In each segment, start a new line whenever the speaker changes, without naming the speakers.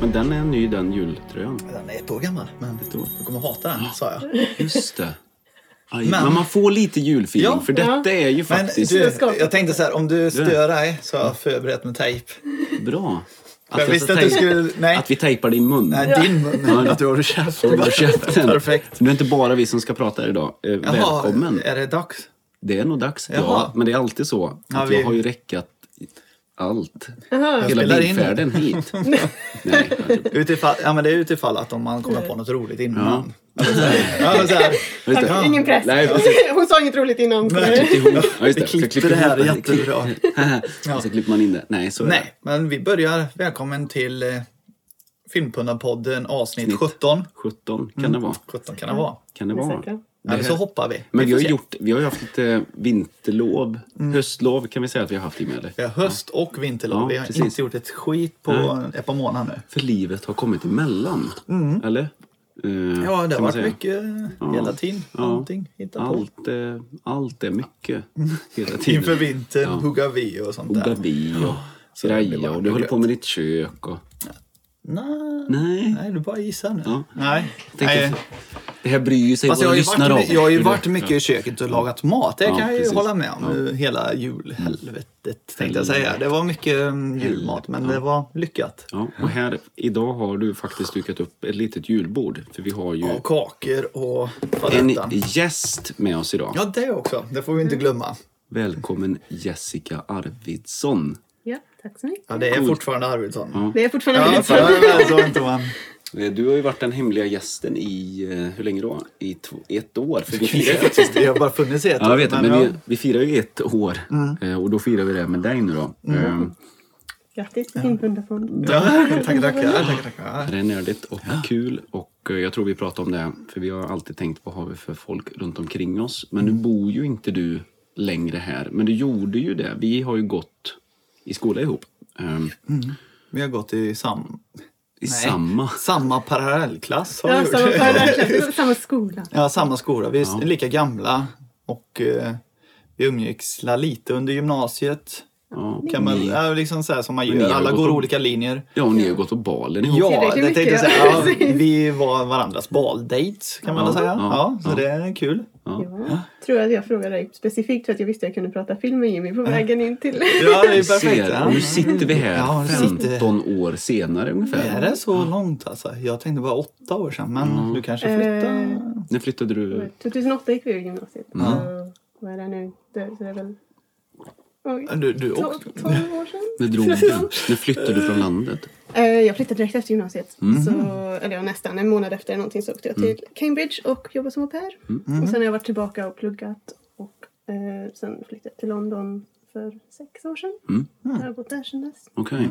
Men den är ny den jultröjan.
Den är ett år gammal, men
Ett år.
du kommer hata den, sa jag.
Just det. Aj, men,
Men-
man får lite julfeeling
Ja.
för detta är ju
Men
faktiskt
du,
rätt
jag tänkte så här, om du stör dig så har jag förberett med tejp.
bra.
Jag
jag
visste
ska
att du
tejpa-
skulle- nej.
Att vi tejpar det i mun.
Nej, din mun. Att du håller käften.
Så håller käften.
Perfekt.
Det är inte bara vi som ska prata här idag. Eh,
Jaha,
Välkommen.
är det dags?
Det är nog dags. Ja,
Jaha.
men det är alltid så. Att
Ja,
Jag
vi-
har ju räckat allt.
Jag
Hela
spelar in.
bilfärden hit. Nej,
Utifall, ja, men det är utifall att om man kommer på något roligt innan. Eller så här- Ja. men så här,
just det.
Ja.
Ingen press.
Nej, precis.
Hon sa inget roligt innan.
Nej.
Jo, ja, just det.
Vi
Så
klipper det här
ihop
jättebra.
Och så klipper man in det. Nej, så är
Nej, men vi börjar. Välkommen till eh, Filmpundarpodden avsnitt
Snitt.
17.
det. 17 kan det vara.
17 kan det vara.
Kan det
Är ni
vara?
säkra?
Eller Mm. så hoppar vi.
Men vi
vi
har,
får
ju
se.
gjort, vi har ju haft lite vinterlov,
Mm.
höstlov kan vi säga att vi har haft i med det.
Vi har höst och vinterlov.
Ja,
vi har
precis.
inte gjort ett skit på ett par månader nu.
För livet har kommit emellan. Eller? Eh,
Mm. Ja,
kan
det
man
har varit
säga.
mycket
Ja.
hela tiden.
Ja.
Någonting hitta på. Mm.
Allt, eh, allt är mycket hela tiden.
Inför vintern
Ja.
hugga vi och sånt
Odla
där.
vi och
det blir
greja
bara
och du håller
gött.
på med ditt kök och...
Nej.
Nej.
Nej, du bara gissar nu.
Ja.
Nej.
Tänk
Nej.
att- Det här bryr ju sig
Fast jag
våra
har ju
lyssnare
varit,
om.
jag har ju
Hur det-
varit mycket i köket och lagat mat. Det
Ja,
kan jag ju
precis.
hålla med om. eh, Hela julhelvetet tänkte jag säga. Det var mycket mm, julmat, men det var lyckat.
Ja, och här, idag har du faktiskt dukat upp ett litet julbord. För vi har ju
Och kakor och
en
fadetten.
gäst med oss idag.
Ja, det också. Det får vi inte glömma.
Välkommen Jessica Arvidsson.
Ja, tack så mycket.
Ja, det är fortfarande Arvidsson.
Det är fortfarande
Ja,
väldigt
för det är så inte man.
Eh, Du har ju varit den hemliga gästen i, eh, hur länge då? I två, ett år? För vi firar ju faktiskt...
Det har bara funnits i ett
Ja, jag vet det, men
ja.
vi, vi firar ju ett år. Eh, Och då firar vi det med dig nu då. Mm.
Grattis till Filmpundarfonden.
Ja, tackar, tackar. tackar, tackar.
Det är nördigt och kul och eh, jag tror vi pratar om det, för vi har alltid tänkt på vad har vi för folk runt omkring oss. Men nu bor ju inte du längre här, men du gjorde ju det. Vi har ju gått i skola ihop. Ehm,
Vi har gått i sam...
I samma.
samma parallellklass. Har vi
Ja,
gjort.
samma parallellklass, samma skola.
Ja, samma skola. Vi är lika gamla och eh, vi umgicks la lite under gymnasiet.
Ja,
Kan man,
ni,
ja, liksom så här som man
Mm. Men ni
gör.
har
Alla
gått
går
om-
olika linjer.
ja, och ni har gått på balen ihop.
Ja,
Tillräckligt
det tänkte jag
mycket,
säga. Ja,
ja, precis.
vi var varandras baldates kan man
Ja,
väl säga.
ja,
Ja, så det är kul.
Ja. Tror att jag frågade dig specifikt för att jag visste att jag kunde prata film med Jimmy på vägen in till...
Ja, det är
Vi
perfekt.
ser,
Ja.
och nu sitter vi här
Ja, nu sitter-
15 år senare ungefär.
Är det så långt alltså? Jag tänkte bara åtta år sedan, men du kanske flyttade?
Eh,
När flyttade du?
2008 gick vi ur gymnasiet. Ja, vad är det nu? Det, så det är väl... Oj,
Du, du
tol-
åkte?
12 år sedan?
När, drog du? när flyttade du från landet?
Eh, Jag flyttade direkt efter gymnasiet. Så, eller ja, nästan en månad efter någonting så åkte jag till Cambridge och jobbade som au pair. Och sen har jag varit tillbaka och pluggat. Och eh, sen flyttade jag till London för sex år sedan. Jag har bott där sedan dess.
Okej.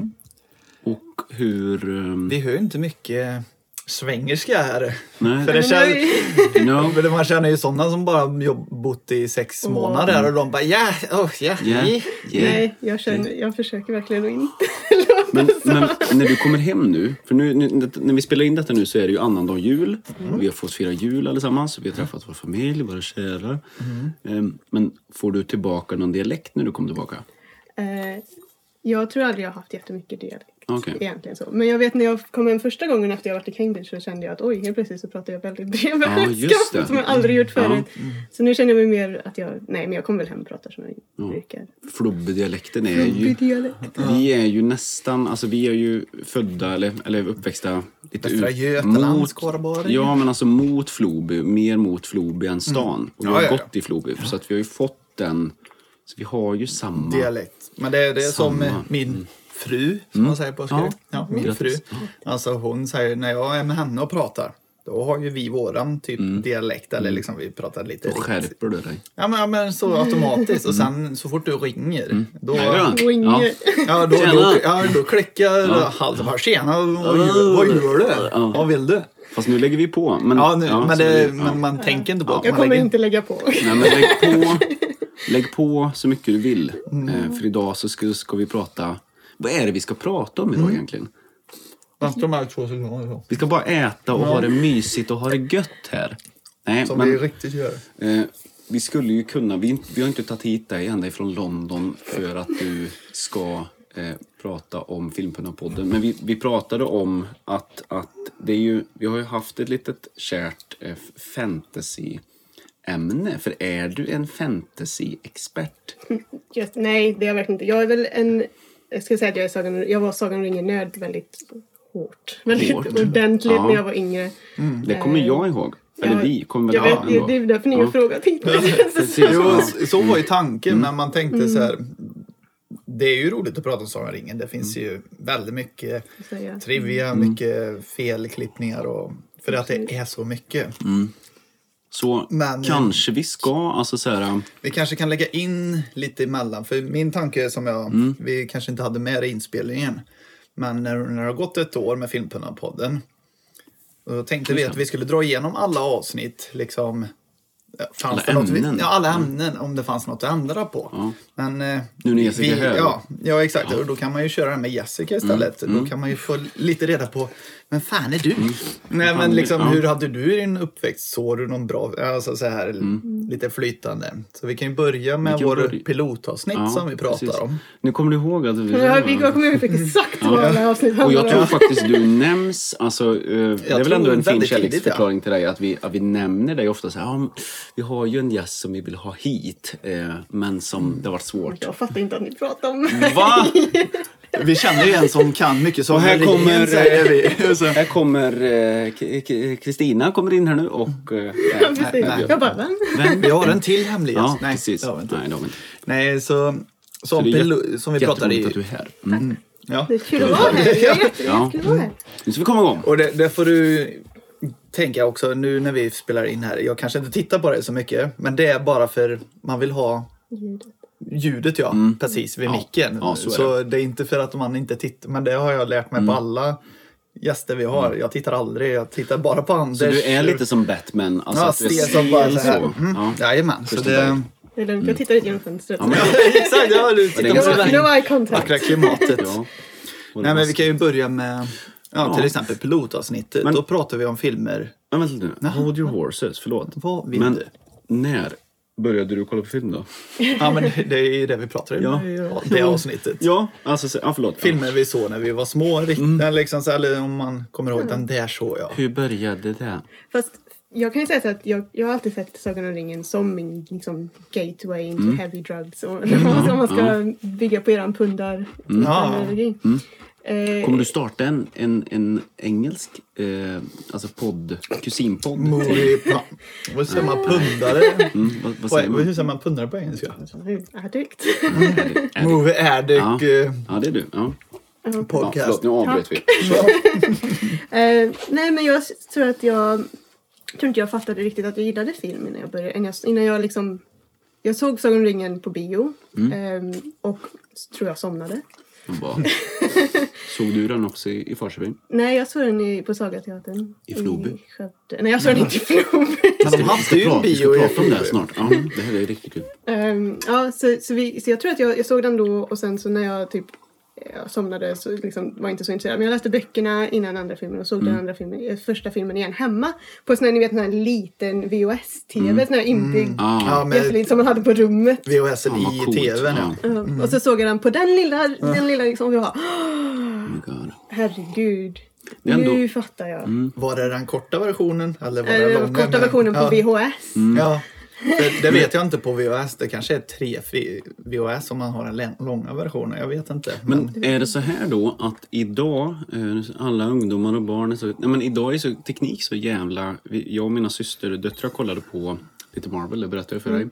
Och hur... ehm,
Vi hör ju inte mycket svängerska här. För
Nej,
det känns,
no.
För man känner ju sådana som bara jobb, bott i sex
Åh.
månader och de bara ja, oh, ja,
Yeah,
ja.
yeah.
Nej, jag, känner, jag försöker verkligen att inte
Men, men när du kommer hem nu, för nu, nu, när vi spelar in detta nu så är det ju annandag jul.
Mm.
Vi har fått fira jul allesammans, vi har träffat vår familj, våra kära.
Mm.
Ehm, Men får du tillbaka någon dialekt när du kommer tillbaka?
Eh, jag tror aldrig jag har haft jättemycket dialekt.
Okej.
Egentligen så. Men jag vet när jag kom hem första gången efter jag varit i Cambridge så kände jag att oj, helt plötsligt så pratar jag väldigt
Ja, just
brevväxtskaft
det. Mm.
som jag aldrig gjort
Ja.
förut. Så nu känner jag mig mer att jag, nej men jag kommer väl hem och pratar som jag brukar.
Flubbedialekten är ju...
Dialekt.
Vi är ju nästan, alltså vi är ju födda eller, eller uppväxta lite
Västra
ut-
Götaland,
mot-
Skaraborg. Mm.
Ja, men alltså mot Floby, mer mot Floby än stan. Och vi
Ja,
har
ja, ja.
gått i Floby, så att vi har ju fått den, så vi har ju samma.
dialekt. Men det, det är som
Samma. Mm.
eh, min fru, som man säger på skoj.
Ja.
Ja, min fru. Alltså hon säger, när jag är med henne och pratar Då har ju vi våran typ
Mm.
dialekt eller liksom vi pratar lite
Då skärper du dig.
Ja men, ja, men så automatiskt och sen så fort du ringer då, ja,
Är Mm. det?
Ringer.
Ja.
då, då,
Tjena.
ja, då klickar halsen bara tjena vad gör, vad gör du?
Ja.
Vad vill du?
Fast nu lägger vi på. Men,
Ja, nu, men,
så
det,
vi- ja.
men man tänker inte på att
Jag
man
kommer
lägger
inte lägga på.
Nej, men lägg på, lägg på så mycket du vill.
Mm.
Eh, för idag så ska, ska vi prata... Vad är det vi ska prata om idag
Mm.
egentligen?
Fast de här två signalerna så,
Vi ska bara äta och ha det mysigt och ha det gött här. Nej,
som
men,
vi riktigt gör.
eh, vi skulle ju kunna... Vi, vi har inte tagit hit dig ända ifrån London för att du ska eh, prata om Filmpunna-podden. Men vi, vi pratade om att, att det är ju... Vi har ju haft ett litet kärt eh, fantasy-ämne. För är du en fantasy-expert?
Just, nej, det är jag verkligen inte. Jag är väl en... Jag skulle säga att jag, är Sagan, jag var Sagan om ringen-nörd väldigt hårt. Väldigt
Hårt?
ordentligt
Ja.
när jag var yngre.
Det kommer jag ihåg. Eller
Ja,
vi kommer
jag
väl ihåg
vet, det,
ändå.
det är därför ni har
Ja.
frågat hit.
Precis.
Jo,
Ja.
så var ju tanken,
Mm.
men man tänkte så här.
Mm.
Det är ju roligt att prata om Sagan om ringen. Det finns
Mm.
ju väldigt mycket
Säga.
trivia, mycket felklippningar och för att det är så mycket.
Så
Men-
kanske vi ska, alltså så här...
Vi kanske kan lägga in lite emellan, för min tanke som jag,
Mm.
vi kanske inte hade med i inspelningen, men när, när det har gått ett år med Filmpunnan-podden, då tänkte vi att vi skulle dra igenom alla avsnitt, liksom, ja, fanns
Alla
det något vi,
ämnen. Mm.
ja, alla ämnen, om det fanns något att ändra på. Men, eh,
Nu när Jessica är här, Mm. då?
ja, ja, exakt. Och då kan man ju köra den med Jessica istället. Då kan man ju få lite reda på, men fan är du? Nej,
Mm. fan är
men
du?
liksom,
Ja.
hur hade du i din uppväxt? Såg du någon bra, alltså så här lite flytande? Så vi kan ju börja med
Mm. Vi kan
vår
börja-
pilotavsnitt
ja,
som vi pratar
precis.
om.
Nu kommer du ihåg att... Vi,
Ja, vi kommer ihåg exakt vad alla avsnitt
Mm. Och
handlar
jag
om.
tror faktiskt du nämns. Alltså, eh, det är väl
tror
ändå en fin
väldigt
kärleksförklaring till dig att vi, att vi nämner dig ofta så här. Ja, men vi har ju en gäst som vi vill ha hit, eh, men
Mm.
som det har varit svårt.
Jag fattar inte att ni pratar om
Va?
Vi känner ju en som kan mycket som
Och här
Lindgren,
kommer, eh,
säger vi. Så-
Här kommer eh, K- K- Kristina kommer in här nu och...
Mm.
Eh, nej,
Precis.
nej,
Jag bara, vem?
Vem?
Vi har en till hemlig gäst.
Ja,
Nej,
precis.
det har vi inte.
Nej, det har vi inte.
Nej, så, som,
det är
pilo- som vi pratade
Jätteroligt att du är
i... Mm.
här. Mm.
Ja.
Det är kul att vara här. Jag är
Ja.
jättekul att vara här.
Nu ska vi komma igång.
Och det, det får du tänka också nu när vi spelar in här. Jag kanske inte tittar på det så mycket, men det är bara för man vill ha
Ljudet.
ljudet ja, precis vid micken.
Mm. Ja, så
så
är Mm.
det är inte för att man inte tittar, men det har jag lärt mig på alla gäster vi har. Jag tittar aldrig, jag tittar bara på Anders.
Så du är lite som Batman? Alltså
ja,
att du är
stel som bara så här. Mm.
Ja.
Jajamän, så
Förstår
det...
Det är lugnt,
Mm.
jag tittar ut genom fönstret.
Exakt, ja, du
det är
tittar
ganska
på det
fint.
här
No eye contact.
vackra klimatet.
Ja. Och det
Nej,
var-
men vi kan ju börja med ja, till exempel pilotavsnittet.
Men-
Då pratar vi om filmer.
Men vänta lite nu. Hold your horses, förlåt.
Vad vill
men
du?
när började du kolla på film då?
Ja, men det är ju det vi pratar om.
Ja.
Ja. Det avsnittet.
Ja, alltså, så, ja förlåt.
Filmer vi såg när vi var små, rikt- liksom, så, eller om man kommer ihåg, den där såg jag.
Ja. Hur började det?
Fast jag kan ju säga så att jag, jag har alltid sett Sagan om ringen som min liksom, gateway into
Mm.
heavy drugs. Om om man ska bygga på eran pundar
Ja.
analogi. Eh,
Mm. Kommer du starta en, en, en engelsk eh, alltså podd, kusinpodd?
Movie... Ja. Vad säger man? Pundare?
Mm, vad, vad
Vad,
säger
är- hur
man?
säger man pundare på engelska?
Addict.
Movie addict eh,
Ja, det är du. Ja. Ja,
podcast.
förlåt, nu avbröt vi.
Eh, nej men jag s- tror att jag tror inte jag fattade riktigt att jag gillade film innan jag började. Innan jag, innan jag liksom jag såg Sagan om ringen på bio
Mm.
ehm, och s- tror jag somnade.
Jag bara- Såg du den också i, i Farsöbyn?
Nej, jag såg den i, på Sagateatern.
I Floby?
Skövde. Nej, jag såg den inte i Floby.
Men de hade ju en
Vi
bio
ska
i
prata om det här snart. Ja, det här är riktigt kul.
Ehm, ja, så, så, vi, så jag tror att jag, jag såg den då och sen så när jag typ jag somnade så liksom var jag inte så intresserad. Men jag läste böckerna innan andra filmen och såg
Mm.
den andra filmen, eh, första filmen igen hemma. På sån här, ni vet, den här liten VHS-TV,
Mm.
sån här inbyggd
Ah.
Ja, med
jätteliten som man hade på rummet.
VHS
Fan, vad
i
coolt.
tvn. Ja.
Ja.
Ja, Och så såg jag den på den lilla,
Mm.
den lilla liksom, och jag bara,
Oh my God.
herregud.
Det är ändå- Mm.
Nu fattar jag.
Var det den korta versionen? Eller var det
Eller
långa?
Eh, korta
med-
versionen på
ja.
VHS.
Mm.
Ja. Det, det vet jag inte på VHS. Det kanske är tre fri- VHS om man har den lä- långa versionen. Jag vet inte. Men,
Men är det så här då att idag, eh, alla ungdomar och barn är så... Nej, men idag är så, teknik så jävla... vi- Jag och mina systerdöttrar kollade på lite Marvel, det berättade jag för dig.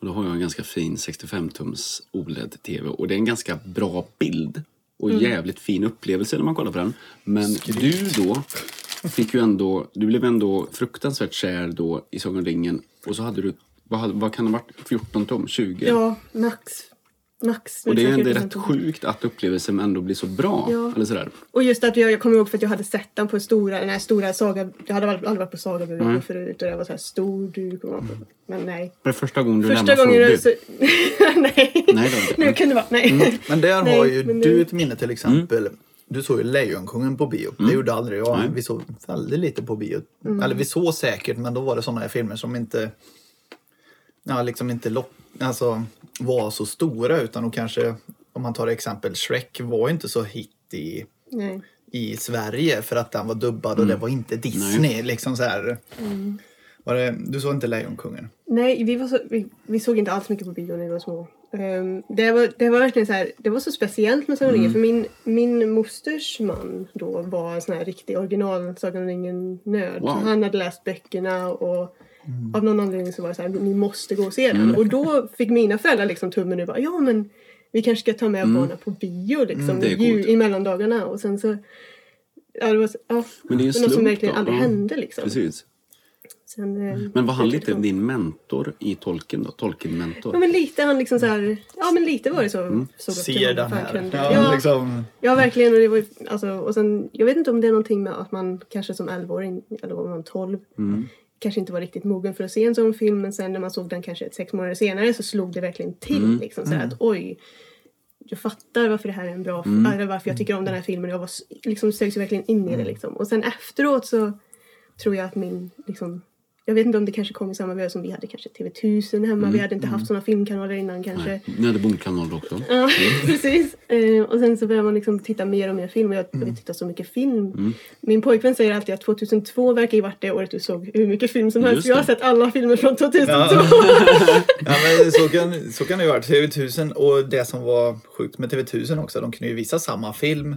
Och då har jag en ganska fin 65-tums OLED-TV och det är en ganska bra bild och jävligt fin upplevelse när man kollar på den. Men du då fick ju ändå, du blev ändå fruktansvärt kär då i Sagan om ringen. Och så hade du, vad, hade- vad kan det ha varit, 14 tom? 20?
Ja, max. Max. liksom
och det är ju
säkert
ändå
tusen
rätt
ton.
sjukt att upplevelsen ändå blir så bra.
Ja.
Eller sådär.
Och just att jag, jag kommer ihåg för att jag hade sett den på stora, den här stora saga, jag hade aldrig varit på sagabiografer
Mm.
förut och det var så här stor duk och men nej.
Var det första gången du
Första
lämnade
gången
Frogby?
jag så, nej.
Nej, det Mm. var det.
nu kunde det vara, nej.
Men där
Nej,
har ju
men
du
nu-
ett minne till exempel. Du såg ju Lejonkungen på bio. Det gjorde aldrig jag. Vi såg väldigt lite på bio.
Mm.
Eller vi såg säkert, men då var det sådana här filmer som inte ja, liksom inte lock, alltså, var så stora. Utan och kanske, om man tar exempel, Shrek var ju inte så hit i,
nej.
i Sverige för att den var dubbad och det var inte Disney. Liksom så här.
Mm.
Var det, du såg inte Lejonkungen?
Nej, vi, var så, vi, vi såg inte alls mycket på bio när vi var små. Ehm, det, var, det var verkligen så här, det var så speciellt med Sagan om ringen
Mm.
för min, min mosters man då var en sån här riktig original Sagan om ringen-nörd.
Wow. Mm.
Så Han hade läst böckerna och av någon anledning så var det så här, ni måste gå och se den. Och då fick mina föräldrar liksom tummen ur bara, ja men vi kanske ska ta med barnen på bio liksom
Mm. det är
i, jul,
coolt.
i mellandagarna. Och sen så, ja det var, så, ja,
Men det är ju en
något som
slump
verkligen
då.
aldrig
Ja.
hände liksom.
Precis.
Sen, ehm,
Men var han lite
kom-
din mentor i tolken då?
Ja
Tolken-mentor?
men lite han liksom så här, ja men lite var det så. så gott det
Ser
var,
den
fan
här.
kunde.
Ja,
Ja, ja,
liksom.
verkligen. Och, det var ju, alltså, och sen, jag vet inte om det är någonting med att man kanske som 11-åring, eller om man var 12, kanske inte var riktigt mogen för att se en sån film. Men sen när man såg den kanske sex månader senare så slog det verkligen till. Liksom, så här, att oj, jag fattar varför det här är en bra film, eller varför jag tycker om den här filmen. Jag var s- liksom, sögs ju verkligen in i det liksom. Och sen efteråt så tror jag att min, liksom, jag vet inte om det kanske kom i samma veva som vi hade kanske TV1000 hemma. Vi hade inte haft sådana filmkanaler innan kanske.
Nej, ni hade bondkanaler också.
Ja,
Mm.
precis. Eh, och sen så börjar man liksom titta mer och mer film
Mm.
och jag har tittat så mycket film. Min pojkvän säger alltid att 2002 verkar ju varit det året du såg hur mycket film som helst.
Just
Jag har
det.
sett alla filmer från 2002.
Ja, men så, kan, så kan det ju vara. TV1000 och det som var sjukt med TV1000 också, de kunde ju visa samma film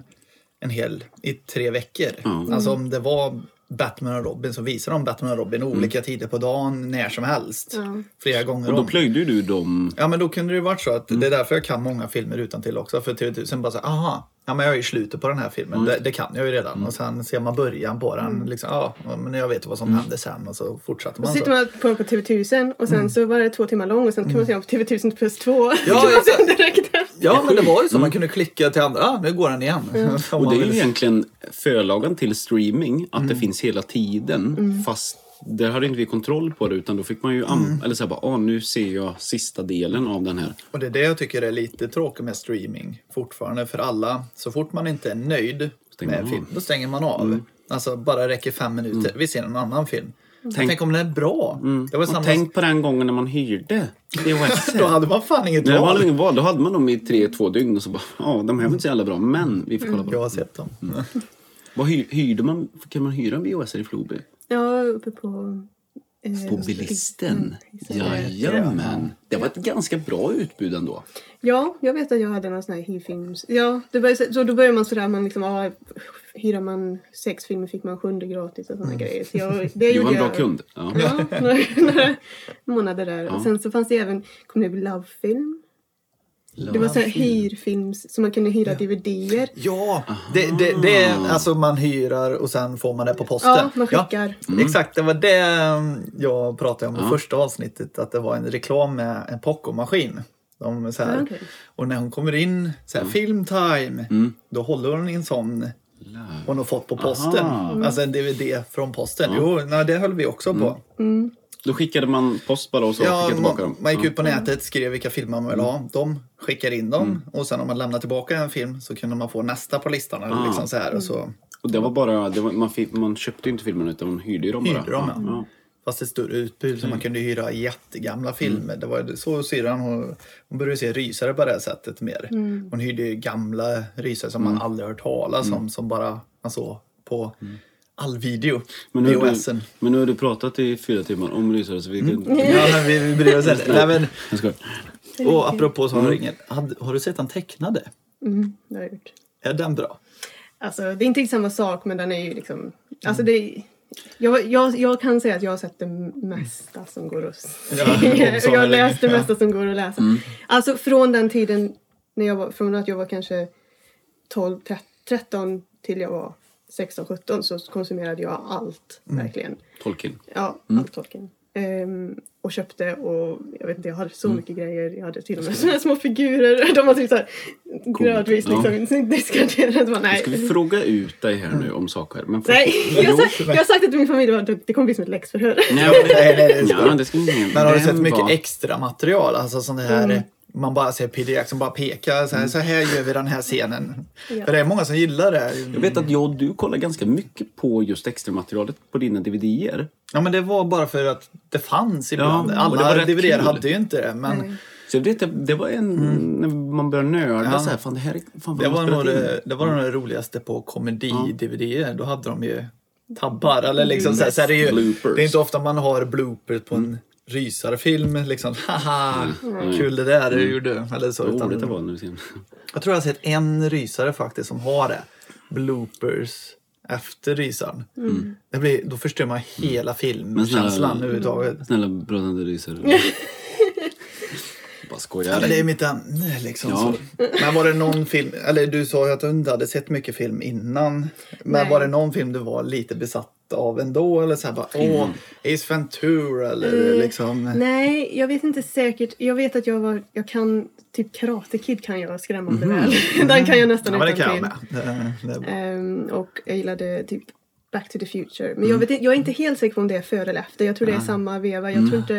en hel, i tre veckor.
Ja. Mm.
Alltså om det var Batman och Robin så visade de Batman och Robin olika tider på dagen, när som helst.
Ja.
Flera gånger
Mm. Och Mm. då
om.
plöjde ju du dem.
Ja men då kunde det ju varit så att det är därför jag kan många filmer utan till också. För TV1000 bara så här, aha, ja men jag är i slutet på den här filmen,
Mm.
det, det kan jag ju redan. Och sen ser man början på den,
Mm.
liksom, ja men jag vet vad som
Mm.
hände sen och så fortsätter man
Så
så.
sitter man på, på TV1000 och
Mm.
sen så var det två timmar lång och sen kan man se om TV1000 plus två.
Ja,
Kan man se
exakt.
direkt efter.
Ja men det var ju så, man kunde klicka till andra, ah nu går den igen. Om
Och
man
det är ju
vill-
egentligen förlagan till streaming, att det
Mm.
finns hela tiden. Fast där hade inte vi kontroll på det utan då fick man ju an-
Mm.
eller så här bara, ah, nu ser jag sista delen av den här.
Och det är det jag tycker är lite tråkigt med streaming fortfarande. För alla, så fort man inte är nöjd
Stänger
med en
man
film,
av.
då stänger man av. Alltså bara räcker fem minuter, vi ser en annan film. Tänk, Mm. tänk om den är bra. Det var
Och
samma...
tänk på den gången när man hyrde VHS.
Då hade man fan inget
När
val.
man ingen val, då hade man dem i tre, två dygn och så bara, ja, de här var inte så jävla bra, men vi får kolla på
Jag
dem.
har sett dem.
Vad hyr, hyrde man, kan man hyra en VHS i Floby?
Ja, uppe på... eh,
På
Mm.
Bilisten?
Ja.
Jajamän! Det var ett ganska bra utbud ändå.
ja, jag vet att jag hade någon sån här hyrfilms... Ja, det började, så då börjar man sådär, man liksom, ja, hyrar man sex filmer fick man sjunde gratis och sådana grejer. Så jag, det
Du var en
gjorde
Mm. bra
jag.
kund. Ja.
Ja, några, några månader där. Och sen så fanns det även, kommer ni ihåg Lovefilm? Det var så här hyrfilms, så man kunde hyra DVDer.
Ja, det, det, det är alltså man hyrar och sen får man det på posten.
Ja, man skickar.
Ja,
Mm.
Exakt, det var det um, jag pratade om i första avsnittet. Att det var en reklam med en Poco-maskin. De, så här,
Ah, okej.
Och när hon kommer in, så här, filmtime,
Mm.
då håller hon i en sån hon har fått på posten.
Aha.
Mm.
Alltså en DVD från posten. Jo, nej, det höll vi också på.
Då skickade man post bara och Mm. så skickade
Ja,
tillbaka
man,
dem. Mm.
man gick ut på nätet, skrev vilka filmer man ville ha. De skickar in dem och sen om man lämnar tillbaka en film så kunde man få nästa på listan. Eller
Ah.
liksom så här, och så
Och det var bara, det var, man, fick, man köpte ju inte filmerna utan man hyrde ju dem bara.
hyrde de
ja.
en. Fast ett större utbud så man kunde hyra jättegamla filmer. Det var ju- så syrran hon, hon började se rysare på det här sättet mer. Hon hyrde ju gamla rysare som man aldrig hört talas om som bara man såg på all video.
Men, nu har
VHSen.
du, men nu har du pratat i fyra timmar om rysare så vi kan...
Mm.
Ja, men vi, vi bryr oss inte. Nej, men, Mm.
Jag skojar.
och apropå Sagan om ringen. Hade- Har du sett den tecknade?
Mm, det har jag gjort.
Är den bra?
Alltså, det är inte riktigt samma sak, men den är ju liksom... Alltså, det är, jag, jag, jag kan säga att jag har sett det mesta som går att se.
Ja, om så
jag har
är det.
läst det mesta som går att läsa.
Mm.
Alltså från den tiden, när jag var, från att jag var kanske 12, 13 till jag var 16-17 så konsumerade jag allt,
Mm.
verkligen.
Tolkien.
Ja, allt Tolkien. Ehm, och köpte och jag vet inte, jag hade så mycket grejer. Jag hade till och med såna här små figurer. De var typ såhär gradvis
Ja.
liksom diskarderade. Det var,
Nu
Nej.
ska vi fråga ut dig här nu om saker. Men för...
Nej, jag, har
Jo.
sagt, jag har sagt att min familj var typ- det kommer bli som ett läxförhör.
Nej, men-
Nej, nej, det är
Ja, det ska vi
Men har du sett
Vem
mycket
var-
extra material? Alltså sånt här, man bara ser pdf som bara pekar. Så här, så här gör vi den här scenen.
Ja.
För det är många som gillar det.
Jag vet att jag och du kollar ganska mycket på just extramaterialet på dina DVDer.
Ja, men det var bara för att det fanns ibland.
och det var
Alla
rätt
dvd
kul.
hade ju inte det. Men
Nej.
Så jag vet, att det var en... När man började nörda
Mm. Ja.
så här, fan det här är... Fan, vad
det
de har
var, nog
spelat in.
det, det var nog det roligaste på komedi-dvd. Då hade de ju tabbar. Eller liksom, så här, så här, det, är ju,
Mm. Bloopers. Mm.
det är inte ofta man har bloopers på en rysarfilm. Liksom, haha, kul det där du gjorde. Eller så,
Vad Mm.
utan-
roligt det var nu sen.
Jag tror jag har sett en rysare faktiskt som har det. Bloopers efter rysaren. Det blir, då förstör man hela
Mm.
filmkänslan
Men-
överhuvudtaget.
Snälla bröderna ryser. Bara
Ja,
skojar.
men det är mitt ämne liksom.
Ja.
Så. Men var det någon film, eller du sa ju att du inte hade sett mycket film innan. Men
Nej.
var det någon film du var lite besatt av ändå? Eller så här bara, åh, Ace Ventura eller
Eh,
liksom.
Nej, jag vet inte säkert. Jag vet att jag var, jag kan, typ Karate Kid kan jag skrämmande väl. Den kan jag nästan
Ja, men det
utan
kan jag
till.
med. Det, det,
Ehm, och jag gillade typ Back to the Future. Men jag, vet, inte- jag är inte helt säker på om det är före eller efter. Jag tror det är samma veva. Jag tror inte...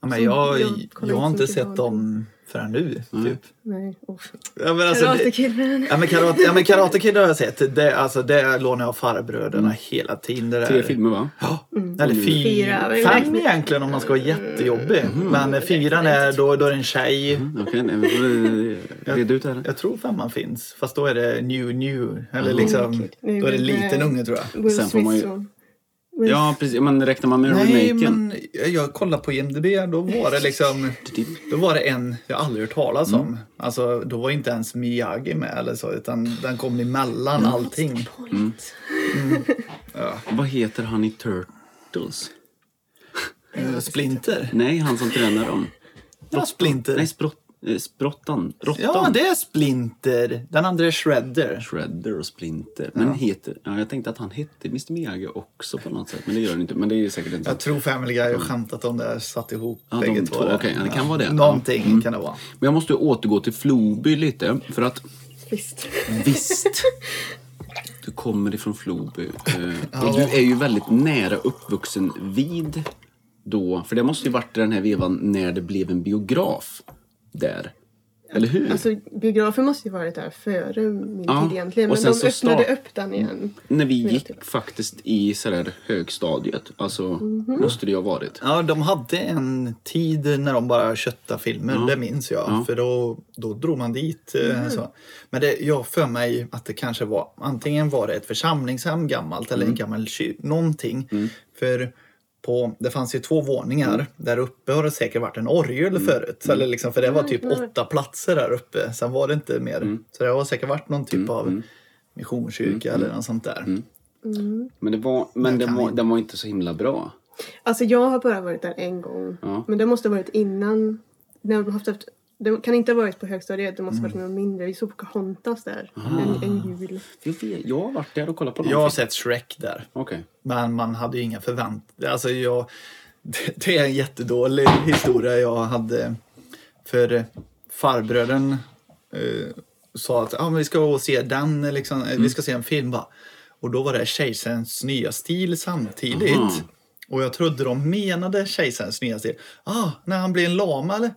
ja, men
som-
jag,
jag
jag,
kollar
har
inte
inte
så mycket
sett
på
dem förrän nu. Typ.
Nej, oh.
Ja, men alltså, det-
Karate Kid. men-
Ja men Karate, ja, men karate Kid har jag sett. Det, alltså, det lånar jag av farbröderna hela tiden. Det där.
Tre filmer va?
Ja, Eller fy,
Fyra, men-
Fem egentligen om man ska vara jättejobbig. Men eh, fyran är då, då är det en tjej.
Okej, nej, vi får, eh, reda ut det här.
Jag tror femman finns. Fast då är det new new. Eller liksom,
okej.
då är det liten unge tror jag.
Will
Sen får man ju-
Smith som... Will
Ja, precis. Men räknar man med
Nej
remaken?
men jag kollade på IMDB. Då var det liksom, då var det en jag aldrig hört talas om. Alltså då var inte ens Miyagi med eller så. Utan den kom emellan allting.
Point.
Vad heter han i Turtles?
Eh, Splinter.
Nej, han som tränar dem.
Ja, Splinter.
Nej, sprott, eh, Sprottan. Råttan.
Ja, det är Splinter. Den andra är Shredder.
Shredder och Splinter. Men heter, ja, jag tänkte att han hette Mr Miyagi också på något sätt. Men det gör han inte. Men det är ju säkert inte. Mm.
Jag tror Family Guy har skämtat om det här, satt ihop
Ja, de
bägge
två,
två. där.
okej, ja, det kan vara det. Mm.
Någonting kan det vara.
Men jag måste ju återgå till Floby lite. För att
Visst.
Visst. Du kommer ifrån Floby. eh, Och du är ju väldigt nära uppvuxen vid då. För det måste ju varit den här vevan när det blev en biograf där. Eller hur?
Alltså biografen måste ju varit där före min
Ja,
tid egentligen.
och
Men de
sen så
öppnade
start-
upp den igen.
när vi
Vill jag
gick
typ.
tillägga.
faktiskt i sådär högstadiet. Alltså,
Mhm.
måste det ju ha varit.
Ja, de hade en tid när de bara köttade filmer, det minns jag. För då, då drog man dit. eh, Så. Men det, jag har för mig att det kanske var antingen var det ett församlingshem gammalt eller en gammal kyr, någonting. För på, det fanns ju två våningar. Där uppe har det säkert varit en orgel förut. Eller liksom, för det var typ åtta platser där uppe. Sen var det inte mer. Så det har säkert varit någon typ av missionskyrka eller något sånt där.
Men, det var, men den, var, den var inte så himla bra.
Alltså jag har bara varit där en gång.
Ja.
Men det måste ha varit innan. När de har haft, haft, det kan inte ha varit på högstadiet. Det måste ha varit
Mm.
någon mindre. Vi såg Pocahontas där.
Ah.
En, en jul.
Jag, vet, jag har varit där och kollat på någon
Jag har
film.
sett Shrek där.
Okej.
Men man hade ju inga förväntningar. Alltså jag, det- det är en jättedålig historia jag hade. För farbröden eh, sa att ah, men vi ska gå och se den, liksom, eh,
Mm.
vi ska se en film. Bara. Och då var det Kejsarens nya stil samtidigt.
Aha.
Och jag trodde de menade Kejsarens nya stil. Ah, när han blir en lama eller?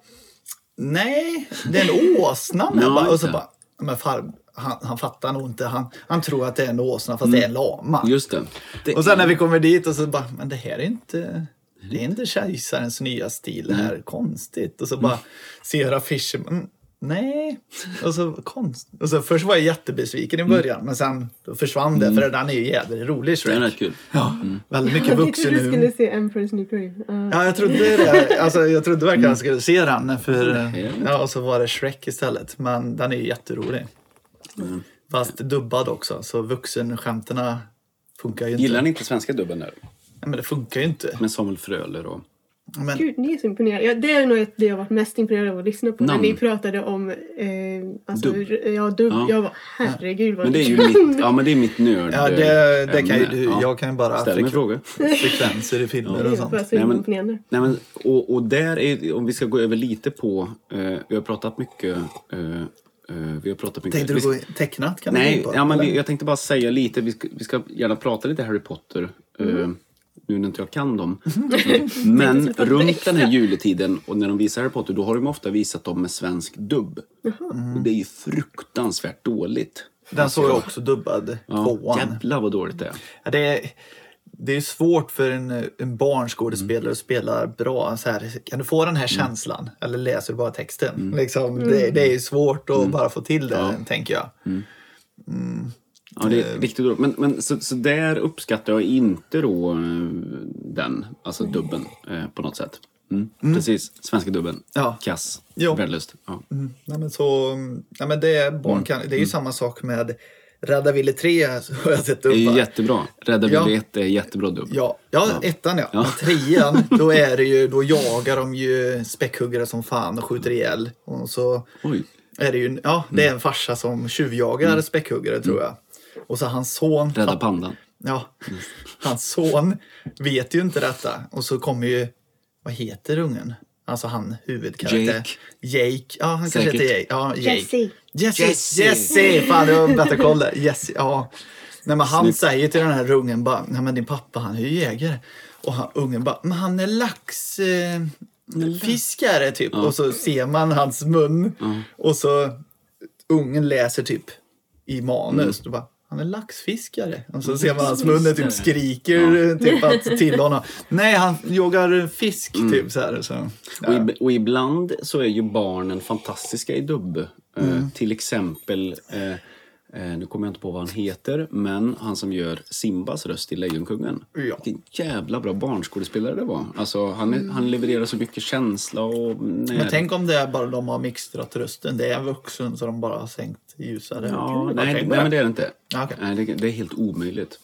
Nej, det är en åsna med.
Ja,
bara. Och
just
så
det.
bara, men farb, han, han fattar nog inte. Han, han tror att det är en åsna
Mm.
fast det är en lama.
Just det. det
Och sen när vi kommer dit och så bara, men det här är inte, det är inte kejsarens nya stil, det här är konstigt. Och så bara ser affischen, mm, nej. Och så konst. Och så först var jag jättebesviken i början, men sen då försvann det, för den är ju jädrigt rolig Shrek.
Den är rätt kul.
Ja, väldigt mycket
Jag trodde
vuxen
du skulle
humor.
se Emperor's New Ah. Groove. Ja.
Ja, jag trodde det. Alltså, jag trodde verkligen jag skulle se den. För,
Nej.
ja, och så var det Shrek istället. Men den är ju jätterolig. Fast dubbad också, så vuxenskämterna funkar ju inte.
Gillar ni inte svenska dubben där?
Nej, men det funkar ju inte.
Med Samuel Fröler och...
Men,
Gud, ni är så imponerade. Ja, det är nog ett- det jag varit mest imponerad av att lyssna på.
Namn.
När ni pratade om eh, alltså,
Dubb.
r- Ja, dubb.
Ja.
Jag var herregud vad
Men det är ju
ni kan.
mitt, ja, men det är mitt nörd.
ja, det, det kan ju
ämne.
du.
Ja.
Jag kan ju bara
Ställ mig
frek-
frågor.
frekvenser i filmer och
Det var
sånt.
så
Nej, men-
imponerande.
Nej, men, och, och där är, om vi ska gå över lite på, eh, vi har pratat mycket, eh, eh, vi har pratat mycket.
Tänkte
vi
du
ska-
gå i- tecknat? Kan du
Nej,
gå in på?
ja, men
Eller?
vi, jag tänkte bara säga lite, vi ska, vi ska gärna prata lite Harry Potter. eh, nu när inte jag kan dem. Men runt den här juletiden och när de visar Harry Potter då har de ofta visat dem med svensk dubb. Och det är ju fruktansvärt dåligt.
Den såg jag också dubbad,
Ja,
tvåan.
jävlar vad dåligt det är.
Ja, Det är, det är svårt för en, en barnskådespelare
Mm.
att spela bra. Så här, kan du få den här känslan? Eller läser du bara texten?
Mm.
Liksom, det, det är ju svårt att bara få till det, tänker jag.
Mm. Ja, det är riktigt dåligt. Men, men så, så där uppskattar jag inte då eh, den, alltså dubben eh, på något sätt. Mm. Precis, svenska dubben.
Ja.
Kass,
Jo.
värdelöst. Ja.
Nej, men så, nej, men det, är
Mm.
barn kan, det är ju samma sak med Rädda Ville 3 har jag sett
Det är ju
upp.
jättebra. Rädda
Ja.
Billy 1 är jättebra dubb.
Ja, ja, ettan ja. Men trean, då, är det ju, då jagar de ju späckhuggare som fan och skjuter ihjäl. Och så
Oj. Mm.
är det ju, ja, det är en farsa som tjuvjagar späckhuggare tror jag. Och så hans son,
Rädda Mm.
fatt-
pandan.
ja, hans son vet ju inte detta. Och så kommer ju, vad heter ungen? Alltså han huvudkaraktär.
Jake.
Jake, ja han kanske
Säkert.
heter Jake. Ja, Jake.
Jesse.
Jesse.
Jesse.
Jesse. Fan, det var bättre koll där. Jesse, ja. Nej, men han
Snyggt.
säger till den här ungen bara, nej men din pappa han är ju jägare. Och han, ungen bara, men han är lax... Eh, fiskare typ. Och så ser man hans mun. Och så ungen läser typ i manus. Då bara, han är laxfiskare. Och så ser man hans mun och typ
Laxfiskare.
skriker typ att, till honom. Nej, han jagar fisk typ så här. Så.
Och,
Ja.
ib- och ibland så är ju barnen fantastiska i dubb. Eh,
Mm.
till exempel, eh, eh, nu kommer jag inte på vad han heter, men han som gör Simbas röst i Lejonkungen.
Ja. Mm.
Vilken jävla bra barnskådespelare det var. Alltså, han, är, han levererar så mycket känsla och...
Men tänk om det är bara de har mixtrat rösten. Det är en vuxen så de bara har sänkt ljusare.
Ja,
Kul.
nej,
Tänk
nej,
på det.
men det är det inte.
Ja, okej.
Nej, det, det är helt omöjligt.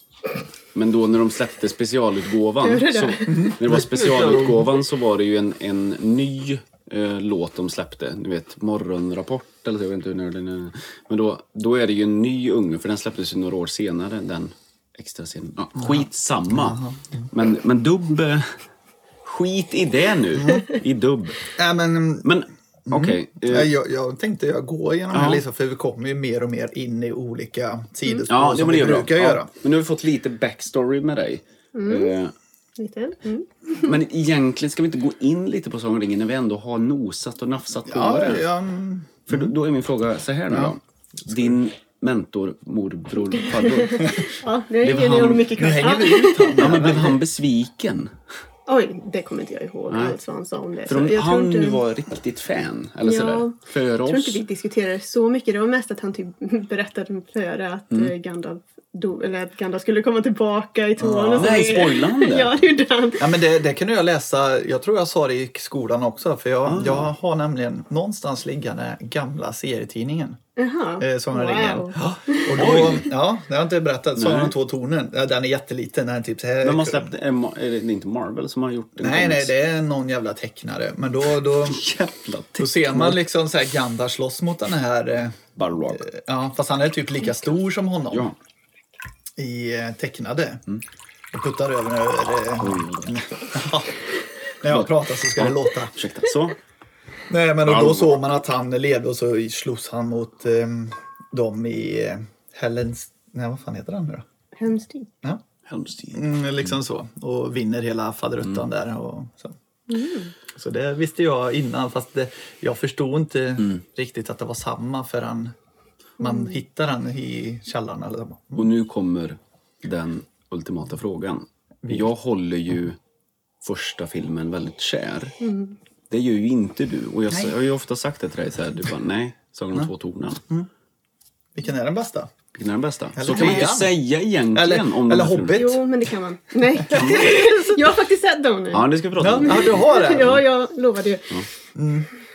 Men då när de släppte specialutgåvan,
Hur är det?
så, när det var specialutgåvan så var det ju en, en ny eh, låt de släppte. Ni vet, Morgonrapport eller så, jag vet inte hur när den är. Men då, då är det ju en ny unge, för den släpptes ju några år senare, den extra scenen. Ja, skitsamma. Men, men dubb... eh, Skit i det
Mm.
nu, i dubb.
Nej, men
Men okej. eh,
Ja, jag, jag tänkte jag går igenom
Ja.
här listan för vi kommer ju mer och mer in i olika sidospår
Ja, det, men
som
det
vi
är bra.
brukar
Ja,
göra.
Men nu har vi fått lite backstory med dig.
Mm.
Eh,
Lite. Mm.
Men egentligen ska vi inte gå in lite på Sagan om ringen när vi ändå har nosat och nafsat på
Ja,
det.
ja, mm.
För då, då är min fråga så här nu då. Din mentor, morbror, farbror.
Ja, nu
Det var
ger ni
han-
honom mycket
nu
kul.
hänger
Ja.
vi ut honom.
ja, men blev han besviken?
Oj, det kommer inte jag ihåg alls vad han sa om det.
För
Så
om
Alltså, jag tror
han
inte-
nu var riktigt fan, eller
Ja.
sådär, för
Jag tror inte
oss.
vi diskuterade så mycket. Det var mest att han typ berättade före att
Mm.
eh, Gandalf, do, eller att Gandalf skulle komma tillbaka i tåren. och så.
Ah, Nej, spoilande.
ja, det gjorde han.
Ja, men det, det kan jag läsa, jag tror jag sa det i skolan också, för
Ah.
jag, jag har nämligen någonstans liggande gamla serietidningen.
Jaha.
Eh, Sagan om
Wow.
ringen. Ja, och då, ja, det har jag inte berättat. Sagan om
Nej.
de två tornen, ja, den är jätteliten. Den är typ så här
Men man släppte, är Ma- är det inte Marvel som har gjort den?
Nej, nej,
comics?
det är någon jävla tecknare. Men då, då,
Jävla
då ser man liksom så här Gandalf slåss mot den här eh,
Balrog.
Ja, fast han är typ lika stor som honom
Ja.
i eh, tecknade. Och puttar över över... eh, ja. När jag pratar så ska det låta.
Ursäkta. Så.
Nej, men och
Allvar.
då såg man att han levde och så slogs han mot eh, dem i eh, Helens... Nej, vad fan heter han nu då?
Hemskt.
Ja.
Helmstein.
Mm, liksom så. Och vinner hela
Mm.
faderuttan där. Och så.
Mm.
så det visste jag innan, fast det, jag förstod inte
Mm.
riktigt att det var samma förrän man
Mm.
hittar han i källaren. Eller så.
Och nu kommer den ultimata frågan. Jag håller ju första filmen väldigt kär.
Mm.
Det gör ju inte du. Och jag, jag har ju ofta sagt det till dig. Så här, du bara, nej, Sagan
Mm.
om två tornen.
Vilken är den bästa?
Vilken är den bästa? så kan
trean.
man inte säga egentligen
Eller,
om de
eller
här filmerna.
Hobbit?
Jo, men det kan man. Nej. jag har faktiskt sett dem nu.
Ja, det ska vi prata
Ja,
om.
ja, du har det?
Ja, jag lovade ju.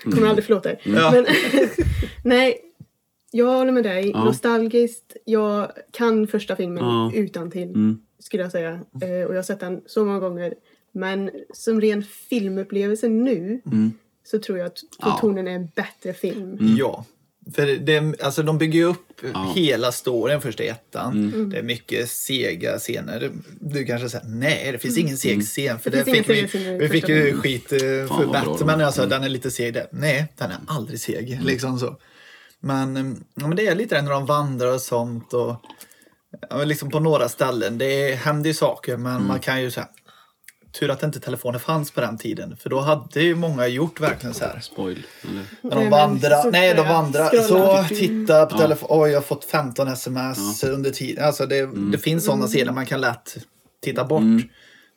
Kommer aldrig förlåta er.
Ja.
Men, nej, jag håller med dig.
Ja.
Nostalgiskt. Jag kan första filmen
Ja.
utan till skulle jag säga. Eh, och jag har sett den så många gånger. Men som ren filmupplevelse nu så tror jag att Plutonen är en bättre film.
Mm.
Ja. För det, alltså de bygger ju upp hela storyn först i ettan.
Mm.
Det är mycket sega scener. Du kanske säger nej, det finns ingen seg scen. För
Mm. Det
det
finns inga
fick vi,
sega scener i
vi fick
första
ju skit eh,
Mm. vad
för
bra
Batman.
de var. Mm.
Jag sa den är lite seg där. Nej, den är aldrig seg. Liksom så. Men, eh, ja, men det är lite det när de vandrar och sånt. Och, ja, men liksom på några ställen. Det händer ju saker men
Mm.
man kan ju säga Tur att inte telefoner fanns på den tiden. För då hade ju många gjort verkligen så här.
Spoil. Eller?
När
Nej,
de
men
vandrar.
så
Nej, de
börjar
vandrar.
jag scrolla.
Så, titta på telefon. Oj, jag har fått 15 sms under tiden. Alltså, det,
Mm.
det finns
Mm.
sådana scener man kan lätt titta bort.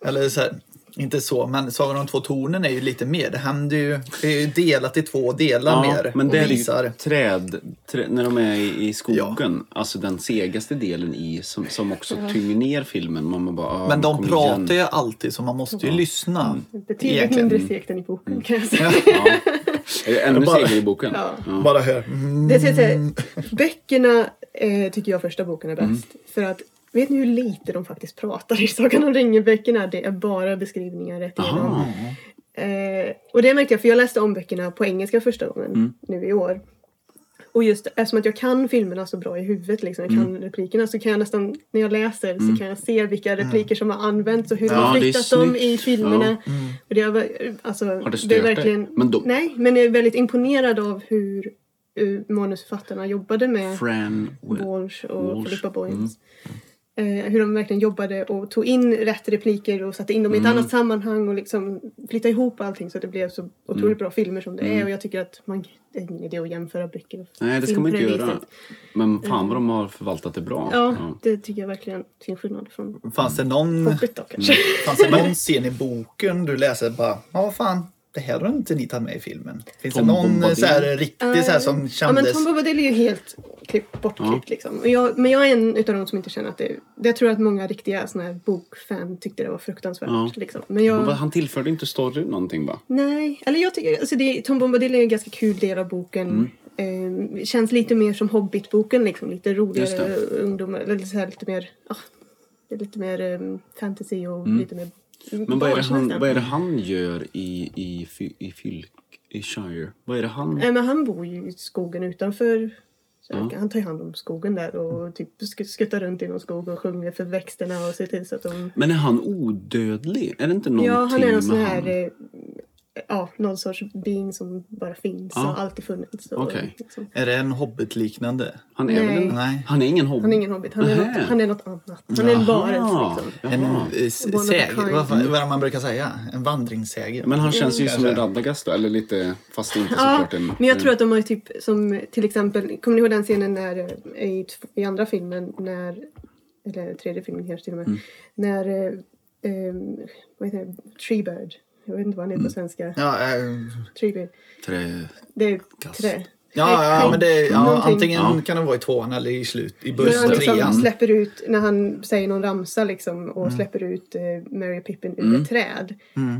Eller så här, inte så, men Sagan om de två tornen är ju lite mer. Det händer ju, det är ju delat i två delar mer.
men
och
det är
visar.
ju träd, trä- när de är i, i skogen, alltså den segaste delen i som, som också tynger ner filmen. Man bara, ah,
Men de
kom
pratar
igen.
ju alltid så man måste ju
Mm.
lyssna.
Betydligt
Egentligen.
mindre segt än i boken kan jag säga.
Är det ännu
bara-
segare i boken.
Ja.
Bara hör. Mm.
Det ska jag säga. Böckerna eh, tycker jag första boken är bäst.
Mm.
För att vet ni hur lite de faktiskt pratar i Sagan om ringen-böckerna? Det är bara beskrivningar rätt igenom.
Aha.
Eh, och det märkte jag för jag läste om böckerna på engelska första gången
Mm.
nu i år. Och just eftersom att jag kan filmerna så bra i huvudet, liksom, jag
Mm.
kan replikerna, så kan jag nästan, när jag läser, så kan jag se vilka repliker som har använts och hur de
Mm. Ja, det
har
är
flyttat dem i
snyggt. Mm.
filmerna. Och det har, va- alltså,
Har det stört
det är
dig?
verkligen,
Men de-
Nej, men jag är väldigt imponerad av hur eh, manusförfattarna jobbade med
Fran
Walsh och
Walsh. Mm.
Filippa Boyens. Eh, hur de verkligen jobbade och tog in rätt repliker och satte in dem i
Mm.
ett annat sammanhang och liksom flyttade ihop allting så att det blev så otroligt
Mm.
bra filmer som det är. Och jag tycker att man, det är ingen idé att jämföra böcker och
Nej, det ska
film
man
på
inte
det
göra.
viset.
Men fan vad de har förvaltat det bra.
Mm. Ja, det tycker jag verkligen till skillnad
Mm.
från
Fanns det någon
Hobbit då kanske.
Fanns det någon scen i boken du läser bara, ja fan, det här har inte ni tagit med i filmen. Finns
Tom
det någon
Bombadil.
så här riktig så här som
Ja men
kändes?
Tom Bobadil är ju helt klipp, bortklippt liksom. Och jag, men jag är en utav de som inte känner att det Jag tror att många riktiga såna här bokfan tyckte det var fruktansvärt.
Ja.
Liksom. Men jag,
Men vad- Han tillförde inte storyn någonting va?
Nej, eller jag tycker, alltså det, Tom Bombadil är en ganska kul del av boken. Ehm, känns lite mer som Hobbit-boken liksom, lite
Mm. Just
roligare
det.
ungdomar, eller så här, lite mer, ah, det är lite mer ehm, fantasy och lite mer
Mm. Men vad är det han,
barnsligt.
vad är det han gör i, i, fy- i, fylk, i Shire? Vad är det han...
Nej, men han bor ju i skogen utanför. Så
Mm.
Han tar ju hand om skogen där och typ sk- skuttar runt i någon skog och sjunger för växterna och ser till så att de...
Men är han odödlig? Är det inte någonting
Ja, han är en sån
med
här...
han?
eh, Ja, någon sorts being som bara finns
Ja.
och alltid funnits. och
Okej.
liksom.
Är det en hobbit-liknande?
Han är väl
Nej.
en,
Nej.
Han är ingen hobbit?
eh, Han är ingen hobbit, han är,
Nähä.
något, han är något annat. Han är en varelse
Jaha.
liksom.
En
Jaha. Mm.
eh, s-
One of a
säger,
kind.
vad, fan, vad är det man brukar säga? En Mm. vandringssäger.
Men han känns ju som en
Kanske.
Radagast då, eller lite, fast det är inte
Ja,
såklart en...
men jag tror att de har ju typ som till exempel, kommer ni ihåg den scenen när, eh, i, tv- i andra filmen, när, eller tredje filmen kanske till och med,
Mm.
när, eh, ehm, vad heter det, Treebird, jag vet inte vad han heter på svenska,
Ja, eh,
Treebird,
Trä...
det är
Kast.
trä.
ja, ja, men det, ja,
Någonting.
antingen
Ja.
kan det vara i tvåan eller i slut, i
När han
början,
liksom
trean. Mm.
släpper ut, när han säger någon ramsa liksom och släpper ut eh, Mary och Pippin ur ett träd.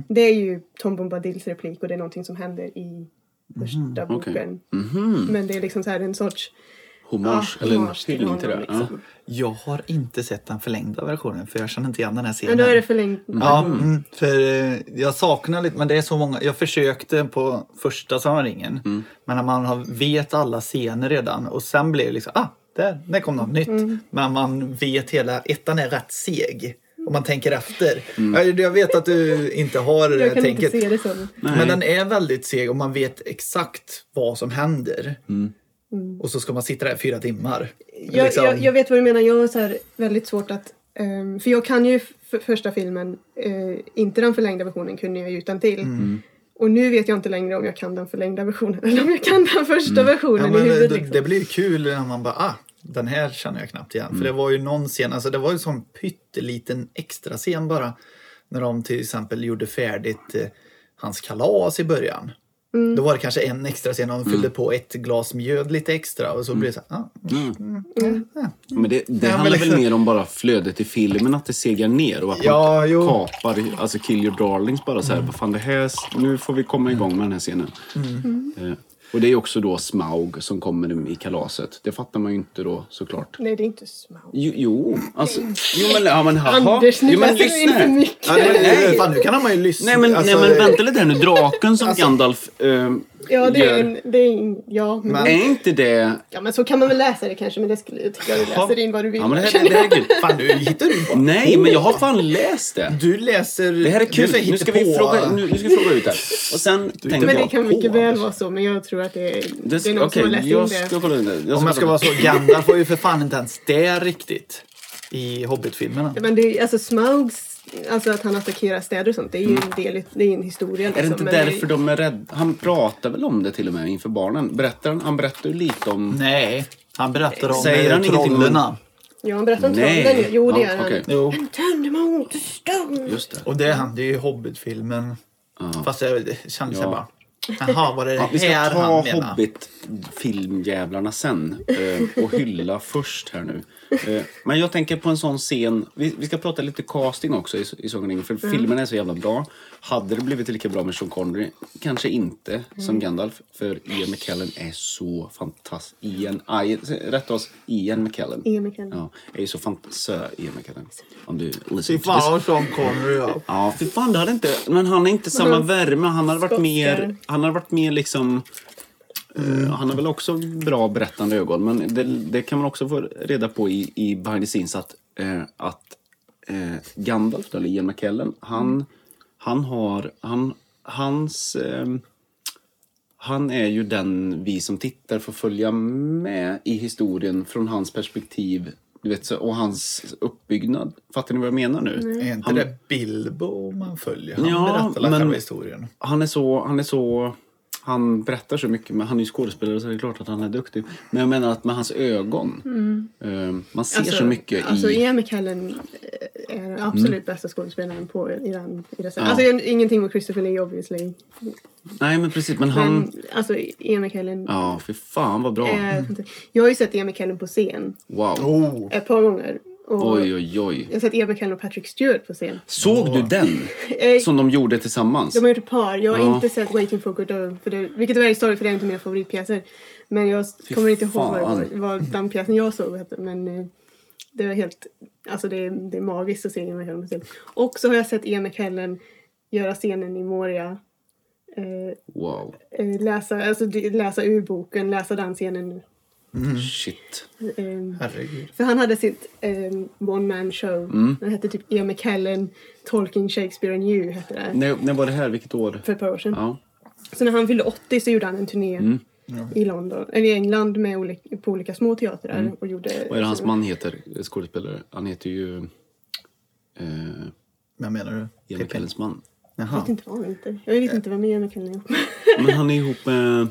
Det är ju Tom Bombadils replik och det är någonting som händer i
Mm-hmm.
första
okej.
boken. Men det är liksom så här en sorts
Hommage,
ja,
eller en
hommage till
hyllning till det.
honom,
Ja.
liksom.
Jag har inte sett den förlängda versionen för jag känner inte igen den här
Men
scenen.
då är det förlängt.
Ja, mm, för eh, jag saknar lite, men det är så många. Jag försökte på första Sagan om ringen, men när man har, vet alla scener redan och sen blir det liksom, ah, där, där kom något nytt.
Mm.
Men man vet hela, ettan är rätt seg om man tänker efter. Jag, jag vet att du inte har det
Jag
här
kan
tänket.
inte se det som.
Nej.
Men den är väldigt seg och man vet exakt vad som händer. Och så ska man sitta där i fyra timmar.
Mm. Jag,
liksom.
jag, jag vet vad du menar. Jag har så här väldigt svårt att... ehm, för jag kan ju f- första filmen, eh, inte den förlängda versionen kunde jag ju utan till.
Mm.
Och nu vet jag inte längre om jag kan den förlängda versionen eller om jag kan den första
Mm.
versionen
Ja,
i
men
huvudet.
det,
liksom.
det blir ju kul när man bara, ah, den här känner jag knappt igen.
Mm.
För det var ju någon scen, alltså det var ju som pytteliten extra scen bara. När de till exempel gjorde färdigt eh, hans kalas i början.
Mm.
Då var det kanske en extra scen, de fyllde på ett glas mjöd lite extra och så
Mm.
blev det så här, ah,
Men det, det
Ja, men
handlar väl
liksom-
mer om bara flödet i filmen, att det segar ner och att
Ja,
man
jo.
kapar, alltså
Mm.
kill your darlings bara så här, vad fan det här, nu får vi komma igång med den här scenen. Eh, Och det är också då Smaug som kommer i kalaset. Det fattar man ju inte då såklart.
Nej, det är inte Smaug.
Jo, jo alltså. Jo men, ja, men haha.
Anders, nu
jo, men,
läser du in för
lyssna.
mycket.
Ja, det,
Nej.
Fan, nu kan man ju lyssna.
Nej men,
Alltså,
nej men vänta lite här nu. Draken som Gandalf eh,
Alltså, Ja, det
gör.
är en... Det är en ja, men,
Men-
Är inte det...
ja, men så kan man väl läsa det kanske, men det skulle jag tycka du läser in vad du vill.
Ja, men det här, det här är kul.
Fan, nu hittar du på.
Nej, men jag har fan läst det.
Du läser...
Det här är kul.
Du
Nu ska vi fråga, nu, nu ska vi fråga ut det. här. Och sen tänkte
Men det
jag...
kan mycket
på,
väl
Anders.
vara så, men jag tror att det är,
Det,
det är någon
okej,
som har läst
jag
in
ska
det.
kolla in det. Jag
Om jag ska vara så, Gandalf var ju för fan inte ens där riktigt. I Hobbit-filmerna.
Men det är, alltså Smaugs, alltså att han attackerar städer och sånt, det är ju en del, i- det är ju en historia.
Mm. Är det
liksom,
inte
men det är-
därför de är rädda? Han pratar väl om det till och med inför barnen? Berättar han? Han berättar ju lite om...
Nej, han berättar om
Säger
eh,
han ingenting om-
trollerna.
Ja, han berättar om
Nej.
trollen ju. Jo, det
Ja,
gör han.
okej.
Jo.
Han tömde mig ont och stone.
Just det.
Och det hände ju i Hobbit-filmen. Fast jag kände
Ja.
ja. bara... Jaha, var det det
Ja, vi ska
här han
ta
menade?
Hobbit-filmjävlarna sen eh, och hylla först här nu. Eh, Men jag tänker på en sån scen. Vi, vi ska prata lite casting också i, i Sagan om ringen, för
Mm.
filmen är så jävla bra. Hade det blivit lika bra med Sean Connery? Kanske inte
Mm.
som Gandalf, för Ian McKellen är så fantastisk. Ian, Ian, rätta oss, Ian McKellen.
Ian McKellen.
Ja, är ju så fantastisk. Sir Ian McKellen. Om du
Fy
listen to this.
fan vad Sean Connery ja.
Ja, för fan, det hade inte... Men han är inte samma
han-
värme. Han hade varit
Skotskare.
mer... Han hade varit mer liksom... eh, han har väl också bra berättande ögon, men det, det kan man också få reda på i, i behind the scenes att, eh, att eh, Gandalf, eller Ian McKellen, han, han har... Han, hans... ehm, han är ju den vi som tittar får följa med i historien från hans perspektiv du vet, så- och hans uppbyggnad. Fattar ni vad jag menar nu?
Är inte
Han-
det Bilbo man följer? Han
Ja,
berättar alla
men-
själva historien.
han är så... Han är så... Han berättar så mycket, men han är ju skådespelare så det är klart att han är duktig. Men jag menar att med hans ögon. eh, man ser så mycket
Mm. alltså,
i... Mm.
Ian McKellen eh, är den absolut bästa skådespelaren på, i den. I det Alltså, jag, ingenting mot Christopher Lee obviously.
Nej, men precis. Men
Men Eh.
han...
alltså, Ian McKellen.
Ja, för fan vad bra.
är fantastisk. Jag har ju sett Ian McKellen på scen
Wow.
Oh,
ett par gånger. Och
Oj, oj, oj.
Jag har sett Ian McKellen och Patrick Stewart på scen.
Såg du den?
Eh,
Som de gjorde tillsammans?
De har gjort ett par. Jag har
Ja.
inte sett Waiting for Godot, för det, vilket är väldigt sorgligt för det är inte mina favoritpjäser. Men jag kommer inte ihåg vad, det var-
fan.
vad den pjäsen jag såg hette. Men eh, det var helt... Alltså det, är- det är magiskt att se Ian McKellen på scen. Och så har jag sett Ian McKellen göra scenen i Moria. Eh,
Wow.
eh, läsa, alltså, d- läsa ur boken, läsa den scenen.
Mm.
Shit.
Eh,
herregud.
för han hade sitt eh, one man show.
Mm.
Den hette typ Ian McKellen, Tolkien, Shakespeare and You hette det.
När, när var det här? Vilket år?
För ett par år sedan.
Ja.
Så när han fyllde 80 så gjorde han en turné
Mm.
i London, eller i England med olika, på olika små teatrar. Och gjorde,
Mm. Vad är det hans man heter? Skådespelare? Han heter ju... Eh,
Vad menar du?
Ian McKellens man.
Jag
Jaha.
vet inte vad han heter. Jag vet inte vem jag är med
Men han är ihop med...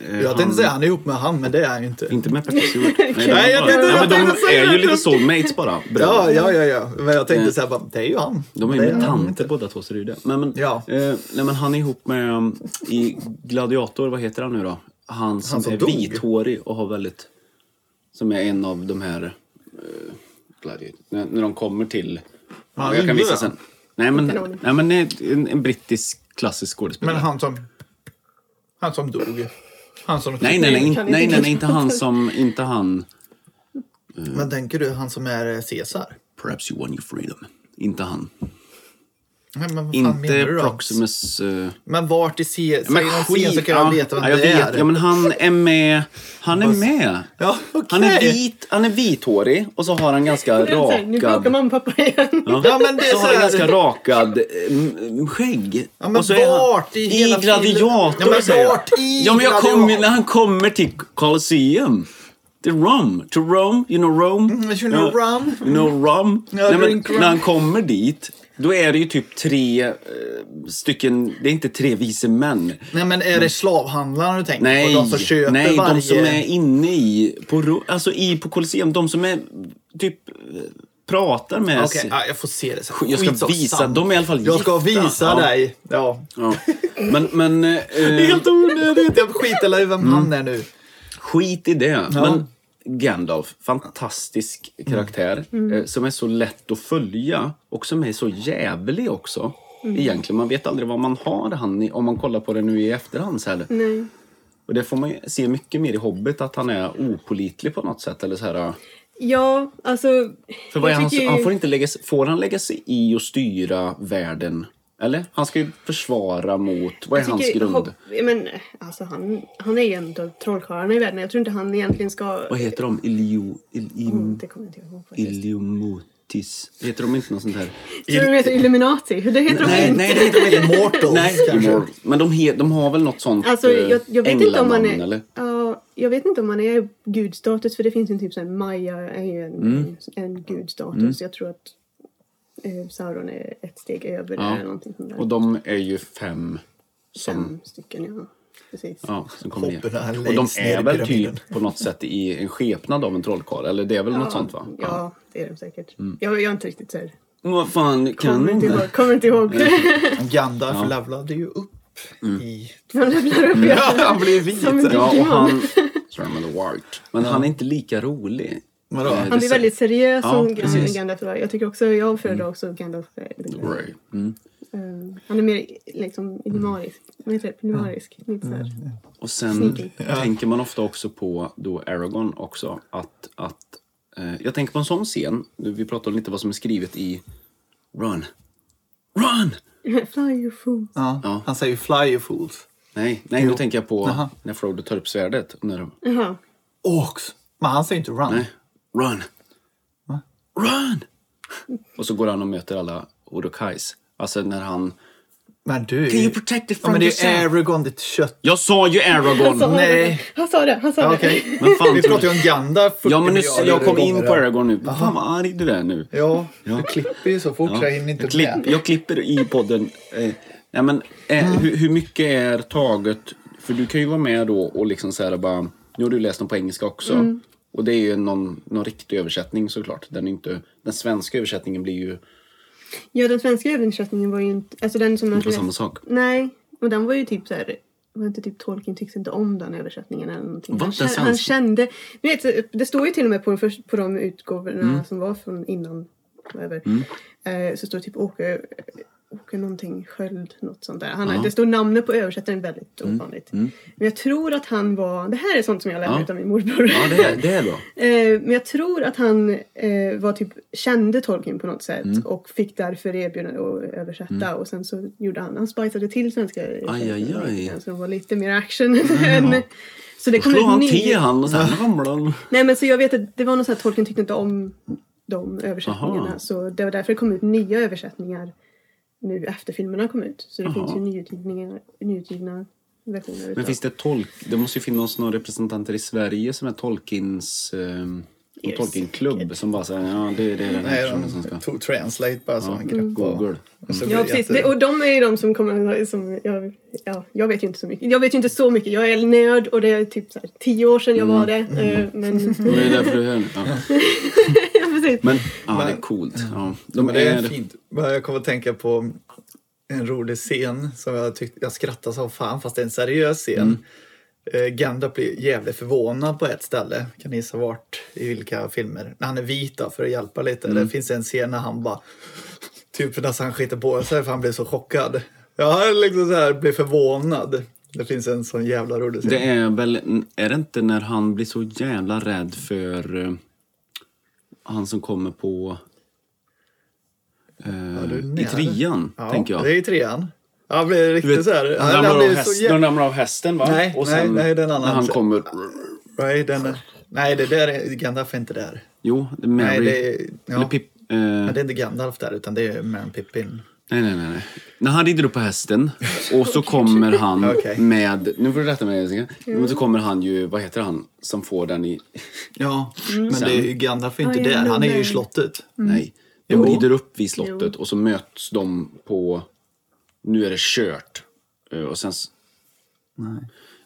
eh,
Jag tänkte säga han är ihop med han, men det är han ju inte.
Inte med Patrick Stewart. Nej, de,
Nej, jag tänkte-
ja, men
jag tänkte
de
säga
är ju
det.
lite soulmates bara. bröder.
Ja, ja, ja, ja. Men jag tänkte såhär, bara, det är ju han.
Eh. De är
Det
ju med
han
tanter
inte.
båda två, så det är ju det. Men, men,
Ja.
eh, nej, men han är ihop med, um, i Gladiator, vad heter han nu då? Han som,
Han som
är
dog.
vithårig och har väldigt... Som är en av de här... eh, Gladiator. När, när de kommer till...
Ja,
jag kan
det
visa
gör
sen. Nej men,
Inte en aning.
nej, men nej, en, en brittisk klassisk skådespelare.
Men han som... Han som dog. Han som...
Nej, nej, nej,
Nej,
inte,
kan
nej,
inte.
nej, nej, inte han som... Inte han...
Men tänker du han som är eh, Caesar?
Perhaps you won your freedom. Inte han.
Nej, men vad fan menar
Inte
du då?
Proximus... eh,
Men vart i Caesar?
Men
Säger de Caesar så kan
ja,
jag veta vem
ja, jag
det
vet.
är.
Ja, men han är med. Han är med.
Ja,
Han är,
okej.
vit, han är vithårig och så har han ganska rakad...
Nu bråkar mamma och pappa igen.
Ja, men det är
så har han
så här-
ganska rakad eh, skägg.
Ja, men
och så är han-
vart i hela
Gladiator
filmen? Ja, men
säger jag.
vart i
Ja, men jag
Gladiator?
kommer, när han kommer till Colosseum. Till Rom. To Rome. You know Rome?
Mm, you know
Ja,
Rome.
You know Rome.
Ja,
Nej, men,
drink Rome.
när han kommer dit, då är det ju typ tre eh, stycken... Det är inte tre vise män.
Nej, men är det slavhandlarna du tänker
Mm. Nej,
på? De som köper
nej
varje...
de som är inne i på, ro- alltså i, på Colosseum, de som är typ eh, pratar med
Okej,
sig.
ja, jag får se det sen.
Alltså. Jag ska
Skitsamma.
visa, de är i alla fall
Jag ska
gifta.
visa
Ja.
dig. Ja.
Ja. Men, men eh,
Det är
eh,
helt onödigt. Jag skiter i vem
Mm.
han är nu.
skit i det. Men Gandalf, fantastisk karaktär
Mm.
eh, som är så lätt att följa och som är så jävlig
Mm.
också. Egentligen, man vet aldrig vad man har han i, om man kollar på det nu i efterhand. Så här.
Nej.
Och det får man ju se mycket mer i Hobbit, att han är opolitlig på något sätt. Eller så här,
Ja, alltså...
för vad är
jag
han,
tycker ju-
han får, inte lägga, sig- får han lägga sig i och styra världen? Eller? Han ska ju försvara mot... Vad är
jag
hans
tycker
grund?
Hob- men, alltså, han, han är ju en av trollkarlarna i världen. Jag tror inte han egentligen ska...
Vad heter de? Ilio, il,
Mm,
im,
det kommer jag inte ihåg faktiskt.
iliomotis? Heter de inte något sånt här?
Tror du de heter Illuminati? Det heter de
Nej,
inte.
nej, det heter de inte.
Immortals
Nej,
kanske.
men de, he, de har väl något sånt
Alltså,
eh,
jag, jag vet inte om man
änglanamn,
är...
eller?
Ja, jag vet inte om man är gudstatus, för det finns ju en typ såhär, Maya är ju en,
Mm.
en gudstatus. Jag tror att eh, Sauron är ett steg över
Ja.
eller någonting sånt där.
Och de är ju fem som...
Fem stycken, ja. Precis.
Ja, som kommer ner.
Hopperna längst
Och de
ner
är
i
väl
pyramiden.
typ på något sätt i en skepnad av en trollkarl, eller det är väl något sånt va? Mm.
Ja, det är de säkert. Jag, jag är inte riktigt såhär...
Men Vad fan, kan
Kommer,
de
inte
det?
ihåg- kommer inte ihåg.
Gandalf levlade ju upp
Mm.
i...
Han levlar upp ja.
Ja, han blev vit.
Som en
Ja, och
Digimon.
han... German White. Men han är inte lika rolig.
Vadå?
Eh,
Han
det
Han blir väldigt seriös
Ja,
som
precis. Mm.
Gan- Gandalf var. Jag tycker också, jag föredrar också Gandalf. eh,
Right. Mm.
eh, han är mer liksom ignorisk. Vad heter det? Pnumarisk. typ Lite såhär.
Och sen
Sneaky.
tänker man ofta också på då Aragorn också. Att, att, eh, jag tänker på en sån scen. Nu, Vi pratade om lite vad som är skrivet i Run. Run!
Fly you fool.
Ja.
Ja.
Han säger ju fly you fools.
Nej, nej nu tänker jag på
Jaha.
när Frodo tar upp svärdet. och När de,
Jaha.
Ox. Men han säger inte run.
nej, run! Run! Och så går han och möter alla Urukais. Alltså när han...
Men du...
Can you protect it
ja,
from
men det är ju
yourself?
Aragorn, ditt kött.
Jag sa ju Aragorn!
Sa han
Nej.
det? Han sa det. Han sa
Ja,
det.
Okej.
Men fan,
Vi
tror-
pratar ju om Gandalf 40
Ja, men nu,
miljarder
jag kom in
gånger
på
här.
Aragorn nu. Fan vad arg du är nu.
Ja,
Ja.
du klipper ju så fort så jag hinner inte
jag, klipp,
med. Mm.
jag klipper i podden. Eh, nej, men, eh, hur, hur mycket är taget? För du kan ju vara med då och liksom så här bara... Nu har du läst den på engelska också.
Mm.
Och det är ju någon, någon riktig översättning såklart. Den, är inte, den svenska översättningen blir ju
Ja, den svenska översättningen var ju inte... Alltså den som...
inte samma sak.
Nej. Och den var ju typ så här... Var inte typ Tolkien tyckte inte om den översättningen eller någonting.
Var
Han,
inte den
kä- han
svenska?
kände... Ni vet, det står ju till och med på, den först, på de utgåvorna
Mm.
som var från innan. Över, eh, så står det typ Åke... Åke någonting, Sköld, något sånt där. Han, Det står namnet på översättaren väldigt
Mm.
ovanligt. Men jag tror att han var... Det här är sånt som jag lärde
Ja.
ut av min morbror.
Ja, det är, det är bra.
Eh, men jag tror att han eh, var typ, kände Tolkien på något sätt
Mm.
och fick därför erbjudande att översätta och sen så gjorde han, han spicade till svenska
aj, aj.
så det var lite mer action. än, så det
Då slår han
ny-
till han och sen ramlar han.
Nej men så jag vet att det var något så här, Tolkien tyckte inte om de översättningarna
Aha.
så det var därför det kom ut nya översättningar nu efter filmerna kom ut. Så det
Aha.
finns ju nyutgivningar, nyutgivna versioner.
Men
utav-
finns det tolk... Det måste ju finnas några representanter i Sverige som är Tolkiens... Eh,
Yes.
Tolkienklubb som bara säger ja, det, det är den här
Nej,
personen som ska...
de tog translate bara som en grepp och-
Google. Mm.
och så blir
Ja
det
precis,
jätte-
det, och de är ju de som kommer... Som jag, ja, jag vet ju inte så mycket. Jag vet ju inte så mycket. Jag är nörd och det är typ så här, tio år sedan jag
Mm.
var det. eh, Men,
Men det är därför du är här nu. Ja.
ja, precis.
Mm.
Men ja, det är coolt. Ja. De
Men det är
är...
fint. Men Jag kommer att tänka på en rolig scen som jag tyckte jag skrattade som fan fast det är en seriös
Mm.
scen. Eh, Gandalf blir jävligt förvånad på ett ställe. Kan ni gissa vart? I vilka filmer? När han är vit då, för att hjälpa lite.
Mm.
Det finns en scen när han bara typ nästan han skiter på sig för han blir så chockad. Jag liksom så här blir förvånad. Det finns en sån jävla rolig scen.
Det är väl... Är det inte när han blir så jävla rädd för eh, han som kommer på... Eh,
du är
I
nära.
trean,
Ja,
tänker jag.
Det är i trean. Han blir
Du
riktigt
vet,
så här.
han
Han, han
ramlar av
blir så
hästen, de
jävla...
ramlar av hästen va?
Nej,
Och
nej,
sen
nej, det är en annan
När han
scen.
kommer...
Nej, den, nej, det där är, Gandalf är inte där.
Jo, det är Mary.
Nej, det är, ja.
Eller Pip... Eh,
Men det är inte Gandalf där, utan det är Man Pippin.
Nej, nej, nej. nej. När han rider upp på hästen och så kommer han
Okej. Mm.
med... Nu får du rätta mig Jessica. Men så kommer han ju... Vad heter han som får den i...
Ja, men det är, ju- Gandalf är inte
Ja, jag
där. Han är ju i
glömde.
slottet.
Nej. De
Mm. Jo.
rider upp vid slottet och så möts de på... Nu är det kört. Eh, Och sen... s-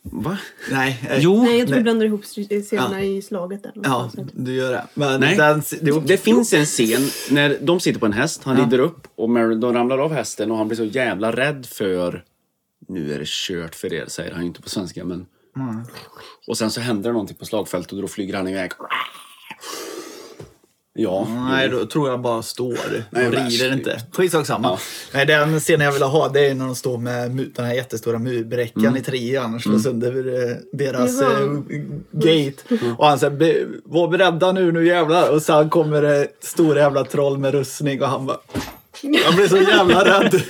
Va?
Nej, eh,
Jo.
Nej, jag tror du blandar ihop str- scenerna
Ja.
i slaget där.
Ja,
någonstans.
du gör det. Men
Nej.
Den, jo,
Det finns en scen när de sitter på en häst. Han rider upp och Mary, de ramlar av hästen och han blir så jävla rädd för... Nu är det kört för er, säger han ju inte på svenska. Men... Och sen så händer det någonting på slagfältet och då flyger han iväg. Ja.
Nej, då tror jag bara står och
värst,
rider
typ.
inte. Skitsak samma. Nej, den scenen jag vill ha det är när de står med mu- den här jättestora murbräckan i trean och slår sönder eh, deras
Jaha.
eh, gate. Och han säger "Be- var beredda nu, nu jävlar. Och sen kommer det stora jävla troll med rustning och han bara jag blir så jävla rädd.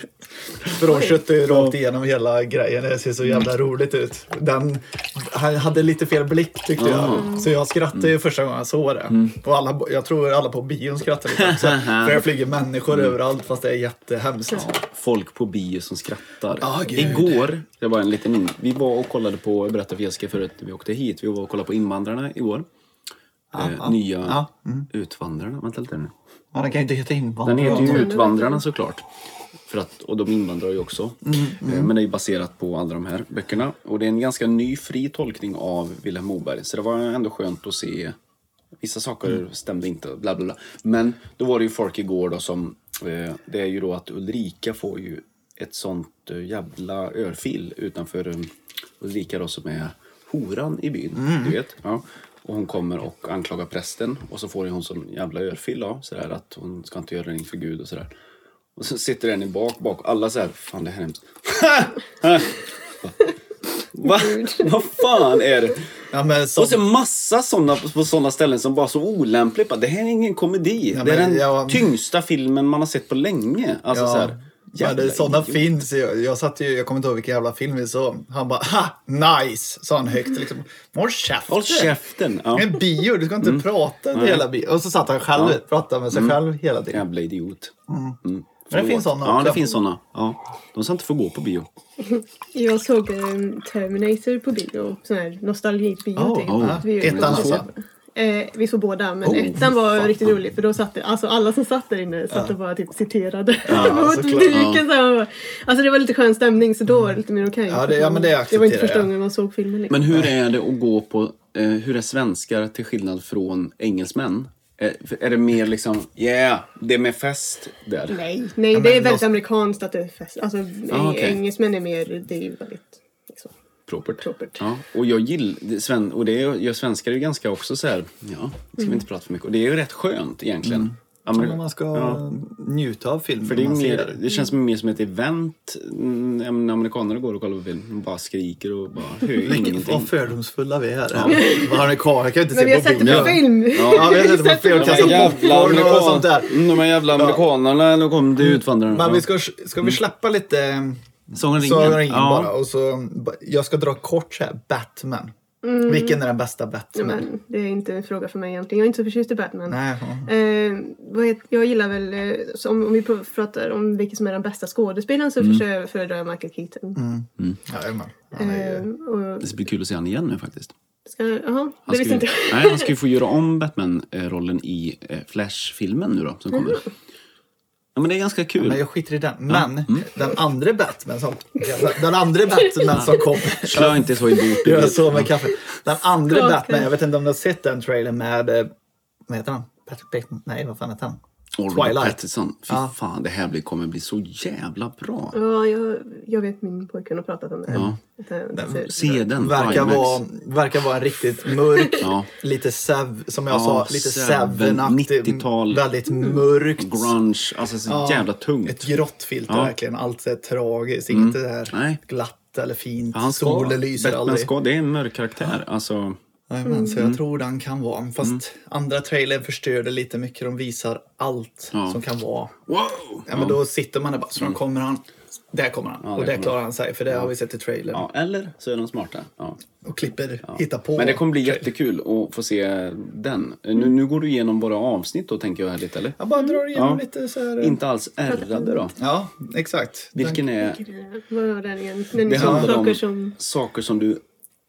För de köttar ju rakt igenom hela grejen. Det ser så jävla roligt ut. Den, han hade lite fel blick tyckte jag. Så jag skrattade ju första gången jag såg det. Och alla, jag tror alla på bion skrattade lite också. För det flyger människor överallt fast det är jättehemskt.
Folk på bio som skrattar.
Ah, gud.
Igår, det var en liten in... vi var och kollade på, jag berättade för Jessica förut när vi åkte hit, vi var och kollade på Invandrarna igår. eh, Nya
ja, Mm.
Utvandrarna, vänta lite nu.
Ja, den kan ju inte heta
Den heter
invandrare.
ju Utvandrarna såklart. För att, och de invandrar ju också. Eh, Men det är ju baserat på alla de här böckerna. Och det är en ganska ny fri tolkning av Vilhelm Moberg. Så det var ändå skönt att se. Vissa saker stämde inte. Bla, bla, bla. Men då var det ju folk igår då som... Eh, det är ju då att Ulrika får ju ett sånt eh, jävla örfil utanför eh, Ulrika då som är horan i byn.
Mm.
Du vet? Ja. Och hon kommer och anklagar prästen och så får ju hon sån jävla örfil då, sådär att hon ska inte göra någonting för Gud och sådär. Och så sitter den i bak, bak. Alla så här, fan det här är hemskt. Va? Vad fan är det?
Ja, men som,
Och så massa såna på sådana ställen som bara så olämpligt. Bara, Det här är ingen komedi.
Ja,
det är
men
den
jag-
tyngsta filmen man har sett på länge. Alltså så
ja,
här,
men det,
jävla
sådana
idiot.
finns ju. Jag satt ju, jag kommer inte ihåg vilken jävla film vi såg. Han bara, ha, nice, sa han högt liksom. Håll käften.
Håll käften! Ja.
En bio, du ska inte prata under hela bio. Och så satt han själv och pratade med sig själv hela tiden.
Jävla idiot. Mm.
Men det finns
Förlåt.
såna
Ja,
också.
det finns såna. Ja. De ska inte få gå på bio.
Jag såg um, Terminator på bio, sån här nostalgibio.
Oh,
typ.
oh.
Att vi-
Ettan alltså?
Eh, vi såg båda, men
Oh,
ettan var
fan.
riktigt rolig för då satt det, alltså alla som satt där inne satt och bara typ citerade mot
såklart.
publiken. Ja. Alltså det var lite skön stämning så då var det lite mer okej.
Ja, det- ja, men det
det
accepterar
var inte första
jag.
gången man såg filmen. Liksom.
Men hur är det att gå på... Eh, hur är svenskar till skillnad från engelsmän? Eh, för- är det mer liksom, yeah, det är med fest där?
Nej, nej
men
det är väldigt
nos-
amerikanskt att det är fest. Alltså
Ah, okej.
engelsmän är mer, det är ju väldigt liksom,
Propert.
propert.
Ja, och jag gillar... Sven, och det är, jag svenskar är ju ganska också så här... Ja, ska vi inte prata för mycket. Och det är ju rätt skönt egentligen. Amer-
Mm. Om man ska
Ja.
njuta av filmen.
För det, är
man
mer,
ser.
det känns mer som ett event mm, ja, men amerikaner går och kollar på film. De bara skriker och bara hör ingenting.
Vad fördomsfulla vi är. Vad har ni kvar? Jag kan inte
Men vi har
se
sett
på
det
bio.
på film.
Ja, vi har sett det på film.
De här
Kastat
jävla,
popcorn och sånt
amerikan,
där.
mm, de här jävla amerikanerna, de kom till utvandrarna.
Men
Ja.
vi ska, ska vi släppa lite
Sagan om
Sagan om
ringen.
ringen
Ja.
bara? Och så, jag ska dra kort så här, Batman. Vilken är den bästa Batman?
Mm. Men det är inte en fråga för mig egentligen. Jag är inte så förtjust i Batman.
Nej, ja.
Eh, vad heter, jag gillar väl, eh, så om, om vi pr- pratar om vilken som är den bästa skådespelaren
Mm.
så försöker jag föredrar jag Michael Keaton.
Jajamän. Han är ju-
Eh, och
Det ska bli kul att se han igen nu faktiskt.
ska, jaha,
Han
det
ska
visste
ju,
inte jag.
nej, han ska ju få göra om Batman-rollen i eh, Flash-filmen nu då, som kommer.
Mm.
Ja, men det är ganska kul.
Men jag skiter i den. Men
Mm.
den andra Batman som, den andra Batman som kom.
Slö inte så i
Jag gör
bordet.
så med kaffe. Den andra
Skakar.
Batman, jag vet inte om du har sett den trailern med, eh, vad heter han? Patrick Bateman? Nej, vad fan heter han?
Oliver
Twilight.
Pattinson. Fy
Ja.
fan, det här blir, kommer bli så jävla bra.
Ja, jag, jag vet min pojkvän har pratat om det.
Ja.
Att han ser-
Se den.
Mm. Verkar
IMAX.
vara, verkar vara en riktigt mörk,
Ja.
lite sev, som jag
Ja,
sa, lite
Seven,
sevenaktig,
90-tal.
väldigt mörkt.
Grunge, alltså så
Ja,
jävla tungt.
Ett grått filter
Ja. Mm.
verkligen, allt är tragiskt, inte det här
Nej.
glatt eller fint.
Han ska,
Solen lyser
Batman
aldrig.
Ska, Mm. det är en mörk karaktär. Alltså,
Jajamän, så jag tror den kan vara. Fast
Mm.
andra trailern förstörde lite mycket. De visar allt
Ja.
som kan vara.
wow!
Ja, men då sitter man där bara, så mm. kommer han. Där kommer han. och
där
där
kommer
klarar han sig, för det har vi sett i trailern.
Ja, eller så är de smarta. Ja.
Och klipper, hittar på.
Men det kommer bli
trailer.
jättekul att få se den. Nu, nu går du igenom våra avsnitt då, tänker jag här lite, eller?
Jag bara drar igenom
Ja.
lite så här. eh,
Inte alls ärrade då.
Ja, exakt.
Vilken är...
Vad var den igen? Den
Det
som
handlar
saker
om
som...
saker som du...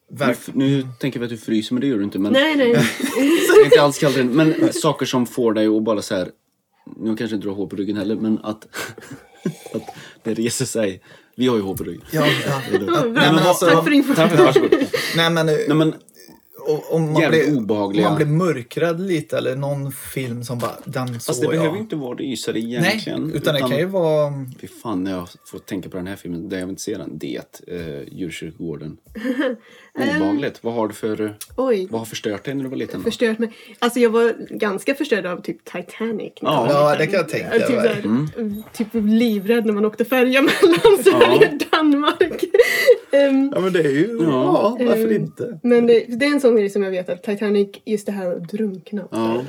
Den,
Nu,
verk,
nu tänker vi att du fryser, men det gör du inte. Men
Nej, nej.
Jag är inte alls kallt än, men saker som får dig att bara så här... Nu kanske inte du har hår på ryggen heller, men att, att det reser sig. Vi har ju hår på ryggen.
ja, ja.
Bra,
men alltså-
tack för informationen.
Tack, varsågod.
Nej, men,
Nej, men
och, om man
Jävligt
blir,
obehagliga.
om Man blir mörkrad lite eller någon film som bara, den såg
Fast det
jag.
behöver ju inte vara rysare
Nej,
egentligen.
utan, det kan ju vara...
Fy fan, när jag får tänka på den här filmen, där jag vill inte se den. Det, eh, djurkyrkogården. Obehagligt. Vad har du för...
Oj.
Vad har förstört dig när du var liten? då?
Förstört mig. Alltså jag var ganska förstörd av typ Titanic. när jag
Ja.
var
Ja,
liten.
det kan jag tänka
Typ,
mig.
såhär, typ livrädd när man åkte färja mellan Sverige och Danmark. Ehm,
Ja, men det är ju... Ja, varför
Ehm,
inte?
Men det, det är en sån grej som jag vet att Titanic, just det här att drunkna.
Ja.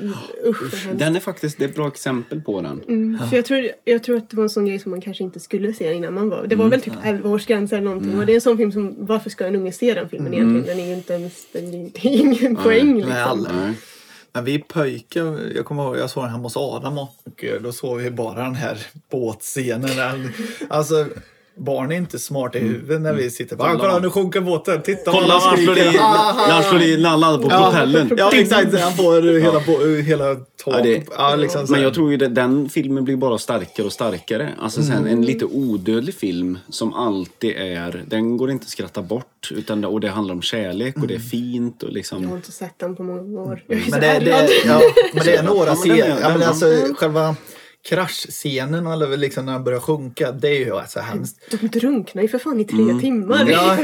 Usch, vad hemskt.
Den är faktiskt det är ett bra exempel på den.
Mm, för jag, tror, jag tror att det var en sån grej som man kanske inte skulle se innan man var... Det
Mm.
var väl typ 11-årsgräns eller någonting. Och det är en sån film som... Varför ska en unge se den filmen egentligen? Den är ju inte ens... Den är det är ingen poäng liksom.
Mm. Nej, alla.
Nej.
Men vi pojkar, jag kommer ihåg, jag såg den hemma hos Adam och eh, då såg vi bara den här båtscenen. Den- Alltså, barn är inte smarta
Mm.
i huvudet när vi sitter bara, kolla nu sjunker båten, titta
Kolla
vad
vad han
han
slår i,
skriker. Ah!
när han slår i nallan på propellen.
Ja, exakt. Han får hela, bo- hela tak.
Ja,
Ja,
det-
liksom så
Men
här.
jag tror ju att den filmen blir bara starkare och starkare. Alltså sen, en lite odödlig film som alltid är... Den går inte att skratta bort. Utan, och det handlar om kärlek och det är fint och liksom...
Jag har inte sett den på många år. Jag är
Mm.
så
Men det,
ärrad.
det, ja, men det är några
Ja, men den är-
scener. Ja,
den
men
är-
alltså, själva kraschscenen eller väl liksom när han börjar sjunka, det är ju alltså
Mm.
hemskt.
De drunknar ju för fan i tre timmar.
Mm. Ja,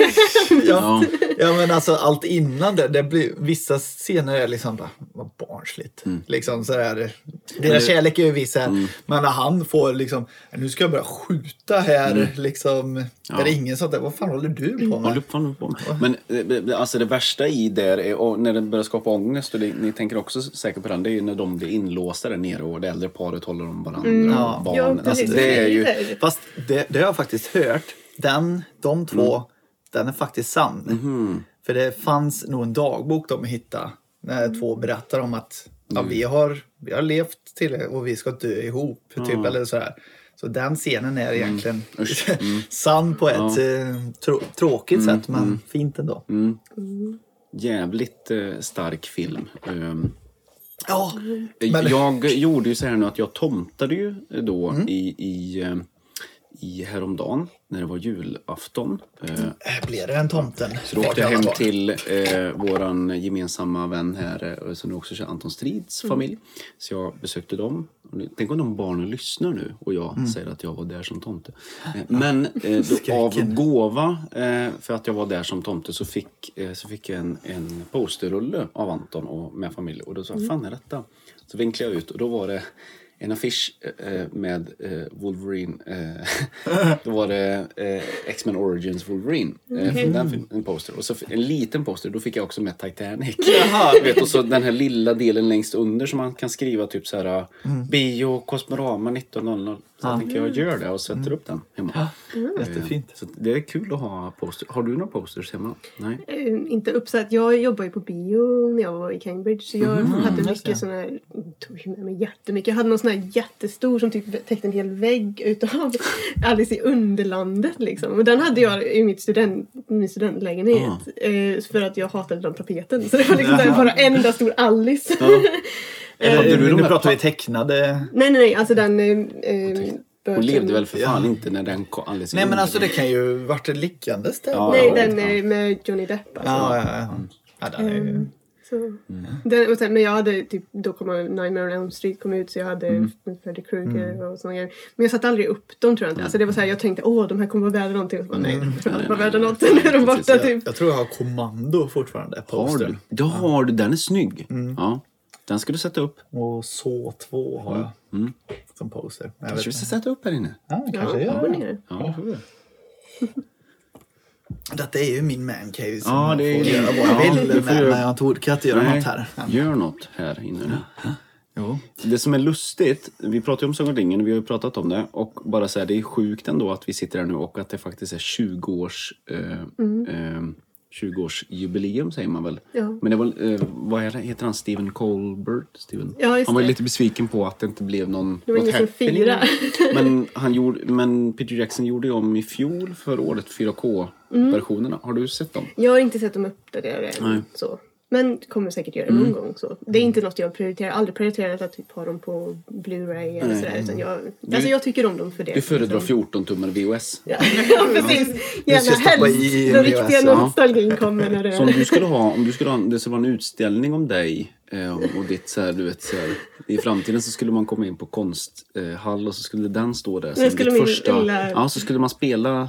ja,
Ja.
ja, men alltså allt innan det, det blir, vissa scener är liksom bara, vad barnsligt. Liksom sådär, deras kärlek är ju viss här, men när han får liksom, nu ska jag börja skjuta här liksom. Är det ingen sånt där, vad fan håller du på
Håll
med?
upp vad håller du på med? Men eh, eh, alltså det värsta i där är och när det börjar skapa ångest och det, ni tänker också säkert på den, det är ju när de blir inlåsta där nere och det äldre paret håller om varandra
Ja.
och
Ja,
barnen. alltså,
precis.
det är ju...
Fast det, det har jag faktiskt hört, den, de två,
Mm.
den är faktiskt sann.
Mhm.
För det fanns nog en dagbok de hittade
Mm.
när två berättar om att ja, vi, har, vi har levt till och vi ska dö ihop. Typ, eller sådär. Så den scenen
Mm.
är egentligen sann på ett eh, trå- tråkigt
Mm.
sätt, men fint ändå.
jävligt eh, stark film. Ehm,
Ja, men,
eh, Jag gjorde ju så här nu att jag tomtade ju eh, då i, i, eh, i häromdagen när det var julafton. Eh,
Äh, blir det en tomten?
Så då åkte jag hem till eh, våran gemensamma vän här, eh, som nu också kör Anton Strids familj. Så jag besökte dem. Och nu- Tänk om de barnen lyssnar nu och jag säger att jag var där som tomte. Eh, men eh, då, av gåva, eh, för att jag var där som tomte, så fick, eh, så fick jag en, en posterrulle av Anton och med familj. Och då sa jag, fan är detta? Så vinklade jag ut och då var det en affisch eh, med eh, Wolverine. Eh, då var det eh, X-Men Origins Wolverine. Eh, från den filmen, en poster. Och så f- en liten poster, då fick jag också med Titanic. Vet, och så den här lilla delen längst under som man kan skriva typ så här bio Cosmorama 1900. Så jag tänker jag gör det och sätter upp den hemma.
Mm. Jättefint.
Så det är kul att ha poster. Har du några posters hemma? Nej.
Eh, inte uppsatt. Jag jobbade ju på bio när jag var i Cambridge. Så jag
Mm-hmm.
hade mycket såna här... Tog ju med mig jättemycket. Jag hade någon sån här jättestor som typ täckte en hel vägg utav Alice i Underlandet liksom. Och den hade jag i mitt student, min studentlägenhet.
Ah.
Eh, för att jag hatade den tapeten. Så det var liksom där bara en enda stor Alice.
Eller,
Hade du de
Eh, nu
här
pratar vi tecknade.
nej, nej, nej. Alltså den... Eh, eh,
Hon levde väl för
Ja.
fan inte när den kom. Alice i
Nej, men
Underlandet.
alltså det kan ju varit liggandes där.
Ja,
Nej,
ja,
den
ja.
eh, med Johnny Depp alltså.
Ja, ja, ja. ja den är ju...
Så. Den, och sen, men jag hade typ, då kom Nightmare on Elm Street kom ut så jag hade Freddy Krueger och såna grejer. Men jag satte aldrig upp dem tror jag inte. Alltså det var såhär, jag tänkte åh de här kommer vara värda någonting. Och så bara, nej, de kommer inte vara värda något. Nu är de borta
Precis,
typ.
Jag tror jag har kommando fortfarande.
Har
Poster.
du? Det har du. Den är snygg.
Mm.
Ja. Den ska du sätta upp.
Och så två har jag. Som poster. Men Jag
Mm. Kanske
vet
vi
inte.
ska sätta upp här inne.
Ja,
Ja,
kanske
jag
jag
går
gör
ner.
Ja, det får vi göra.
det. Detta är ju min mancave. som
Ja,
jag
det är-
får göra vad jag
ja,
vill
det får
med.
du-
Men jag tror- kan inte göra
Nej,
något här. Men-
Gör något här inne nu.
Jo.
Det som är lustigt, vi pratar ju om Sagan om ringen och vi har ju pratat om det. Och bara så här, det är sjukt ändå att vi sitter här nu och att det faktiskt är 20 års... Eh, eh, 20-årsjubileum säger man väl?
Mm. Ja.
Men det var, eh, vad är det? heter han? Steven Colbert? Steven.
Ja, just
han var ju
det.
lite besviken på att det inte blev någon
Det var
något
ingen som
happening.
firade.
men, han gjorde, men Peter Jackson gjorde ju om i
Mm.
fjol, förra året, 4K-versionerna. Har du sett dem?
Jag har inte sett dem uppdaterade än. Så. Men kommer säkert göra det någon gång. Så. Det är inte något jag prioriterar. Jag har aldrig prioriterat att typ ha dem på Blu-ray eller
Nej.
sådär. Utan jag, alltså jag tycker om dem för det.
Du föredrar
liksom.
14 tummar VHS.
Ja, ja precis.
ska
Gärna
stoppa i
helst. Den
VHS,
riktiga
ja.
nostalgin kommer när det
Så om du skulle ha, om du skulle ha, en- det skulle vara en utställning om dig eh, och ditt så här, du vet så här, i framtiden så skulle man komma in på konsthall eh, hall och så skulle den stå där. som
skulle
ditt
min lilla-
Ja, så skulle man spela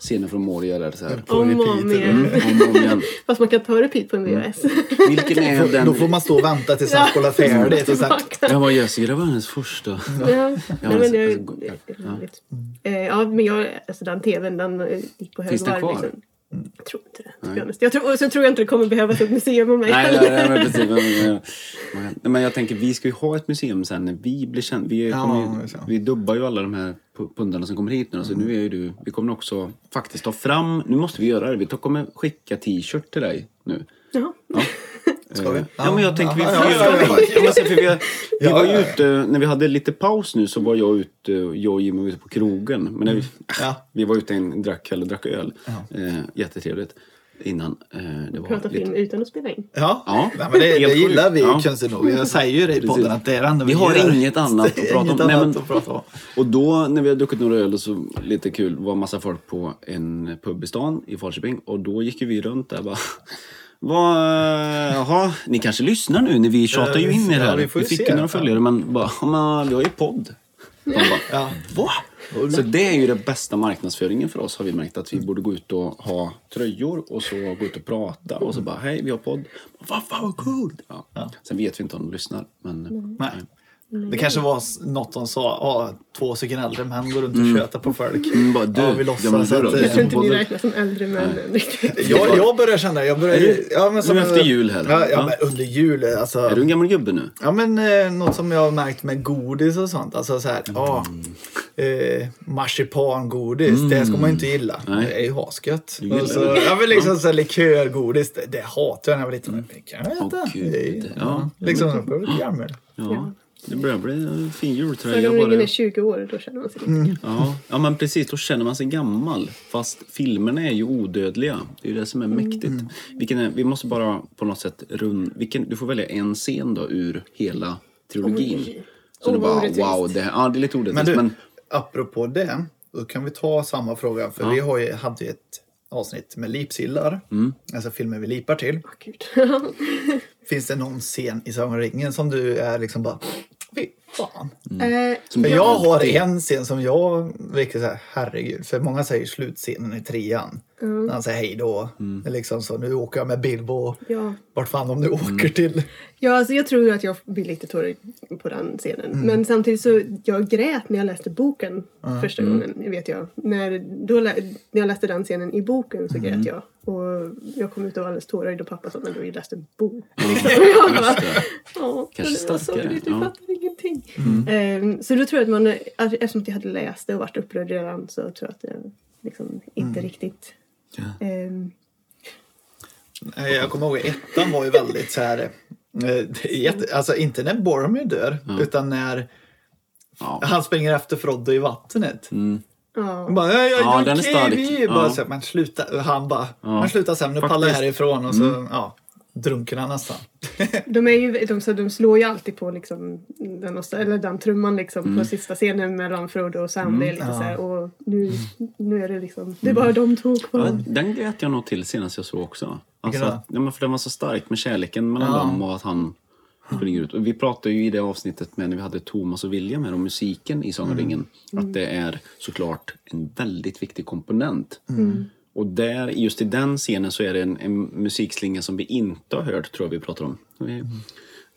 scener från Moria där så här. Mm,
På
Om och
repeat, Mm.
om
eller?
igen.
Om och om igen.
Fast man kan ta repeat på en VHS.
Vilken är den?
Då får man stå och vänta tills han spolar färdigt. Och sen,
Jag var Jösse, det var hennes första.
Ja, Nej, men
alltså,
det är
alltså,
det är
ja.
roligt. Eh, Ja, men jag, alltså den tvn den eh, gick på
Finns den
högvarv.
kvar?
Liksom. Jag tror inte det. to be honest. Jag tror, och så tror jag inte det kommer behövas ett museum om mig.
Nej, nej, nej, men precis. Men, men, men, men jag tänker, vi ska ju ha ett museum sen när vi blir kända. Vi,
Ja,
kommer ju,
så.
vi dubbar ju alla de här pu- pundarna som kommer hit nu. Så nu är ju du, vi kommer också faktiskt ta fram, nu måste vi göra det, vi tar- kommer skicka t-shirt till dig nu.
Jaha.
Ska vi?
Eh, Ja, men jag tänker vi får
Ja, ja,
göra
ja,
det. Ja, men sen, för vi, har- vi
Ja,
var ju
ja, ja.
ute, när vi hade lite paus nu så var jag ute, jag och Jimmy var ute på krogen. Men när vi,
Mm. Ja.
vi var ute en drack kväll och drack öl. Eh, jättetrevligt. Innan eh, det var
Prata
lite
film utan att spela in.
Ja,
Ja.
Nej, men det,
Helt
det gillar
sjukt.
vi
Ja.
konstigt nog. Jag säger ju det i podden att det är det enda
Vi har
gör.
inget annat att
Det är
prata om.
inget
Nej,
annat
men-
att prata om.
Och då när vi hade druckit några öl och så lite kul var massa folk på en pub i stan i Falköping och då gick ju vi runt där bara vad, eh, jaha, ni kanske lyssnar nu när vi tjatar ju in er
Ja,
här.
vi
vi,
får ju
fick
se.
ju några följare men bara, "Ja, men vi har ju podd. De bara,
Ja.
Va? Så det är ju den bästa marknadsföringen för oss har vi märkt att vi borde gå ut och ha tröjor och så gå ut och prata och så bara hej vi har podd. Vad fan vad coolt! Ja. Sen vet vi inte om de lyssnar men
Nej.
Mm.
Det kanske var s- något de sa, ah, två stycken äldre män går runt och tjötar på folk.
Mm, bara, du, liksom."
ja, vi
ja,
låtsas
men du då?
att... eh,
Jag tror inte ni
podden-
räknas som äldre män än riktigt.
Jag, jag börjar känna, jag börjar
Är det- nu efter jul här?
Ja, ja,
Ja.
men under jul alltså.
är du en gammal gubbe nu?
Ja men eh, något som jag har märkt med godis och sånt. Alltså så här, ja.
Mm.
Eh, marsipangodis, det ska man ju inte gilla.
Nej.
Det är ju hasgött.
Mm. gillar
Och Så,
det.
ja men liksom så här likörgodis, det, det hatade jag när jag var liten. Men Det kan jag äta.
Åh, gud.
Det är ju-
Ja.
Liksom, jag börjar bli gammal.
Ja, det börjar bli en fin
För
jultröja
om ryggen
bara.
är 20 år, då känner man sig lite
Ja. ja, men precis. Då känner man sig gammal. Fast filmerna är ju odödliga. Det är ju det som är mäktigt. Vilken är, vi måste bara på något sätt runda... Vilken, du får välja en scen då ur hela trilogin.
Oj.
Så du
Oh,
bara,
vad orättvist.
wow, det, här- ja, det är lite orättvist.
Men
Men,
du, apropå det, då kan vi ta samma fråga. För vi har ju, hade ju ett avsnitt med lipsillar. Alltså filmer vi lipar till.
akut.
Finns det någon scen i Sagan om ringen som du är liksom bara, fy fan.
Eh,
som
Men
du
jag har
alltid-
en scen som jag verkligen så här, herregud. För många säger slutscenen i trean. När han säger hej då. Liksom så, nu åker jag med Bilbo.
Ja.
Vart fan de nu åker till.
Ja, alltså jag tror ju att jag blir lite tårögd på den scenen.
Mm.
Men samtidigt så, jag grät när jag läste boken första
Mm.
gången, vet jag. När, då lä- när jag läste den scenen i boken så
Mm.
grät jag. Och jag kom ut och var alldeles tårögd och pappa sa, men du har ju läst en bok. Liksom. Och jag bara, ja, men
Kanske
det var
starkare,
sorgligt,
ja. Mm.
du fattar ingenting. Ehm, så då tror jag att man, att eftersom att jag hade läst det och varit upprörd redan så tror jag att jag liksom inte
Mm.
riktigt... ehm,
Nej, Jag kommer ihåg ettan var ju väldigt så här. eh, det är Jätte, alltså inte när Boromir dör. Utan när
Ja.
han springer efter Frodo i vattnet.
ja.
Han bara, ja, ja,
Mm. Ja, den är
okej,
stark.
vi är bara
Ja.
så här, men sluta. Och Han bara, men sluta sen, nu pallar jag
Faktiskt. Mm.
härifrån. Och så, ja, drunknar han nästan.
De, är ju, de, så de slår ju alltid på liksom den, och- eller den trumman liksom
Mm.
på sista scenen mellan Frodo och Sam. Det är lite så här, och nu,
Mm.
nu är det liksom, det är bara de två kvar.
Ja, Den grät jag nog till senast jag såg också. Alltså,
Vilken då?
att- ja, men för den var så stark med kärleken mellan dem och att han springer ut. Och vi pratade ju i det avsnittet med när vi hade Thomas och William här om musiken i Sagan om ringen. Att det är såklart en väldigt viktig komponent. Och där, just i den scenen så är det en, en musikslinga som vi inte har hört, tror jag vi pratar om.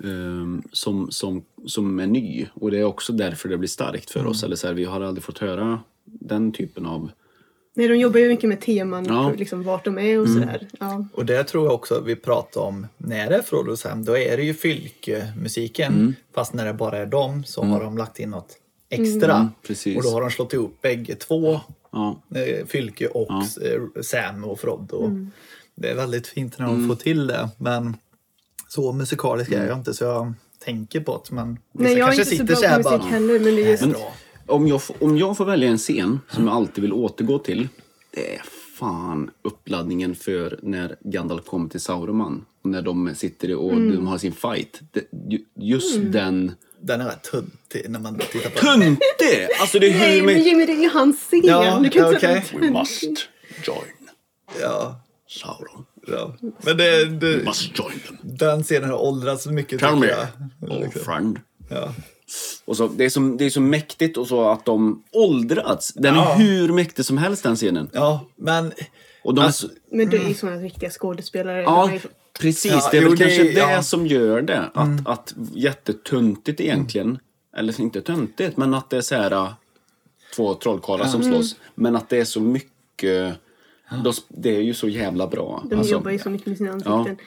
Ehm, som, som, som är ny. Och det är också därför det blir starkt för oss. Eller så här, vi har aldrig fått höra den typen av
Nej, de jobbar ju mycket med teman,
Ja.
liksom vart de är och
Mm.
sådär. Ja.
Och det tror jag också vi pratade om när det är Frodo och Sam. Då är det ju fylkemusiken.
Mm.
Fast när det bara är dem så har de lagt in något extra.
Mm. precis.
Och då har de slått ihop bägge två.
ja,
eh, Fylke och eh, Sam och Frodo.
Mm.
Det är väldigt fint när de
Mm.
får till det. Men så musikalisk är jag inte så jag tänker på det. Men
Nej,
vissa
jag är
kanske
inte så
sitter
bra på
här
musik
bara,
heller men det är just,
"Äh,
Men
bra."
om jag, f- om jag får välja en scen som jag alltid vill återgå till. Det är fan uppladdningen för när Gandalf kommer till Sauroman. när de sitter och
Mm.
de har sin fight. Det, ju- just den...
Den är rätt tuntig när man tittar på den.
Tuntig! Alltså det är
Nej,
hur...
men
mycket-
Jimmy, det är ju hans scen.
Ja,
du kan inte
okej.
säga
We must join
Ja,
Sauron.
ja. Men det,
We
det,
must join them.
den scenen har åldrats mycket
Mm. Tell me, Oh.
tycker jag. Liksom.
old friend.
Ja.
Och så, det, är så, det är så mäktigt och så att de åldrats. Den
Ja.
är hur mäktig som helst den scenen.
ja, men
Och de är
Alltså,
så,
Men du är ju sådana riktiga skådespelare.
ja,
De är ju- Mm.
precis.
Ja,
det är
jo,
väl
det-
kanske det
ja.
som gör det. Att, att jättetuntigt egentligen. Eller inte tuntigt, men att det är så här äh, två trollkarlar som slåss. Men att det är så mycket... då sp- det är ju så jävla bra.
De
Alltså,
jobbar ju så mycket med sina ansikten.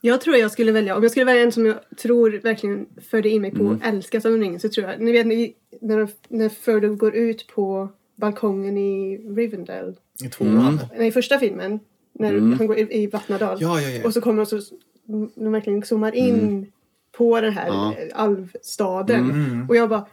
Jag tror jag skulle välja, om jag skulle välja en som jag tror verkligen förde in mig på
Mm.
och älskas av en ring så tror jag, ni vet när, vi- när, de, när Frodo går ut på balkongen i Rivendell.
i tvåan.
Mm.
Nej, i första filmen. När han går i i Vattnadal.
Ja, ja, ja.
Och så kommer de så, de verkligen zoomar in på den här
Mm. Ja. Mm.
eh, alvstaden.
Mm.
Och jag bara,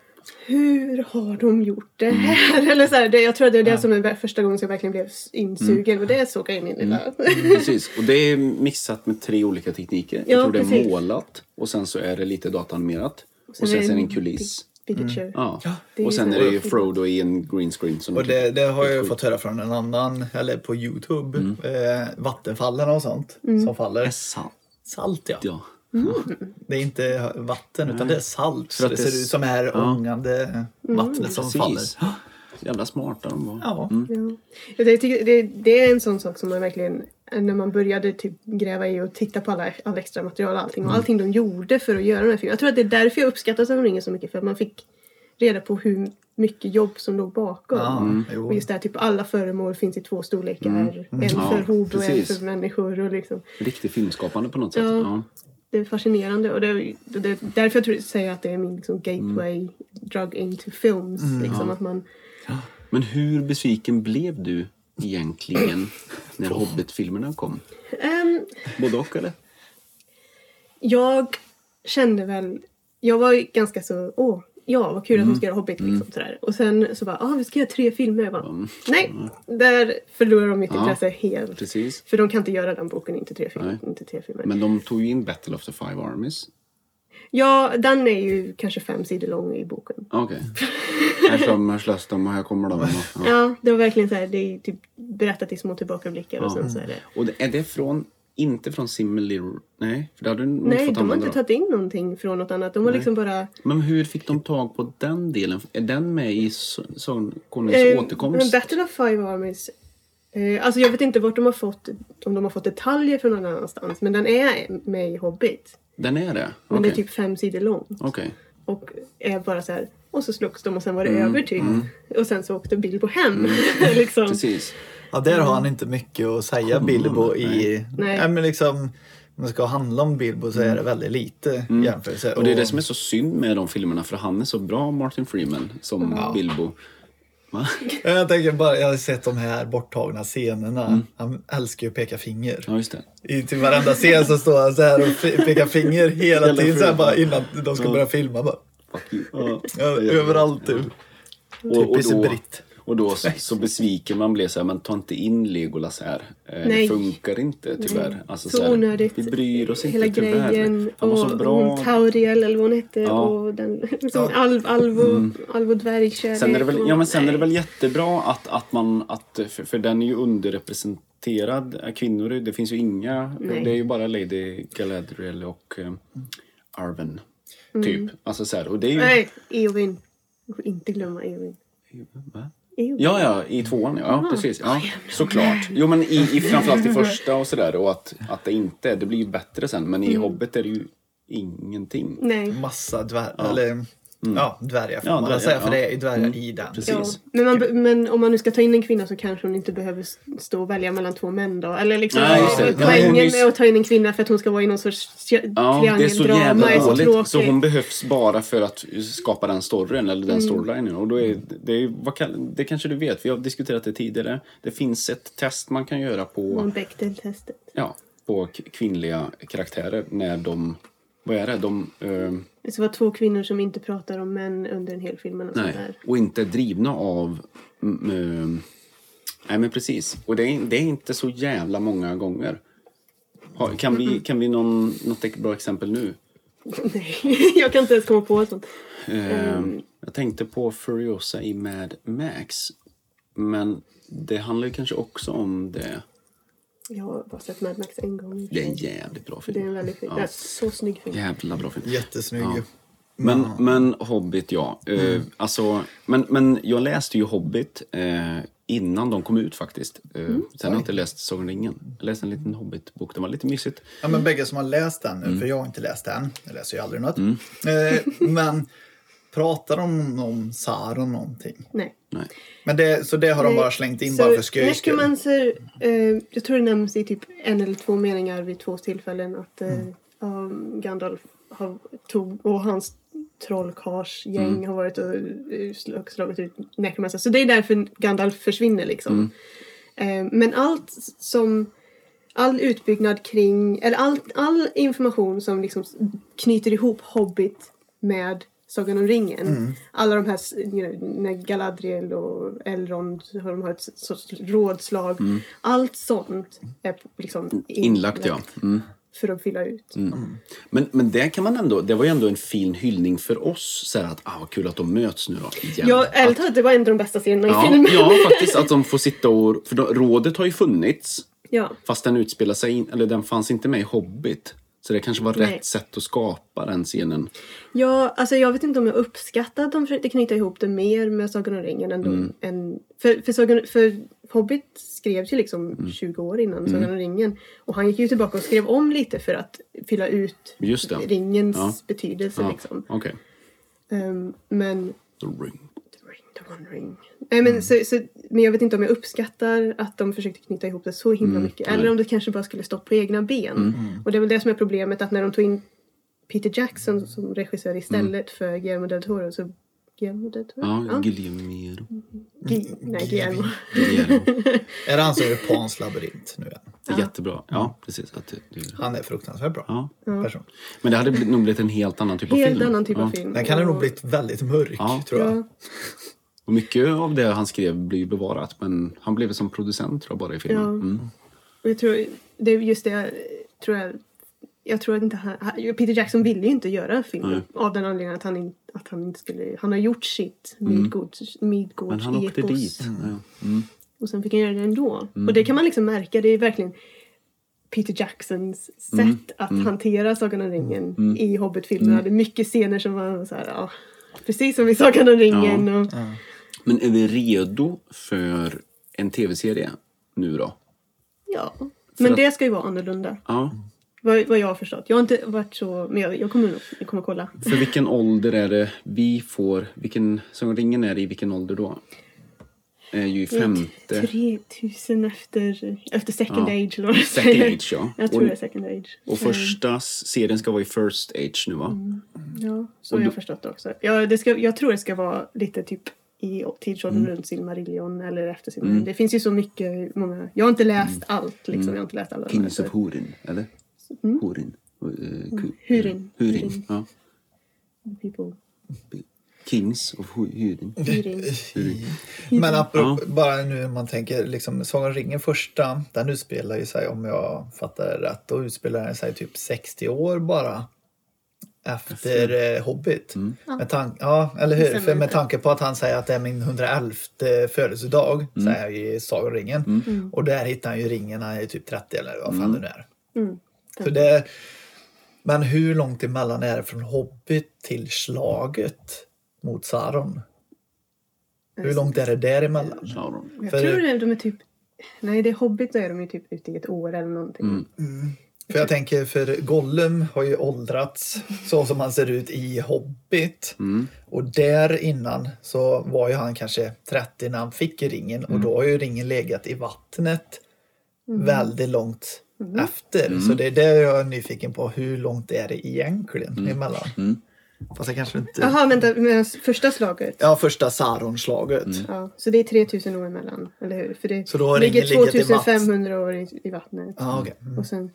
hur har de gjort det här? Eller så här, det, jag tror att det är det som är ver- första gången som jag verkligen blev s- insugen.
Mm.
Och det såg jag i min lilla...
Precis. Och det är mixat med tre olika tekniker.
Ja,
Jag tror det är
precis.
målat och sen så är det lite datanimerat. Och sen,
är
så är det en
big-
kuliss.
big picture.
Ja.
Det är
Och
ju
sen
så
är det ju
häftigt.
Frodo i en green screen. Som
Och det, det har jag ju fått höra från en annan, eller på Youtube,
Mm.
eh, vattenfallen och sånt
Mm.
som faller.
är sant.
Salt ja.
Ja.
Det är inte vatten utan det är salt. Så
att
det
det
ser
s-
ut som det här ångande vattnet som faller.
Precis. Mm. Jävla smarta de var.
Ja.
Ja. Jag tycker det, det är en sån sak som man verkligen, när man började typ gräva i och titta på alla, alla extra material och allting och allting de gjorde för att göra den här filmen. Jag tror att det är därför jag uppskattar Sagan om ringen så mycket för att man fick reda på hur mycket jobb som låg bakom.
Ja, jo.
Och just det här, typ alla föremål finns i två storlekar. En
Ja,
för hov och en
precis.
för människor. Och liksom.
Riktigt filmskapande på något sätt.
Ja.
Ja.
Det är fascinerande och det, är- det är därför jag tror, säger jag att det är min liksom, gateway drug into films. liksom, att man,
Men hur besviken blev du egentligen när Hobbit-filmerna kom?
Ehm,
Både och eller?
Jag kände väl, jag var ju ganska så, åh, ja vad kul
Mm.
att de ska göra Hobbit liksom sådär. Och sen så bara, ah vi ska göra tre filmer. Jag bara, nej, där förlorar de mitt
Mm. Ja,
intresse helt.
precis.
För de kan inte göra den boken, inte tre filmer.
Nej.
Inte tre filmer.
Men de tog ju in Battle of the Five Armies.
Ja, den är ju kanske fem sidor lång i boken.
Ah, Okej. Här står de, här slåss de och här kommer de. Ja.
Ja, det var verkligen så här, det är typ berättat i små tillbakablickar och sen så är det.
Och det, är det från, inte från Simmelir... Nej, för det hade du nog
Nej,
fått
de har
använda
inte
då.
tagit in någonting från något annat. De har liksom bara
Men hur fick de tag på den delen? Är den med i Sö- Sören Konungs
Eh, Men
återkomst?
Battle of Five Armies. Eh, alltså jag vet inte vart de har fått, om de har fått detaljer från någon annanstans. Men den är med i Hobbit.
Den är det?
Men
Okej.
det är typ fem sidor lång.
Okej.
Och är bara så här, och så slogs de och sen var det
Mm,
över typ. Och sen så åkte Bilbo hem. liksom.
Precis.
Ja, där har han inte mycket att säga Bilbo i... Nej.
Nej.
men liksom, om det ska handla om Bilbo så är det väldigt lite jämförelse.
Mm. Och det är det som är så synd med de filmerna för han är så bra, Martin Freeman, som Bilbo. Va?
Jag tänker bara, jag har sett de här borttagna scenerna. Han älskar ju att peka finger.
Mm. Ja, just det.
I till varenda scen så står han så här och fe- pekar finger hela
Hela
tiden så här
filmen.
bara innan de ska börja filma. Bara.
Fuck you.
Ja, överallt typ.
Och, och
Typiskt
då,
britt.
och då så, så besviken man blev så här, men ta inte in Legolas här. Eh,
Nej.
Det funkar inte tyvärr. Alltså,
Så
här,
onödigt.
Vi bryr oss
Hela
inte tyvärr.
grejen.
Han var så
och
bra.
hon Tauriel eller vad hon hette.
Ja. Mm.
Och den liksom, alv, alvo, alvo dvärgkärlek.
Sen är det väl,
och-
ja, men sen är det
nej.
väl jättebra att, att man, att, för, för den är ju underrepresenterad, eh, kvinnor, är- det finns ju inga,
Nej.
det är ju bara Lady Galadriel och eh, Arwen. Typ. Alltså så här, och det är ju...
Mm. Nej, Eowyn. Du får inte glömma Eowyn.
Va?
Eowyn.
Ja, ja, i tvåan ja.
Ah,
ja precis. Ja, såklart. Jo, men i, i, framförallt i första och sådär. Och att, att det inte är, det blir ju bättre sen. Men i
Mm.
Hobbit är det ju ingenting.
Nej.
Massa dvärgar, eller ja, dvärgar får
Mm. Ja,
man väl
dvärgar,
säga för
ja. Mm,
det är ju dvärgar i den.
Precis.
Ja, men, man, be- men om man nu ska ta in en kvinna så kanske hon inte behöver s- stå och välja mellan två män då. Eller liksom,
Nej, just det.
vad
Ja, men
är
hon är
poängen
ju s-
med att ta in en kvinna för att hon ska vara i någon sorts ja,
Ja, det är så jävla
triangeldrama är så
dåligt.
tråkigt. Mm.
Så hon behövs bara för att skapa den storyn, eller den storylinen. Och då är, det, är, vad kan, det kanske du vet, vi har diskuterat det tidigare. Det finns ett test man kan göra på,
Hon Bechdel-testet.
ja, på k- kvinnliga karaktärer när de... Vad är det? De... ehm,
Det ska vara två kvinnor som inte pratar om män under en hel film eller sånt
Nej,
där.
och inte drivna av... mm, mm, nej, men precis. Och det är, det är inte så jävla många gånger. Ha, kan vi, kan vi någon, något bra exempel nu?
Nej, jag kan inte ens komma på ett sånt.
Ehm,
Mm.
Jag tänkte på Furiosa i Mad Max. Men det handlar ju kanske också om det.
Jag har bara sett Mad Max en gång.
Det är en jävligt bra
Det är en
film.
väldigt fin.
Ja.
Det är så snygg film.
Jävla bra film.
Jättesnygg.
Ja.
ju.
Men, men Hobbit, ja. Eh, alltså, men, men jag läste ju Hobbit eh, innan de kom ut faktiskt. Eh,
Mm.
Sen har jag inte läst Sagan om ringen. Jag läste en liten Hobbit-bok. Den var lite mysigt.
Ja, men bägge som har läst den nu,
Mm.
för jag har inte läst den. Jag läser ju aldrig något. Eh, men pratar de om Sauron någonting?
Nej.
Nej.
Men det, så det har de
Nej,
bara slängt in
Eh, så
bara för skojs skull?
Necromancer, eh, jag tror det nämns i typ en eller två meningar vid två tillfällen att eh,
Mm.
ja, Gandalf har, tog, och hans trollkars gäng
Mm.
har varit och, eh, slag- slagit ut Necromancer. Så det är därför Gandalf försvinner liksom.
Mm.
Eh, men allt som all utbyggnad kring, eller all, all information som liksom knyter ihop Hobbit med Sagan om ringen.
Mm.
Alla de här, s- you know, när Galadriel och Elrond har- de har ett s- sorts rådslag. Allt sånt är p- liksom
Mm. Inlagt, ja. Mm.
För att fylla ut.
Men, men det, kan man ändå, det var ju ändå en fin hyllning för oss. Så här att, ah, vad kul att de möts nu då. Igen.
Ja, ärligt talat, det var en av de bästa scenerna i
ja,
filmen.
ja, faktiskt. Att de får sitta och... För då, rådet har ju funnits.
Ja.
Fast den utspelar sig... in- Eller den fanns inte med i Hobbit. Så det kanske var
Nej.
rätt sätt att skapa den scenen.
Ja, alltså jag vet inte om jag uppskattar att de försökte knyta ihop det mer med Sagan om ringen ändå.
Mm.
Än, för, för, Sagan, för Hobbit skrevs ju liksom
Mm.
20 år innan Sagan om ringen. Och han gick ju tillbaka och skrev om lite för att fylla ut
Just det.
ringens
Ja.
betydelse.
Ja,
Liksom.
Okej.
Ehm, men
The ring.
The ring, the one ring. Nej, men,
Mm.
så, så, men jag vet inte om jag uppskattar att de försökte knyta ihop det så
Mm.
himla mycket. Eller om det kanske bara skulle stå på egna ben.
Mm.
Och det är väl det som är problemet att när de tog in Peter Jackson som regissör
Mm.
istället för Guillermo del Toro så... Guillermo del Toro?
Ja,
Ja.
Guillermo.
Gui- nej, Guillermo.
Guillermo.
Är det han som gör Pans labyrint nu igen?
Jättebra. Ja, precis. Att det, det,
Han är fruktansvärt bra
ja.
person.
Men det hade bli- nog blivit en helt annan typ av film.
Helt annan typ
ja.
av film.
Den kan det nog
Och-
blivit väldigt mörk,
Ja.
tror jag.
Ja.
Och mycket av det han skrev blir ju bevarat. Men han blev som producent tror jag bara i filmen.
Ja.
Mm.
Och jag tror, det är just det jag tror jag... Jag tror att inte han, han- Peter Jackson ville ju inte göra filmen
Nej.
av den anledningen att han, in, att han inte skulle... Han har gjort sitt Midgårds, Midgårds
Mm. Men han åkte
epos.
dit. Mm. Ja.
Och sen fick han göra det ändå. Och det kan man liksom märka. Det är verkligen Peter Jacksons sätt
Mm.
att hantera Sagan om ringen i Hobbit-filmerna. Det är mycket scener som var så här, ja, precis som i Sagan om ringen. Och,
Men är vi redo för en tv-serie nu då?
ja. Men
att-
det ska ju vara annorlunda.
Ja.
Vad, vad jag har förstått. Jag har inte varit så... Men jag, jag, kommer, nog- jag kommer kolla.
För vilken ålder är det vi får... Vilken som ringen är i vilken ålder då? Är ju i femte...
3000 efter, efter second
Ja.
age eller vad det
Second
säger.
age, ja.
Jag tror
Och-
det är second age.
Och första s- serien ska vara i first age nu va?
Mm.
Ja, så har jag förstått det också. Ja, det ska, jag tror det ska vara lite typ i tidsåldern
Mm.
runt Silmarillion eller efter Silmarillion. Det finns ju så mycket, många. Jag har inte läst
Mm.
allt liksom. Jag har inte läst alla de här,
Kings
så-
of Hurin, eller?
Mm.
Hurin. Eh, ku-
Hurin.
Hurin, ja.
People.
Kings of Hu- Hurin.
Hurin.
Men apropå, bara nu man tänker, liksom, Sagan om ringen första, den utspelar ju sig, om jag fattar det rätt, då utspelar den sig typ 60 år bara efter eh, Hobbit. Med tan- ja, eller hur?
stämmer
För med
inte.
tanke på att han säger att det är min 111 födelsedag, säger han ju i Sagan om ringen. Och där hittar han ju ringen när han är typ 30 eller vad fan det nu är.
Mm.
Så det, men hur långt emellan är det från Hobbit till slaget mot Sauron? Hur långt är det däremellan?
Sauron.
Jag
För-
tror det, de är typ... Nej, det är Hobbit, då är de ju typ ute i ett år eller någonting.
Mm.
För jag tänker, för Gollum har ju åldrats så som han ser ut i Hobbit.
Mm.
Och där innan så var ju han kanske 30 när han fick ringen och då har ju ringen legat i vattnet
Mm.
väldigt långt efter. Så det är det jag är nyfiken på. Hur långt är det egentligen emellan? Fast jag kanske inte...
Jaha, vänta, men första slaget.
Ja, första Sauron-slaget.
Ja, så det är 3000 år emellan, eller hur? För det
Så då har
ligger
ringen legat i vatt-
2500 år i, i vattnet.
Ja, okej.
Och sen...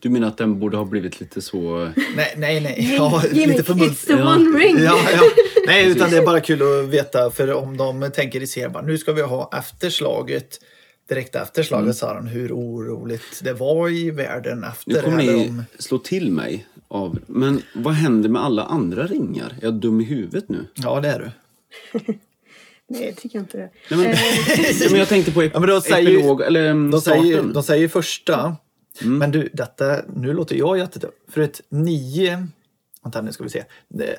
Du menar att den borde ha blivit lite så... eh,
Nej, nej, nej. Ja,
Jimmy,
lite för
it's the
Ja.
one ring!
Ja, ja. Nej, utan det är bara kul att veta. För om de tänker i serien, bara, nu ska vi ha efterslaget direkt efter slaget
Mm.
sa han hur oroligt det var i världen efter
Nu
det
kommer
här.
ni
Om,
slå till mig. Av, men vad händer med alla andra ringar? Är jag dum i huvudet nu?
ja, det är du.
Nej, jag tycker inte det.
Nej,
Eh,
men, ja, men jag tänkte på ep-
Ja, men då säger ju-
epilog, eller mm,
De
starten. Mm.
säger, de säger första. Men du, detta, nu låter jag jättedum. För ett nio... Vänta, nu ska vi se.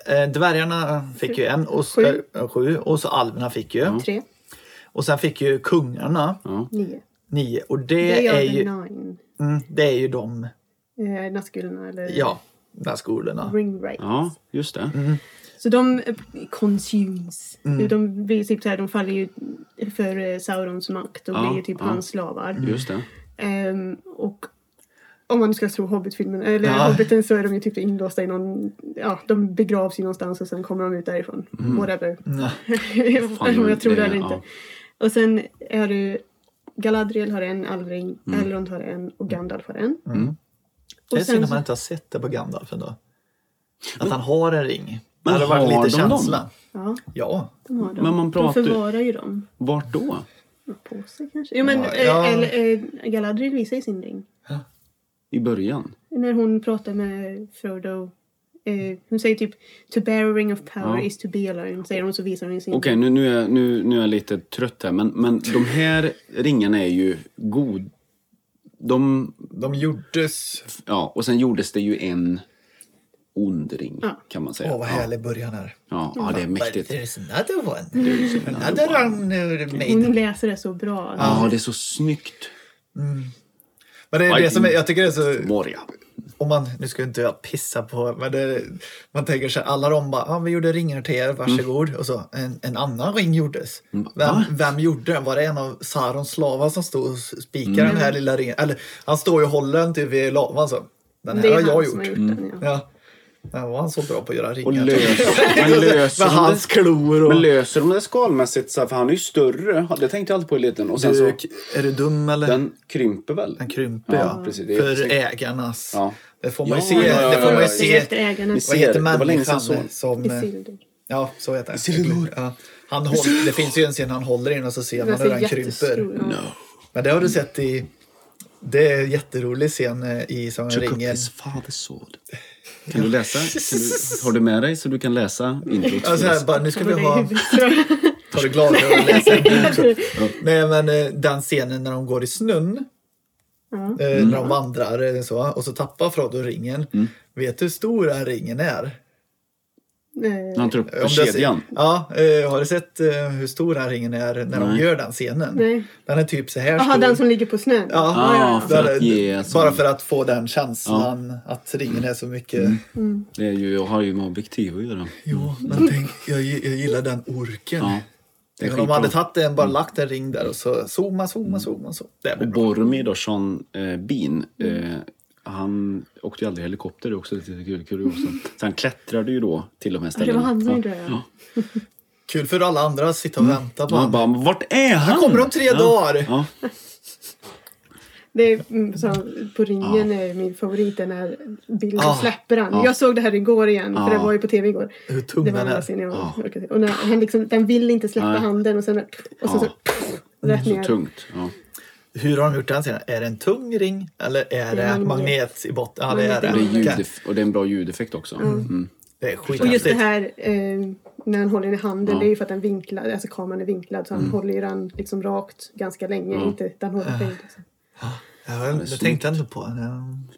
Eh, Dvärgarna fick ju en. Och,
Sju.
sju. sju och så alverna fick ju.
Tre,
Och sen fick ju kungarna
ja.
nio.
nio. Och det,
Det
är,
är jag,
ju,
the nine.
mm, det är ju de,
Eh, Nazgulorna eller
ja, de här skolorna.
ring rights.
ja, just det.
Så de eh, consumes.
Mm.
De, blir typ så här, de faller ju för eh, Saurons makt och
Ja,
blir ju typ
ja.
hans slavar.
Just det.
Ehm, och om man nu ska tro Hobbit-filmen, eller
Ja.
Hobbiten så är de ju typ inlåsta i någon, ja, de begravs ju någonstans och sen kommer de ut därifrån. Whatever.
Ja.
Fan,
Om jag tror det eller
det-
inte.
ja.
Och sen är du Galadriel har en allring, Elrond har en och Gandalf har en.
Det är
Och
synd
sen
att man
så,
inte har sett det på Gandalf ändå. Att han har en ring. Det
Men
hade varit
har
lite
de dem?
känsla.
ja,
Ja.
de har dem.
Men man pratar-
De förvarar ju dem.
Vart då?
På sig kanske. Jo men
Ja,
eh,
ja.
Eller, eh, Galadriel visar ju sin ring.
I början?
När hon pratar med Frodo. Eh, hon säger typ To bear a ring of power
Ja.
is to be alone. Säger hon så visar hon ju sin
Okej, nu, nu, är, jag- nu, nu är jag lite trött här. Men, men de här ringarna är ju god... De...
De gjordes...
Ja, och sen gjordes det ju en ond ring,
Ja.
kan man säga.
Åh, vad härlig början här.
ja, ja, det är
But
mäktigt.
there's another one. There's another one uh, made.
Hon läser det så bra.
Ja, det är så snyggt.
Men det är det som är, jag tycker det är så...
Moria.
Om man, nu ska inte jag pissa på, men det, man tänker så här, alla de bara, ah, vi gjorde ringar till er, varsågod.
Mm.
Och så en, en annan ring gjordes. Vem,
va?
vem gjorde den? Var det en av Sarons slavar som stod och spikade
Mm.
den här lilla ringen? Eller han står ju och håller den typ vid lavan så. Den här
det är
har
han
jag
som
gjort.
har gjort
Mm.
den. Ja.
Ja. Men var han så bra på att göra
Och
ringar?
löser, men löser,
Med
de
hans klor
det,
och...
men löser de det skalmässigt? så här, För han är ju större. Det tänkte jag alltid på i liten. Och sen så,
Alltså, är du dum eller?
den krymper väl?
Den krymper
Ja,
ja.
precis. Det är
För
snyggt.
ägarnas.
Ja.
Det får man ju
Ja,
se.
ja, ja,
det får man
ja,
ju
ja.
se.
Efter ägarna.
Vi ser-
Vad heter
Det var länge sedan
människan?
jag såg den.
Som,
Isildur.
ja, så heter han.
Isildur.
Ja. han håller, det finns ju en scen han håller in och så ser
Den
man
ser
hur han krymper.
Alltså, jättestor ut.
Men det har du sett i... Det är en jätterolig scen eh, i Sagan om
Took up
ringen.
his father's sword. Kan du läsa? Kan du, har du med dig så du kan läsa introt?
Alltså här, bara, nu ska vi ha...
Ja.
Tar du glad och läser en bok? Nej, men eh, den scenen när de går i snön.
Ja.
Eh, När
Mm.
de vandrar eh, så, och så tappar Frodo ringen. Vet du hur stor den ringen är?
När
Eh,
han tar upp
Om
på
du har se-
kedjan.
Ja, eh, har du sett eh, hur stor den här ringen är när de
Nej.
gör den scenen?
Nej.
Den är typ så här
Jaha,
stor.
den som ligger på snön?
Ja,
Ah, för
den-
att ge Mm. sån-
bara för att få den känslan att ringen är så mycket.
Det är ju, jag har ju med objektiv att göra.
Jo, men tänk, jag, gi- jag gillar den orken.
Ja, det är
Men om man hade
skitbra. Mm.
tagit en, bara lagt en ring där och så zooma, zooma, zooma. zooma. Det blir
Och
bra.
Boromir då, Sean eh, Bean. Eh, han åkte ju aldrig helikopter, det är också lite kul, kuriosa. Så han klättrade ju då till de här
Det
ställena.
var han som
Ja.
gjorde det. ja.
Kul för alla andra att sitta och
Mm.
vänta på
Och han
honom.
bara, "Men vart är han? Han
kommer om tre dagar."
Ja.
Det är, mm, så, på ringen är min favorit den här bilden
Ja.
släpper han.
Ja.
Jag såg det här igår igen för
Ja.
det var ju på tv igår.
Hur tung
det var
den
den
är.
här scenen jag orkade se. Och när han liksom, den vill inte släppa
Nej.
handen och sen och så,
Ja.
så rätt
Så
ner.
tungt. Ja.
Hur har de gjort den scenen? Är det en tung ring eller är
Det är
det
magnet.
magnet i botten? Ja, det är
Magnet i
det.
Det är
botten.
Okej.
ljudef- och det är en bra ljudeffekt också. Mm.
Det är
Och just det
skithäftigt.
här eh, när han håller den i handen,
Ja. Mm.
det är ju för att den vinklar, alltså kameran är vinklad så han håller ju den liksom rakt ganska länge.
Ja.
Inte, den håller på liksom.
Ja, det
snyggt.
tänkte jag inte på.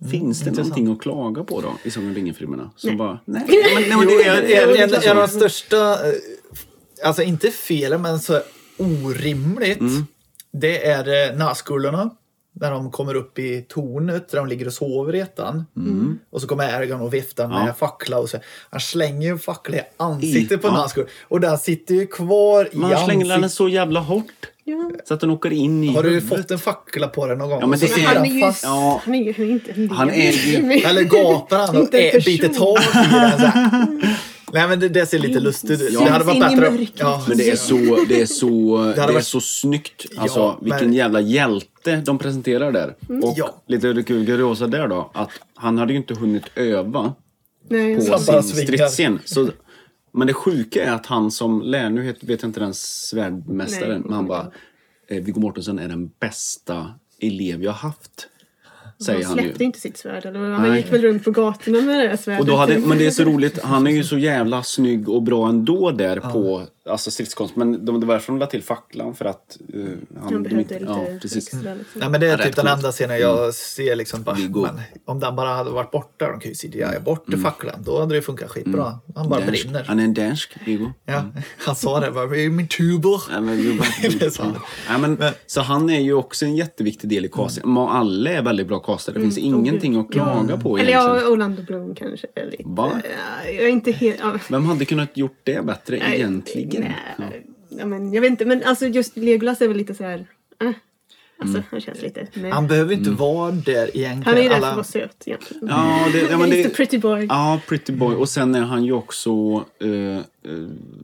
Ja.
Finns det någonting att klaga på då i Sagan om ringen-filmerna? Som bara, Mm, nej.
Jo, det är,
jo, det är
en,
klart.
en av de största, eh, alltså inte felen men så orimligt,
Mm.
det är eh, nazgulorna. När de kommer upp i tornet där de ligger och sover i ettan. Och så kommer Ergon och viftar med
Mm. Ja.
fackla och så. Han slänger ju en fackla i ansiktet
I,
på
ja.
Nazgul. Och den sitter ju kvar i
Man slänger den
ansiktet.
så jävla hårt
Ja.
så att den åker in i
Har du
huvudet.
fått en fackla på dig någon gång?
Ja, men
Och så
det
sitter
är-
Han är
den
ju,
fast.
Ja.
han är ju han är inte en
Han är ju-
levande.
Eller gapar han och
Inte en
ä-
person.
biter tag i den så här. Nej men det, det ser lite lustigt ut.
Ja.
Det hade varit
Syns in i
bättre. om-
mörkret.
Ja,
Men det är så, det är så, det är
varit-
så snyggt. Alltså,
Ja, men-
vilken jävla hjälte de presenterar där. Och
Ja.
lite kul kuriosa där då, att han hade ju inte hunnit öva
Nej,
på
så-
Snabba
sin
svingar.
stridsscen. Så, men det sjuka är att han som lär, nu het- vet jag inte den svärdmästaren,
Nej.
men han bara eh, Viggo Mortensen är den bästa elev jag haft.
Han
Säger han ju.
släppte inte sitt svärd. Eller? vad? Han
Nej.
gick väl runt på gatorna med det där svärdet.
Och då hade, men det är så roligt, han är ju så jävla snygg och bra ändå där på alltså stridskonst. Men de, det var därför de la till facklan för att... eh, han,
Han
de
behövde
inte-
lite
ja, precis.
extra. Liksom.
Nej, men det är
Ja,
typ
rätt
den
coolt.
enda scenen jag ser liksom bara,
Viggo.
men, om den bara hade varit borta, de kan ju CGI bort facklan, då hade det funkat skitbra. Han bara
Dansk.
brinner.
Han är en dansk, Viggo.
Ja, han sa det bara, "Det är min tuber.
Nej, men, jo,
Det är så.
Nej, men, så han är ju också en jätteviktig del i castingen. Mm. Alla är väldigt bra castade. Det finns
Mm,
ingenting att klaga på
Eller
egentligen.
ja, Orlando Bloom kanske. är Lite.
Va?
Ja, Jag är inte helt... Ja.
Vem hade kunnat gjort det bättre egentligen?
Nej,
Ja.
ja, men, jag vet inte, men alltså just Legolas är väl lite så här... Eh. Alltså,
Mm.
han känns lite... Nej.
Han behöver inte vara där egentligen.
Han är ju där för
Alla-
att vara söt egentligen.
Ja, det, ja,
Han
men
är lite
det,
pretty boy.
ja, pretty boy. Och sen är han ju också... eh, eh,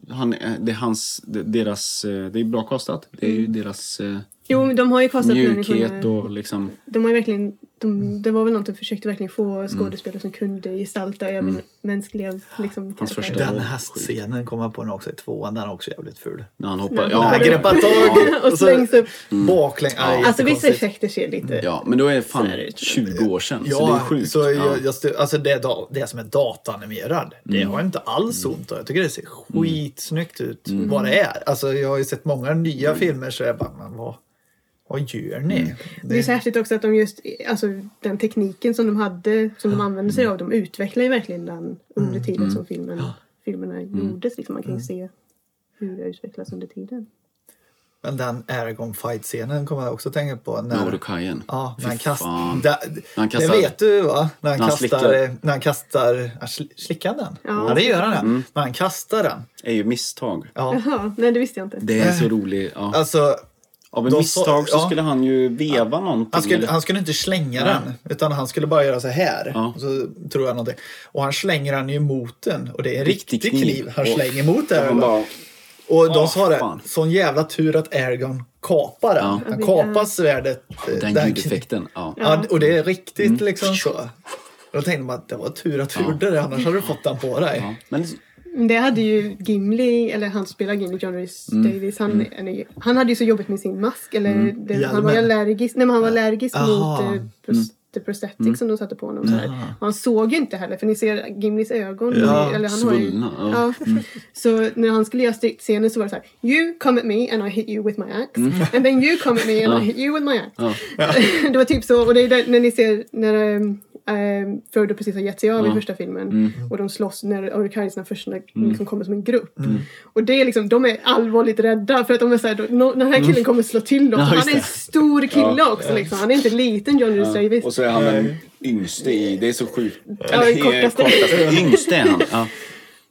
han, är- det är hans... det- Deras, eh, det är bra castat. Det är
Mm.
ju deras eh,
Jo, men de har ju kastat
mjukhet
människorna.
och Mm. liksom...
De har ju verkligen... De, det var väl någon som försökte verkligen
Mm.
få skådespelare som kunde gestalta även mänskliga liksom, karaktärer.
första-
Den hästscenen kom jag på nu också i tvåan, den är också jävligt ful.
När han hoppar...
Ja,
Han
det-
greppar tag
Och slängs upp.
baklänges. Aj,
Alltså vissa
jättekonstigt.
effekter ser lite...
Ja, men då är det
Så är
fan
det ju.
20 år sedan. så det är
Ja,
sjukt.
så
ja. Mm.
jag, jag stö- alltså det, är da- det som är dataanimerad, det har inte alls ont och Jag tycker det ser skitsnyggt ut
Mm.
vad det är. Alltså jag har ju sett många nya filmer så jag bara, men vad, vad gör ni?
Mm.
Det är
Det,
särskilt också att de just, alltså den tekniken som de hade, som de använde sig av, de utvecklade ju verkligen den under tiden som filmen, filmerna gjordes. Liksom. Man kan ju se hur det utvecklas under tiden.
men den Aragon fight-scenen kommer jag också tänka på. När,
Naurukajen.
Ja,
Fy
när han kastar...
fan.
Da,
han kastar-
Det vet du va? När
När
han,
han
kastar...
slickar.
eh, När han kastar... Han sl- slickar den? Ja. det gör han. ja.
Mm.
När han kastar den.
är ju misstag.
Ja.
Jaha, nej det visste jag inte.
Det är så roligt. Ja.
Alltså,
Av ett
då
misstag
så-
så
ja.
skulle han ju veva någonting.
han skulle,
eller-
han skulle inte slänga den, utan han skulle bara göra så här.
Ja.
Och så tror jag någonting. Och han slänger den ju mot den. Och det är en
Riktig
riktig kniv,
kniv.
han
Och-
slänger mot
Och
den.
han bara,
Och de
Åh,
sa det,
fan.
sån jävla tur att Ergon kapar den.
Ja.
Han kapar svärdet. eh,
den
där-
ljudeffekten. Mm. Ja.
Ja, och det är riktigt liksom så. Då tänkte man att det var tur att du gjorde det, annars hade du fått den på dig.
Ja. Men
Men det hade ju Gimli, eller han som spelar Gimli, John Rhys Davies, han, han, är ju- han hade ju så jobbigt med sin mask. Eller det, han var ju
Hjälmen.
allergisk, nej, men han var allergisk
Aha.
mot eh, pros- the prosthetic som de satte på honom. Så här. Och han såg ju inte heller, för ni ser Gimlis ögon.
Ja,
eller han har ju,
svullna, ja.
ja. Så när han skulle göra stridsscener så var det så här. You come at me and I hit you with my axe. And then you come at me and I hit you with my axe. det var typ så, och det är där, när ni ser när ehm, ehm, Frodo precis har gett sig av i första filmen
Mm.
och de slåss när Orukaiserna först när, liksom kommer som en grupp.
Mm.
Och det är liksom, de är allvarligt rädda för att de är såhär, då- nå- den här killen kommer slå till
Mm.
dem.
Ja,
han
just
är en
det.
stor kille också liksom. Han är inte liten John Rhys Davies.
Och så är han den yngste i... Det är så sjukt. eh,
Ja, den kortaste.
Yngste är han. Ja,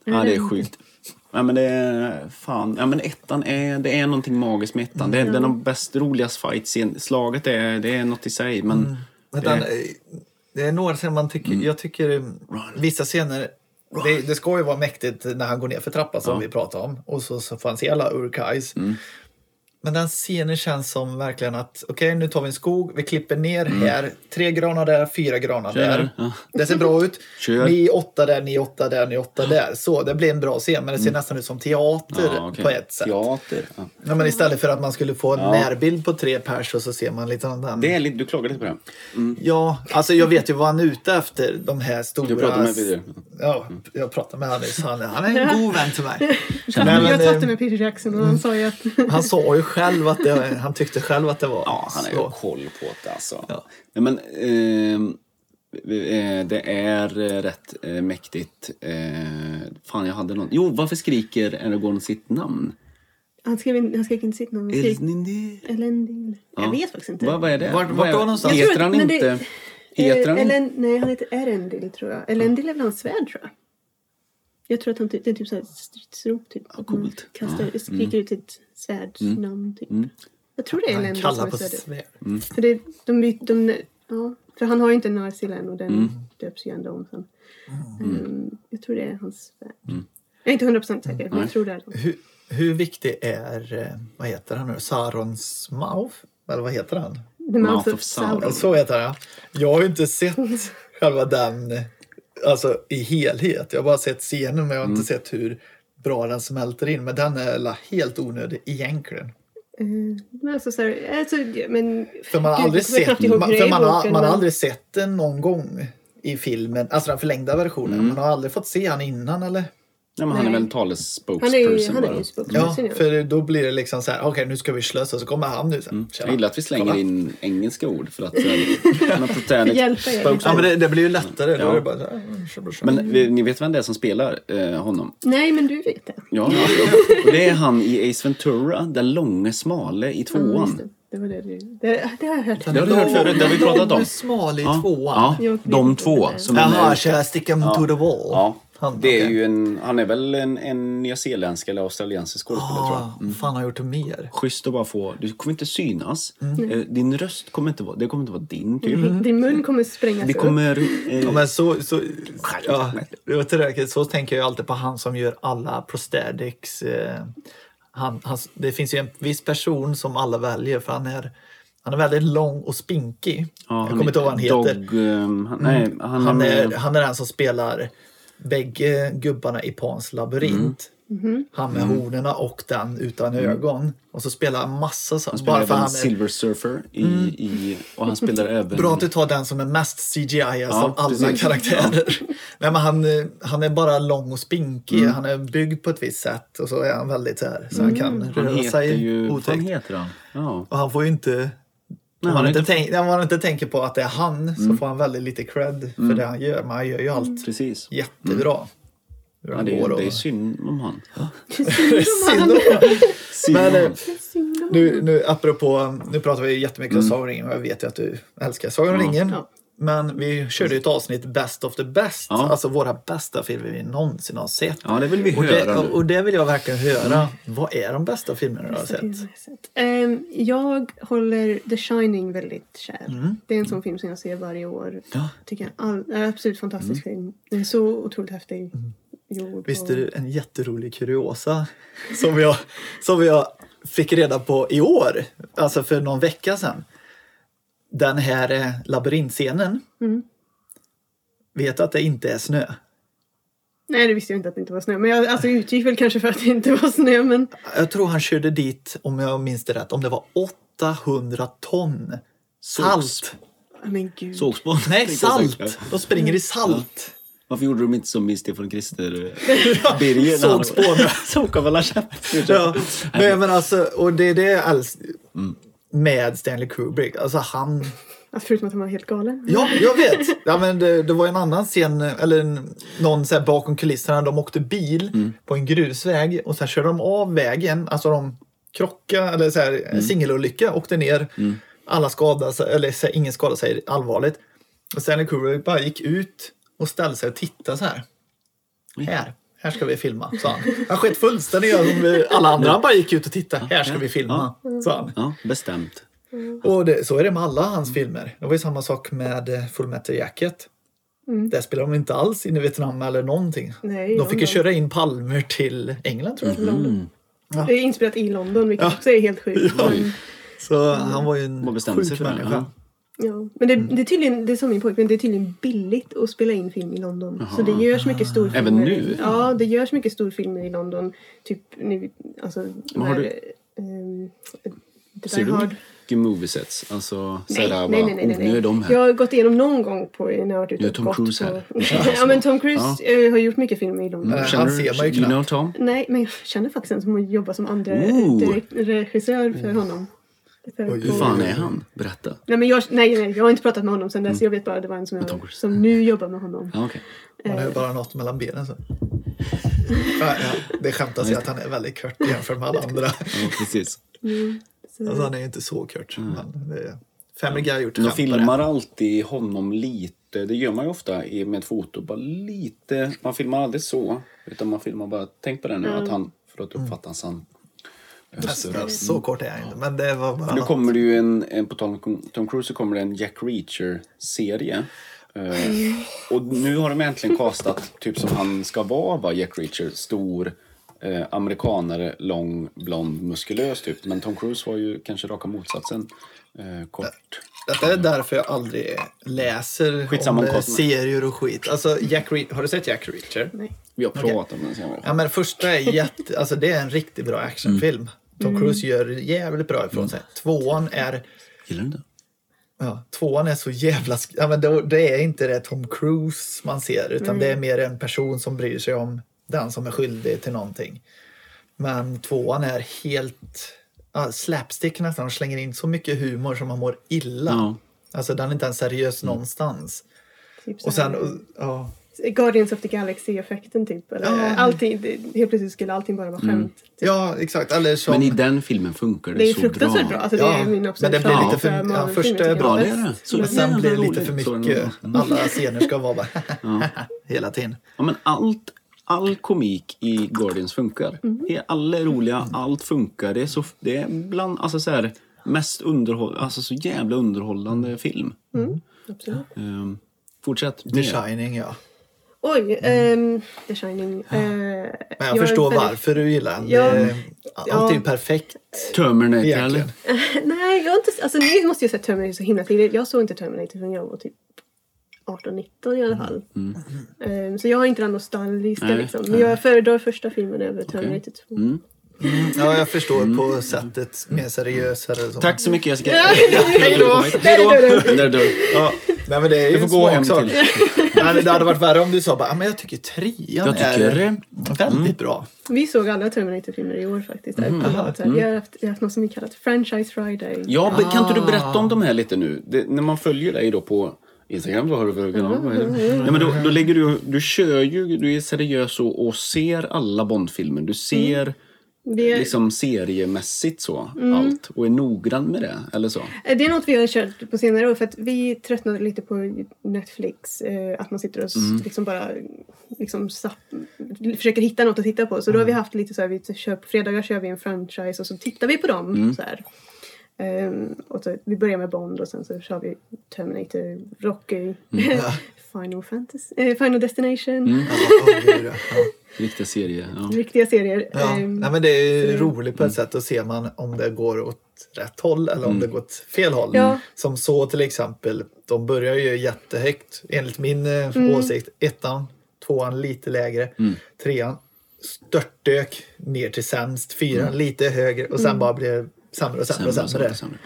ja det är sjukt. Ja, men det är, fan. Ja, men ettan är, det är någonting magiskt med ettan. Det är den av bäst roligast fight Slaget är, det är något i sig. Men
Men
det,
den, eh, det är några scener man tycker...
Mm.
Jag tycker eh, vissa scener... Det, det ska ju vara mäktigt när han går ner för trappan som vi pratade om. Och så, så får han se alla Urkais.
Mm.
Men den scenen känns som verkligen att okej, nu tar vi en skog, vi klipper ner här. Tre granar där, fyra granar där.
Mm. Ja.
Det ser bra ut.
Kör.
Ni åtta där, ni åtta där, ni åtta där. Så det blir en bra scen, men det ser nästan ut som teater
Mm. ja, okej.
på ett sätt.
Teater. Ja.
Ja, men istället för att man skulle få en närbild på tre pers och så ser man lite av den.
Det är lite, du klagade lite på det.
Ja, alltså jag vet ju vad han är ute efter. De här stora...
Du pratade med Peter.
Ja, jag pratade med han nyss. Han, han är en god vän till mig.
jag
Nej, men,
pratade
ehm,
eh,
med Peter Jackson och
mm.
han sa ju att
Han sa ju själv att det, han tyckte själv att det var
Ja, han har ju
så.
koll på det alltså.
Ja.
Nej, men, ehm, eh, det är eh, rätt eh, mäktigt. Eh, fan, jag hade någon. Jo, varför skriker Eragon sitt namn?
han skrev, in, han skrev inte sitt namn. Han skrev
Elnindi?
Elendil. Jag vet faktiskt inte.
Vad, vad är det?
Vart- vart
Vad är-
var någonstans?
Jag tror
Heter
att-
han
men det-
inte... Heter han
Eh,
inte...
Ellen, nej, han heter Erendil tror jag. Elendil är väl hans svärd tror jag. Jag tror att han ty- det är typ såhär stridsrop typ. Att man
coolt.
Kastar, skriker ut sitt svärdsnamn typ. Jag tror det är
Han
Elendil som
kallar
är
på
svärdet.
svärd.
För det, de, by- de, ja, för han har ju inte Narsil än och den döps ju ändå om sen. Ehm, jag tror det är hans svärd. Jag är inte 100% säker men jag tror det är det.
Hur, hur viktig är, eh, vad heter han nu, Sarons mouth? Eller vad heter han?
The Mouth,
Mouth
of,
of
alltså Sauron.
Sauron.
Så heter han. Jag har ju inte sett själva den eh, alltså, i helhet. Jag har bara sett scenen
Mm.
men jag har inte sett hur bra den smälter in. Men den är la helt onödig egentligen.
Eh, Men alltså så här, alltså, ja, men...
För man har
Gud,
aldrig
jag
sett,
kommer knappt ihåg
man,
hur det
för
är i
man har,
boken,
man har
men-
aldrig sett den någon gång i filmen, alltså den förlängda versionen.
Mm.
Man har aldrig fått se han innan eller?
Nej, men han är
Nej.
väl en talesspokesperson
Han är ju, han är
bara.
ju
Ja,
spokesperson. Ja,
för då blir det liksom så här, okej nu ska vi slösa, så kommer han nu sen.
Mm. Jag gillar att vi slänger
Kolla.
in engelska ord för att... eh, men Titanic
Hjälpa er.
spokes-
Ja men det, det blir ju lättare. Då
Ja.
är det bara så här, mm, tjabba, tjabba.
Men vi- ni vet vem det är som spelar eh, honom?
Nej, men du vet det.
Ja, och det är han i Ace Ventura, den långe smale i
Ja, just
tvåan.
det. Det var det du... Det, det har jag hört.
Det har du hört förut, det har vi pratat om.
är smal i
Ja,
tvåan.
Ja, de två. Som
Jaha,
är,
kör jag stick 'em to the wall?
ja,
Han-
det är
okej.
ju en, han är väl en, en nyzeeländsk eller australiensisk skådespelare tror jag.
Ah, vad fan har jag gjort mer?
Schysst att bara få, du kommer inte synas. Eh, Din röst kommer inte vara, det kommer inte vara din typ.
Din mun kommer sprängas
Det kommer... eh,
Ja, men så, så, ja, det var tillräckligt. så tänker jag alltid på han som gör alla prosthetics. eh, Han, han, det finns ju en viss person som alla väljer för han är, han är väldigt lång och spinkig.
ja,
jag kommer inte ihåg vad han heter. Mm.
Dog, eh, han, nej, han,
Han är, han är den som spelar bägge gubbarna i Pans labyrint.
Mm.
Han med hornorna och den utan ögon. Och så spelar han massa så.
spelar
bara för
även
han är, Mm.
Silver Surfer i, i, och han spelar även...
bra att du tar den som är mest CGI alltså av alla
precis.
karaktärer. Nej, men han, eh, han är bara lång och spinkig.
Mm.
Han är byggd på ett visst sätt och så är han väldigt så här. Så han kan
Han
röra
heter
sig
ju... Vad fan
otäckt.
heter han? Ja.
Och han får ju inte...
Nej,
om,
han
man
är Mm.
inte tänk, om man inte tänker på att det är han så får han väldigt lite cred för det han gör. Men han gör ju allt
Precis.
jättebra. Hur
Mm. Ja,
han
det,
går
är,
och...
det är synd om han.
Synd om honom.
Synd om
Men eh,
han.
nu, nu, apropå, nu pratar vi jättemycket
Mm.
om Sagan om ringen och jag vet ju att du älskar Sagan om ringen.
Ja.
Men vi körde ju ett avsnitt Best of the Best,
Ja.
alltså våra bästa filmer vi någonsin har sett.
Ja, det vill vi
och, det,
höra nu. Mm.
och det vill jag verkligen höra. Vad är de bästa filmerna du har sett?
Ehm, jag håller The Shining väldigt kär. Det är en sån film som jag ser varje år.
Mm. Ja. Mm.
Tycker jag all, är en absolut fantastisk film. Den är så otroligt häftig. Gjord
Visst
och-
är det en jätterolig kuriosa som jag, som jag fick reda på i år, alltså för någon vecka sedan. Den här eh, labyrintscenen. Vet att det inte är snö?
Nej, det visste jag inte att det inte var snö. Men jag alltså, utgick väl kanske för att det inte var snö. Men
Jag tror han körde dit, om jag minns det rätt, om det var 800 ton salt.
Ja, Ah, men gud.
Sågs på.
Nej,
tänkte jag säga.
salt! De springer i salt.
Varför gjorde de inte som i Stefan Krister eh, Birger? när han-
Sågs på.
Såg av alla käften.
Ja, men, men alltså, och det är det jag älsk- med Stanley Kubrick. Alltså han...
Ja, Alltså, förutom att han var helt galen.
Ja, jag vet. Ja, men det, det var en annan scen, eller en- någon så här bakom kulisserna. De åkte bil på en grusväg och sen körde de av vägen. Alltså de krockade, eller så här, singelolycka, åkte ner. Alla skadade sig, eller så här, ingen skadade sig allvarligt. Och Stanley Kubrick bara gick ut och ställde sig och tittade så här. Här. Här ska vi filma, sa han. Han sket fullständigt i som alla andra. Han bara gick ut och tittade. Här ska vi filma, sa han.
Ja, bestämt.
Och det, så är det med alla hans filmer. Det var ju samma sak med eh, Full Metal Jacket. Där spelar de inte alls in i Vietnam eller någonting.
Nej,
de fick ju
London.
köra in palmer till England tror
Mm-hmm.
jag.
London. Det är inspelat i London, vilket också är helt sjukt. Men,
Så han var ju
Man
en
bestämde sig
sjuk
för det.
människa.
Ja.
ja. men det,
Mm.
det är tydligen, det är som min pojkvän, det är tydligen billigt att spela in film i London. Så det görs mycket storfilmer.
Även nu?
Ja, det görs mycket storfilmer i London. Typ nu, alltså... de
har
här,
du-
ehm, Det
Ser
där
du
hard.
mycket moviesätts? Alltså,
Nej,
sådär bara,
nej, nej, nej,
oh, nu är de här.
Jag har gått igenom någon gång på när jag har varit ute
Nu är
och
Tom
gått
Cruise
på...
här. Mm.
ja, men Tom Cruise eh, har gjort mycket filmer i London.
han
Känner
ser man
du,
ju
you know
knappt.
Tom?
Nej, men jag känner faktiskt en som att jobba som andra
Ooh.
direkt, regissör för honom. För-
Oj,
Hur
på-
fan är han? Berätta.
Nej, men jag, nej, nej, jag har inte pratat med honom sen
Mm.
dess. Jag vet bara att det var en som,
Tom
jag,
Cruise.
som nu jobbar med honom.
Ja, okej.
Han har ju bara något mellan benen så. Ja, ja, det skämtas ju att han är väldigt kort jämfört med alla andra.
ja, precis.
Så,
Alltså han är ju inte så kort. Men det är... Family Guy har gjort
De
skämt på det.
Mm. filmar alltid honom lite. Det gör man ju ofta i- med foto. Bara lite. Man filmar aldrig så. Utan man filmar bara, tänk på det nu,
Mm.
att han, för att uppfatta hans han.
Alltså, så kort är jag inte. Men det var bara...
Nu kommer det ju en, en på tal om Tom Cruise, så kommer det en Jack Reacher-serie. Eh, och nu har de äntligen kastat typ som han ska vara, va, Jack Reacher. Stor eh, amerikanare, lång, blond, muskulös typ. Men Tom Cruise var ju kanske raka motsatsen. Eh, kort.
Detta är därför jag aldrig läser
Skitsamma om
om eh,
kostnader.
serier och skit. Alltså, Jack Re- har du sett Jack Reacher?
nej.
Vi har pratat om den senare. Mm.
Ja, men första är jätte... Alltså, det är en riktigt bra actionfilm. Tom Cruise gör jävligt bra ifrån sig. Tvåan är,
Gillar du det?
ja, tvåan är så jävla... sk- Ja, men det, det är inte det Tom Cruise man ser utan det är
Mm.
mer en person som bryr sig om den som är skyldig till någonting. Men tvåan är helt ja, slapstick nästan. De slänger in så mycket humor som man mår illa.
Ja. Mm.
Alltså den är inte ens seriös någonstans.
Typ så
Och
här-
sen, ja.
Guardians of the Galaxy-effekten typ. Eller,
Ja. Mm.
allting, det- helt plötsligt skulle allting bara vara skämt.
Ja, exakt. Eller som...
Men i den filmen funkar det,
Det är
så bra.
fruktansvärt bra. Alltså, det
Ja,
är min
men
absolut
det blir
favorit
lite för- ja,
Marvel-filmer,
första är
tycker jag.
bra, det är det. Så-
Men sen
jävla
blir det lite
roligt.
för
Så är det
mycket. Alla scener ska vara bara hela tiden.
Ja, men allt, all komik i Guardians funkar. Det är- Alla är roliga, allt funkar. Det är, så, det är bland alltså, så här, mest underhåll, alltså, så jävla underhållande film.
Absolut.
Ehm, fortsätt.
The
mer.
Shining, ja.
Oj, ehm, The Shining. eh,
Men Mm. jag,
är
förstår
väldigt-
varför du gillar den.
Ja.
Det- Allt är ju
Ja.
perfekt
Terminator, eller?
egentligen.
Nej, jag har inte... Alltså ni måste ju ha sett Terminator så himla tidigt. Jag såg inte Terminator förrän jag var typ 18-19 i alla fall. Ehm, så jag har inte den nostalgiska
Mm. Nej. Mm.
liksom. Men jag föredrar första filmen över Terminator 2.
Ja, jag förstår på sättet. Mer seriösare. Så.
Tack så mycket Jessica.
Hej då!
Där dör du.
Ja. Nej, men det är
Du får
ju en
gå
svår
hem
sak.
till.
Nej, men Det hade varit värre om du sa bara, "Ah, men jag tycker trean
Jag tycker
är väldigt bra.
Vi såg alla Terminator-filmer i år faktiskt. Där på låt. Vi har haft, vi har haft något som vi kallat Franchise Friday.
Mm. Ja, men kan inte du berätta
Ah.
om de här lite nu? Det, när man följer dig då på Instagram, vad har du för kanal? Vad är det? Nej, men då, då lägger du, du kör ju, du är seriös och, och ser alla Bondfilmer. Du ser
Det, är- Mm.
liksom seriemässigt så allt och är noggrann med det eller så.
Eh, det är något vi har kört på senare år för att vi tröttnade lite på Netflix. Eh, att man sitter och s- liksom bara liksom zapp- försöker hitta något att titta på. Så då har vi haft lite så här, vi kör, på fredagar kör vi en franchise och så tittar vi på dem. Så här. Ehm, och så, vi börjar med Bond och sen så kör vi Terminator, Rocky, Final, Fantasy, eh, Final Destination.
Ja,
Mm.
åh, gud, ja. Ja.
Riktiga serier. Ja.
Riktiga serier.
Ja.
Ehm,
Nej, men det är ju roligt på ett sätt. Då ser man om det går åt rätt håll eller om det går åt fel håll.
Ja.
Som så till exempel, de börjar ju jättehögt enligt min eh,
Mm.
åsikt. Ettan, tvåan lite lägre, trean störtdök ner till sämst, fyran lite högre och
Mm.
sen bara blir det sämre och sämre,
Sämre,
och sämre.
sämre, sämre.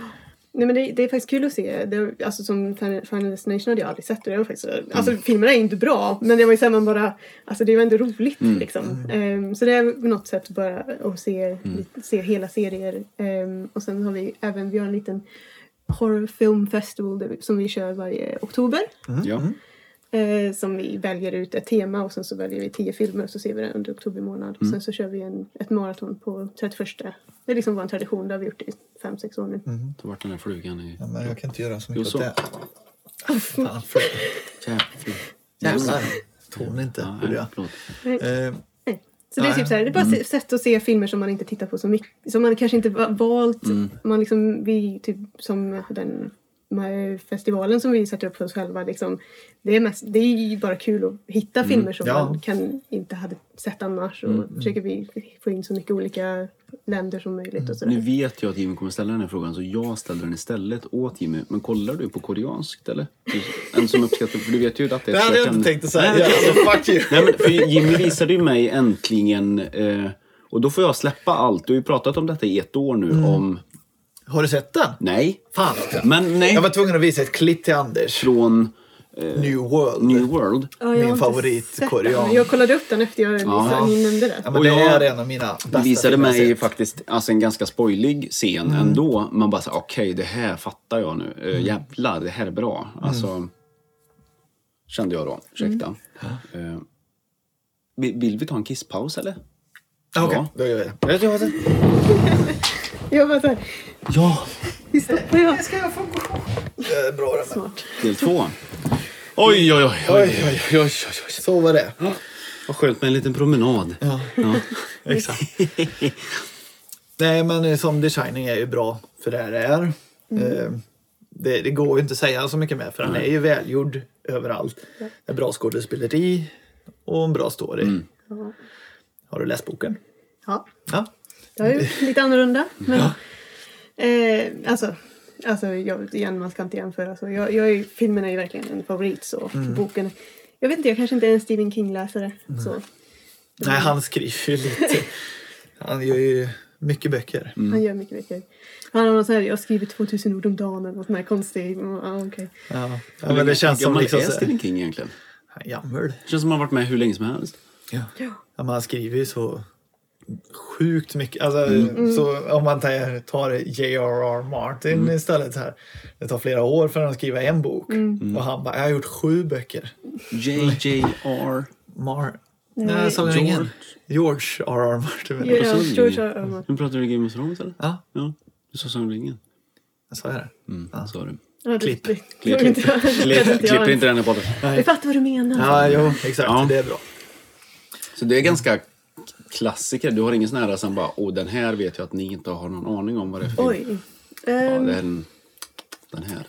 Nej men det, det är faktiskt kul att se. Det, alltså som Fin- Final Destination hade jag aldrig sett och det var faktiskt sådär- Alltså filmerna är ju inte bra men det var ju såhär man bara, alltså det var ändå roligt liksom. Ehm, så det är på något sätt bara att se, se hela serier. Ehm, och sen har vi även, vi har en liten Horror Film Festival där vi, som vi kör varje oktober.
Mm.
Ja.
Eh, som vi väljer ut ett tema och sen så väljer vi tio filmer och så ser vi det under oktober månad. Och sen så kör vi en, ett maraton på 31. Det är liksom vår tradition, det har vi gjort i fem sex år nu.
Då vart den här flugan i...
Ja, men jag kan inte göra så mycket
Jo, så.
åt det. Fan, för-
Jävlar.
Jävlar, tror ni inte,
Nej,
hörde jag.
förlåt.
Eh,
Nej. Så det är
Nej. Mm.
typ så här, det är bara ett sätt att se filmer som man inte tittar på så mycket. Som man kanske inte va- valt.
Mm.
Man liksom, vi typ som den de här festivalen som vi sätter upp för oss själva. Liksom, det, är mest, det är ju bara kul att hitta filmer som
Mm. Ja. Mm.
man kan inte hade sett annars. Och försöker vi få in så mycket olika länder som möjligt
Mm.
och sådär.
Nu vet jag att Jimmy kommer ställa den här frågan så jag ställer den istället åt Jimmy. Men kollar du på koreanskt eller? Du- En som uppskattar, för du vet ju att det är
det
ett
hade jag
sökande-
inte tänkt att säga.
Nej,
Alltså, fuck you.
Nej, men för Jimmy visade ju mig äntligen eh, och då får jag släppa allt. Du har ju pratat om detta i ett år nu
Mm.
om...
Har du sett den?
Nej.
Fan också.
Men nej.
Jag var tvungen att visa ett klipp till Anders.
Från
New World.
New World.
Ja, jag har
Min
inte
favorit
sett den.
korean.
Jag kollade upp den efter jag visade, ni nämnde det.
Ja, men
Och
det
jag-
är en av mina bästa
Det visade
filmer jag
mig
sett. Mm.
faktiskt alltså en ganska spoilig scen ändå. Man bara såhär, okej det här fattar jag nu. Eh, Jävlar, det här är bra.
Mm.
Alltså, kände jag då. Ursäkta. Eh, vi- vill vi ta en kisspaus eller?
Okej,
Ja.
då gör vi det.
Jag bara såhär,
Ja!
vi stoppar ju.
Det är bra det med.
Smart.
Del två. Oj, oj, oj. oj, oj, oj, oj, oj, oj.
Så var det.
Vad skönt med en liten promenad.
Ja,
Ja.
exakt. Nej, men eh, som The Shining är ju bra för det här det är.
Mm.
Eh, Det, det går ju inte att säga så mycket mer för den är ju välgjord överallt. Det är bra skådespeleri och en bra story.
Mm.
Ja.
Har du läst boken?
Ja.
Ja.
Det är ju lite annorlunda.
Mm.
Men, eh, alltså, alltså jag, igen, man ska inte jämföra. Så jag, jag är, filmen är ju verkligen en favorit. Så, och
Mm.
boken, jag vet inte, jag kanske inte är en Stephen
Mm.
King-läsare. Så.
Nej, han skriver ju lite. Han gör ju Mycket böcker.
Han gör mycket böcker. Han har någon sån här, jag har skrivit 2000 ord om dagen eller något sån här konstig. Mm, ah, okej.
Ja. Ja, men det känns som
Gammal
liksom...
är
så-
Stephen King egentligen?
Han är Gammal.
Det känns som att han har varit med hur länge som helst.
Ja. ja. men han skriver ju så sjukt mycket. Alltså,
Mm.
så om man tar, tar J.R.R. Martin
Mm.
istället. Så här. Det tar flera år för honom att skriva en bok.
Mm.
Mm.
Och han bara, jag har gjort sju böcker.
JJR.
Mar...
Nej.
Nej, jag sa
George.
ingen. George R.R. Martin. menar jag.
Ja,
så-
George R. R. Martin.
Nu pratar du Game of Thrones eller?
Ja,
Ja, du sa Sagan om ringen.
jag sa det.
Mm, sa du.
Ja, det-
Klipp.
det-
Klipp,
det- det- det- det- det-
Klipp, klipper
det-
inte den här podden.
Vi fattar vad du menar.
Ja, jo, exakt.
Ja.
Det är bra.
Så det är ganska klassiker. Du har ingen sån här som bara, åh den här vet jag att ni inte har någon aning om vad det är för film."
Oj.
Ja,
Ehm,
det är den, den här.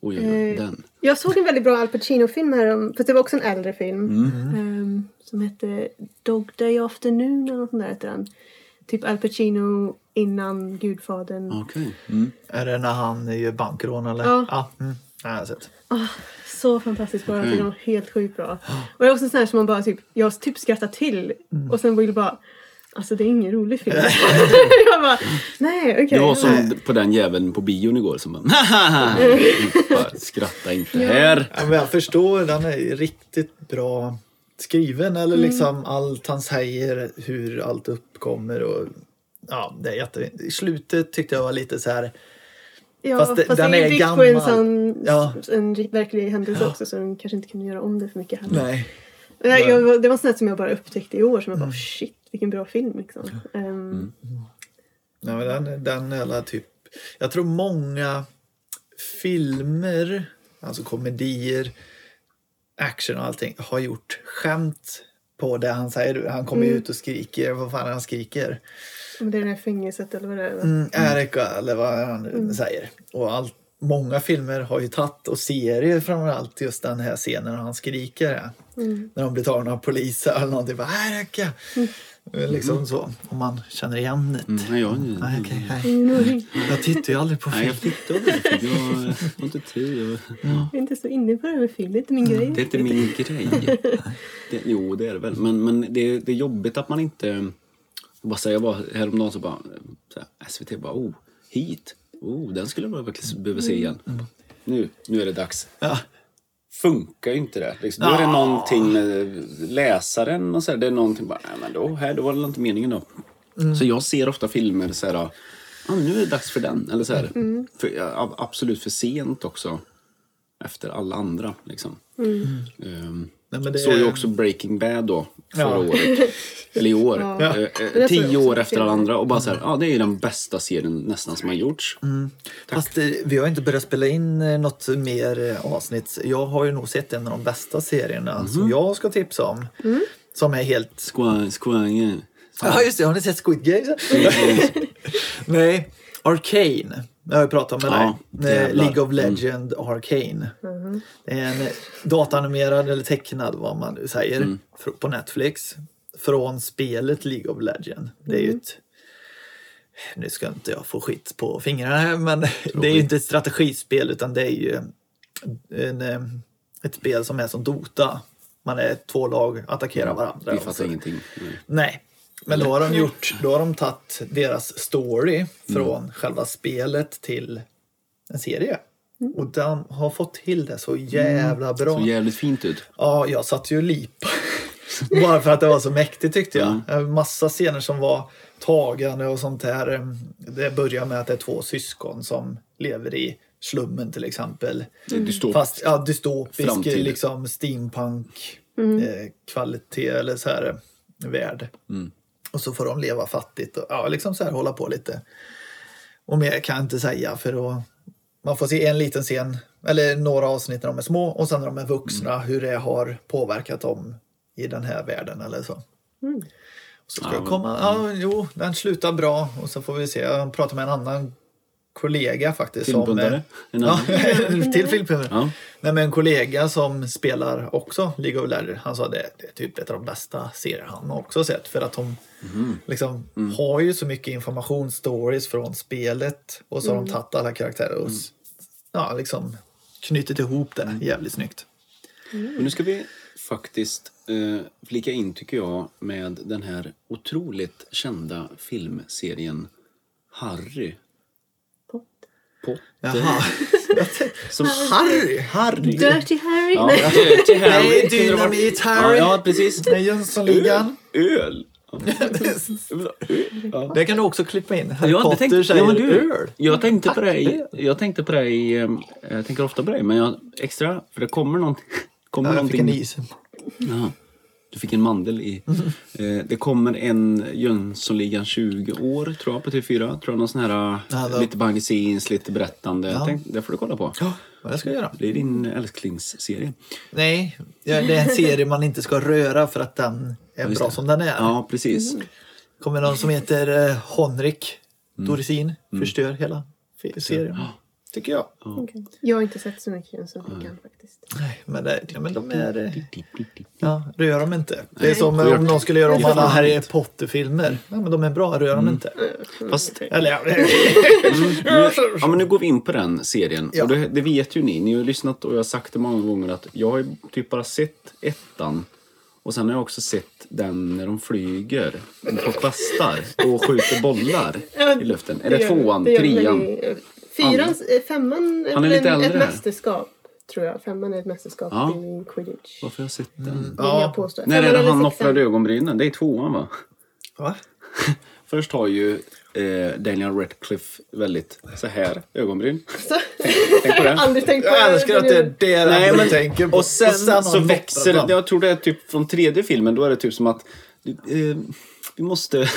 Oj, oj, oj,
Eh,
den.
Jag såg en väldigt bra Al Pacino-film härom, fast det var också en äldre film.
Mm.
ehm, som hette Dog Day Afternoon eller något sånt där hette den. Typ Al Pacino innan Gudfadern.
Okej. Mm.
Är det när han gör bankrån eller?
Ja.
mm. Ja, jag har sett.
Ah, så fantastiskt bra.
Okej.
Den var helt sjukt bra. Och det är också en sån här som man bara typ, jag typ skrattar till
Mm.
och sen vill bara Alltså det är ingen rolig film. jag bara, nej okej.
Det var som på den jäveln på bion igår som bara, "Hahaha." bara skratta inte här.
Ja, men jag förstår, den är riktigt bra skriven. Eller liksom allt han säger, hur allt uppkommer. Och, ja, det är jätte... I slutet tyckte jag var lite så här...
Ja,
Fast
fast,
det- den
det är
är
ju byggt på en
gammal.
sån
Ja.
en ri- verklig händelse också så de kanske inte kunde göra om det för mycket heller.
Nej.
Jag, jag, det var en sån här som jag bara upptäckte i år som jag
Mm.
bara shit vilken bra film liksom. Ehm,
Ja, men den, den jävla typ... Jag tror många filmer, alltså komedier, action och allting, har gjort skämt på det han säger. Han kommer ut och skriker, vad fan är han skriker?
men Det är det här fängelset eller vad det är. va?
Mm, Erika, eller vad han nu säger. Och allt, många filmer har ju tagit, och serier framförallt, just den här scenen när han skriker. När de blir tagna av polisen eller någonting. Bara, Erika! Liksom så. Om man känner igen det.
Mm, Nej, jag,
Nej,
nej,
okej, nej.
Ingen aning.
Jag tittar ju aldrig på film.
jag tittade inte. för Jag jag har inte tid. Jag,
Jag är inte så inne på det här med film, det är inte min grej.
Mm. Det är inte min grej. Det, jo, det är det väl. Men, men det, det är jobbigt att man inte... Jag bara säger, jag var häromdagen så bara... Så här, SVT bara, oh, hit. Oh, den skulle man verkligen behöva se igen. Nu, nu är det dags.
Ja.
Funkar ju inte det. Liksom, då är det någonting med läsaren och så här, Det är någonting bara, nej men då, här, då var det inte meningen då.
Mm.
Så jag ser ofta filmer så här, ah, nu är det dags för den. Eller så här,
Mm.
för, ja, absolut för sent också. Efter alla andra liksom.
Mm.
Ehm,
Nej, men det-
Såg ju också Breaking Bad då, förra
Ja.
året. Eller i år. Eh, eh,
jag
tio
också.
år efter alla andra. Och bara så här, ja det är ju den bästa serien nästan som har gjorts.
Mm. Fast eh, vi har inte börjat spela in eh, något mer eh, avsnitt. Jag har ju nog sett en av de bästa serierna som jag ska tipsa om. Som är helt...
Squang, squangen.
Ja, just det. Har ni sett Squid Games? Nej. Arcane. Jag har ju pratat med
Ja,
dig. Eh,
jävlar.
League of Legend Arcane. Det är en eh, datanimerad eller tecknad vad man nu säger fr- på Netflix. Från spelet League of Legend. Det är ju ett nu ska inte jag få skit på fingrarna här, men det är ju inte ett strategispel utan det är ju en, eh, ett spel som är som Dota. Man är två lag, attackerar varandra.
Vi
och så-
fattar ingenting. Nej.
Nej, Mm. men då har de gjort, då har de tagit deras story från själva spelet till en serie. Och de har fått till det så jävla bra.
Såg jävligt fint ut.
Ja, jag satt ju och lipa. Bara för att det var så mäktigt tyckte jag. Mm. Massa scener som var tagande och sånt här. Ehm, Det börjar med att det är två syskon som lever i slummen till exempel.
Det är dystopiskt.
Fast ja, dystopisk
Framtid.
liksom steampunk eh, kvalitet eller så här eh, värld.
Mm.
Och så får de leva fattigt och ja, liksom så här hålla på lite. Och mer kan jag inte säga för då man får se en liten scen eller några avsnitt när de är små och sen när de är vuxna hur det har påverkat dem i den här världen eller så. Så ska
Ja,
jag komma. Ja, jo, den slutar bra och så får vi se. Jag pratar med en annan kollega faktiskt. som- eh,
Filmpundare? En
Ja,
annan?
till filmpundare.
Ja.
Nej, men en kollega som spelar också League of Legends, han sa det, det är typ ett av de bästa serier han också sett. För att de
Mhm.
liksom
Mm.
har ju så mycket information, stories från spelet och så har
Mm.
de tagit alla karaktärer och s- ja, liksom knutit ihop det jävligt snyggt.
Men nu ska vi faktiskt eh, flika in, tycker jag, med den här otroligt kända filmserien Harry
Pot.
Potter.
Jaha.
Som
Harry!
Harry.
Dirty Harry!
Ja,
Nej.
Dirty Harry.
Nej,
tyckte det var-
Dynamit
Ja,
Harry.
ja, precis.
Nej, Jönssonligan.
Öl. Ja.
Det kan du också klippa in. Harry
Jag hade
Potter
tänkt-
säger
ja, men du,
öl.
Jag tänkte på dig, jag tänkte på dig, ehm, jag tänker ofta på dig, men jag, extra, för det kommer någonting. Kommer
Ja, jag fick
någonting
en is.
Ja. Du fick en mandel i. Eh, det kommer en Jönssonligan 20 år, tror jag, på TV4. Tror jag någon sån här,
Ja, då-
lite behind the scenes, lite berättande. Jag tänkte, det får du kolla på.
Ja, vad jag ska göra.
Det är din älsklingsserie.
Nej, ja, det är en serie man inte ska röra för att den är
Just
bra
det.
som den är.
Ja, precis.
Mm. kommer någon som heter eh, Honrik
Mm.
Dorisin. Förstör hela fi- serien. Tycker jag.
Okej. Jag har inte sett så mycket Jönssonligan faktiskt.
Nej, men, det, ja, men de är... eh, Ja, rör dem inte. Det är
Nej.
som eh,
Rört.
om någon skulle göra om
Rört.
alla Harry Potter-filmer. Ja, men de är bra, rör
Mm.
dem inte.
Fast
Eller ja,
nu, ja, men nu går Mm. vi in på den serien.
Ja.
Och det, det vet ju ni. Ni har ju lyssnat och jag har sagt det många gånger att jag har ju typ bara sett ettan. Och sen har jag också sett den när de flyger på kvastar och skjuter bollar
Ja,
i luften.
Det
Eller
gör-
tvåan,
det gör väl
trean.
i- Fyran, eh, femman är,
Han är
väl
lite
en, ett
äldre.
mästerskap. Tror jag. Femman är ett mästerskap
Ja.
i quidditch.
Varför har jag sett den?
Vill jag påstå.
När är
Femman
det
eller
han
sexan?
offrade ögonbrynen? Det är tvåan va?
Va?
Först har ju eh, Daniel Radcliffe väldigt så här ögonbryn.
Så-
Tänk på
Jag
det.
har aldrig tänkt på
Jag älskar att det är det
Nej,
Nej,
men-
men, tänker på.
Och sen,
har
så
de
växer
moppat
det.
dem.
Jag tror det är typ från tredje filmen. Då är det typ som att du, eh, vi måste,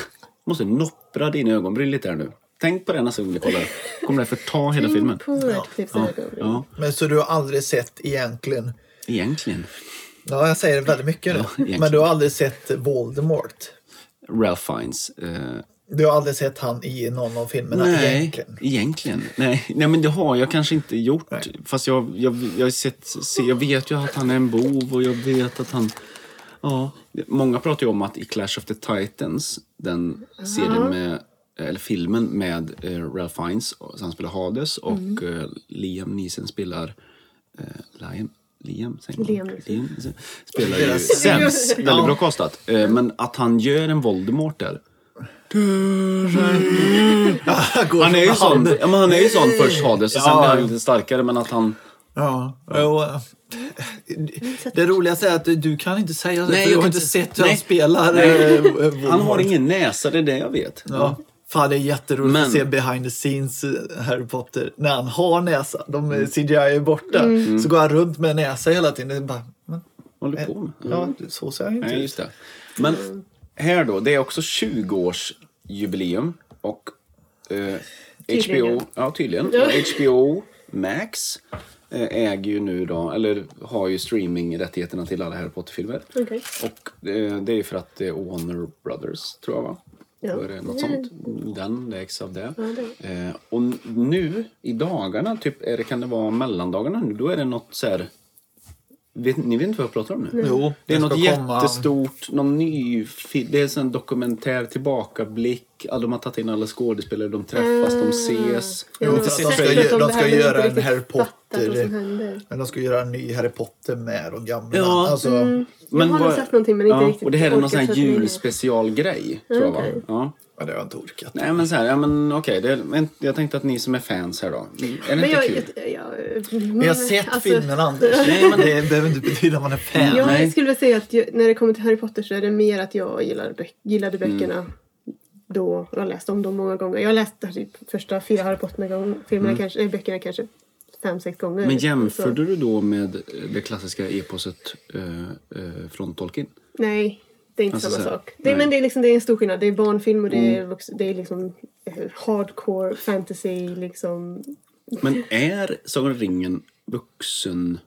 måste noppra dina ögonbryn lite här nu. Tänk på det nästa gång du kollar. Kommer det här förta hela filmen?
På Radcliffes
Ja,
ögonbryn.
ja,
Men så du har aldrig sett egentligen...
egentligen.
Ja, jag säger väldigt mycket nu.
egentligen.
men du har aldrig sett Voldemort.
Ralph Fiennes. Eh,
Du har aldrig sett han i någon av filmerna
nej,
egentligen.
egentligen. Nej, nej, men det har jag kanske inte gjort.
Nej.
Fast jag, jag, jag, har sett, se, jag vet ju att han är en bov och jag vet att han... Ja, många pratar ju om att i Clash of the Titans, den serien med, eller filmen med eh, Ralph Fiennes, och- så han spelar Hades och eh, Liam Neeson spelar... Eh, Liam? Liam, säger man.
Liam Neeson.
Neeson Spelar ju
Spelar
Sens.
Sens.
Väldigt bra kastat. Eh, men att han gör en Voldemort där. Han är ju sån, ja, men han är ju sån först Hades och sen
Ja.
blir han lite starkare men att han...
Ja, och, det roligaste är att du kan inte säga det,
Nej,
för du
jag
har
kan
inte
inte-
sett hur han
nej.
spelar. eh, Voldemort.
Han har ingen näsa, det är det jag vet.
Ja. Fan, det är jätteroligt
Men-
att se behind the scenes eh, Harry Potter när han har näsa. De
Mm.
eh, CGI är borta. Så går han runt med näsa hela tiden. Det är bara, men, eh,
Vad håller du Mm. på med?
ja, så ser han ju inte
typ.
Nej,
ut.
just det. Men här då, det är också 20-årsjubileum och eh,
Tydligen.
HBO, ja, tydligen.
Ja.
HBO Max eh, äger ju nu då, eller har ju streamingrättigheterna till alla Harry Potter-filmer.
Okej.
Och eh, det är ju för att det är Warner Brothers, tror jag va?
Ja.
Då är det något sånt. Den läggs av det.
det
Eh, och nu i dagarna, typ, är det, kan det vara mellandagarna nu, då är det något så här... Vet, ni vet inte vad jag pratar om nu?
Jo,
Det är
den
något
ska komma.
jättestort, någon ny fi- Det är en dokumentär tillbakablick. Alla, de har tagit in alla skådespelare, de träffas,
Mm.
de ses.
Jag
har
har
inte
fast
sett
de ska
trailern.
ju-
sett Mm. att
de ska
här, men
göra
inte
en
riktigt
Harry
fattat vad som
Potter-
händer.
Men de ska göra en ny Harry Potter med de gamla.
Ja. Mm.
Alltså,
Jag har nog
vad-
sett någonting, men inte riktigt
Och det här är någon
orkat
sån här
sätta mig in i det.
julspecialgrej, tror jag va?
Okej.
Ja.
ja, det har jag inte orkat.
Nej men så här, ja men okej. det är- men jag tänkte att ni som är fans här då. Är det
Men
inte
jag,
kul?
jag, jag,
Men jag har
men,
sett
alltså,
filmen Anders.
Nej, men-
det behöver inte betyda att man är fan.
Jag
Nej.
skulle väl säga att ju, när det kommer till Harry Potter så är det mer att jag gillar bö- gillade böckerna då. Jag har läst om dem många gånger. Jag har läst typ första fyra Harry Potter-filmerna, kanske, nej, böckerna kanske fem, sex gånger.
Men jämförde
Så-
du då med eh, det klassiska eposet eh, eh, från Tolkien?
Nej, det är inte
Alltså
samma
så här,
sak. Det, är-
nej.
men det är, liksom, det är en stor skillnad. Det är barnfilm och det är, vux, det är liksom eh, hardcore fantasy. Liksom.
Men är Sagan om ringen vuxen...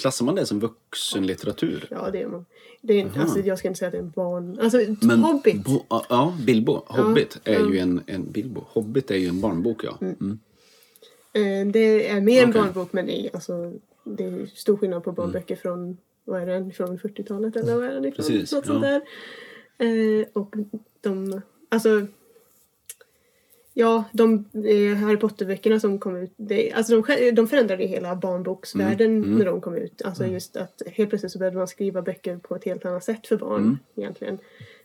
Klassar man det som vuxenlitteratur?
Ja, det är man. Det är, inte- alltså, jag ska inte säga att det är en barn... Alltså, Hobbit.
Bo, ja, ja, Bilbo. Hobbit är ju en, en... Bilbo. Hobbit är ju en barnbok, ja. Mm.
Eh, Det är mer en
Okej. Mm.
barnbok men det är, alltså, det är stor skillnad på barnböcker från vad är den från 40-talet eller vad är den ifrån?
Precis,
Något
ja.
sånt där. Eh, och de, alltså Ja, de eh, Harry Potter-böckerna som kom ut, det, alltså de, skär- de förändrade ju hela barnboksvärlden
Mm,
när de kom ut. Alltså just att helt plötsligt så började man skriva böcker på ett helt annat sätt för barn
Mm.
egentligen.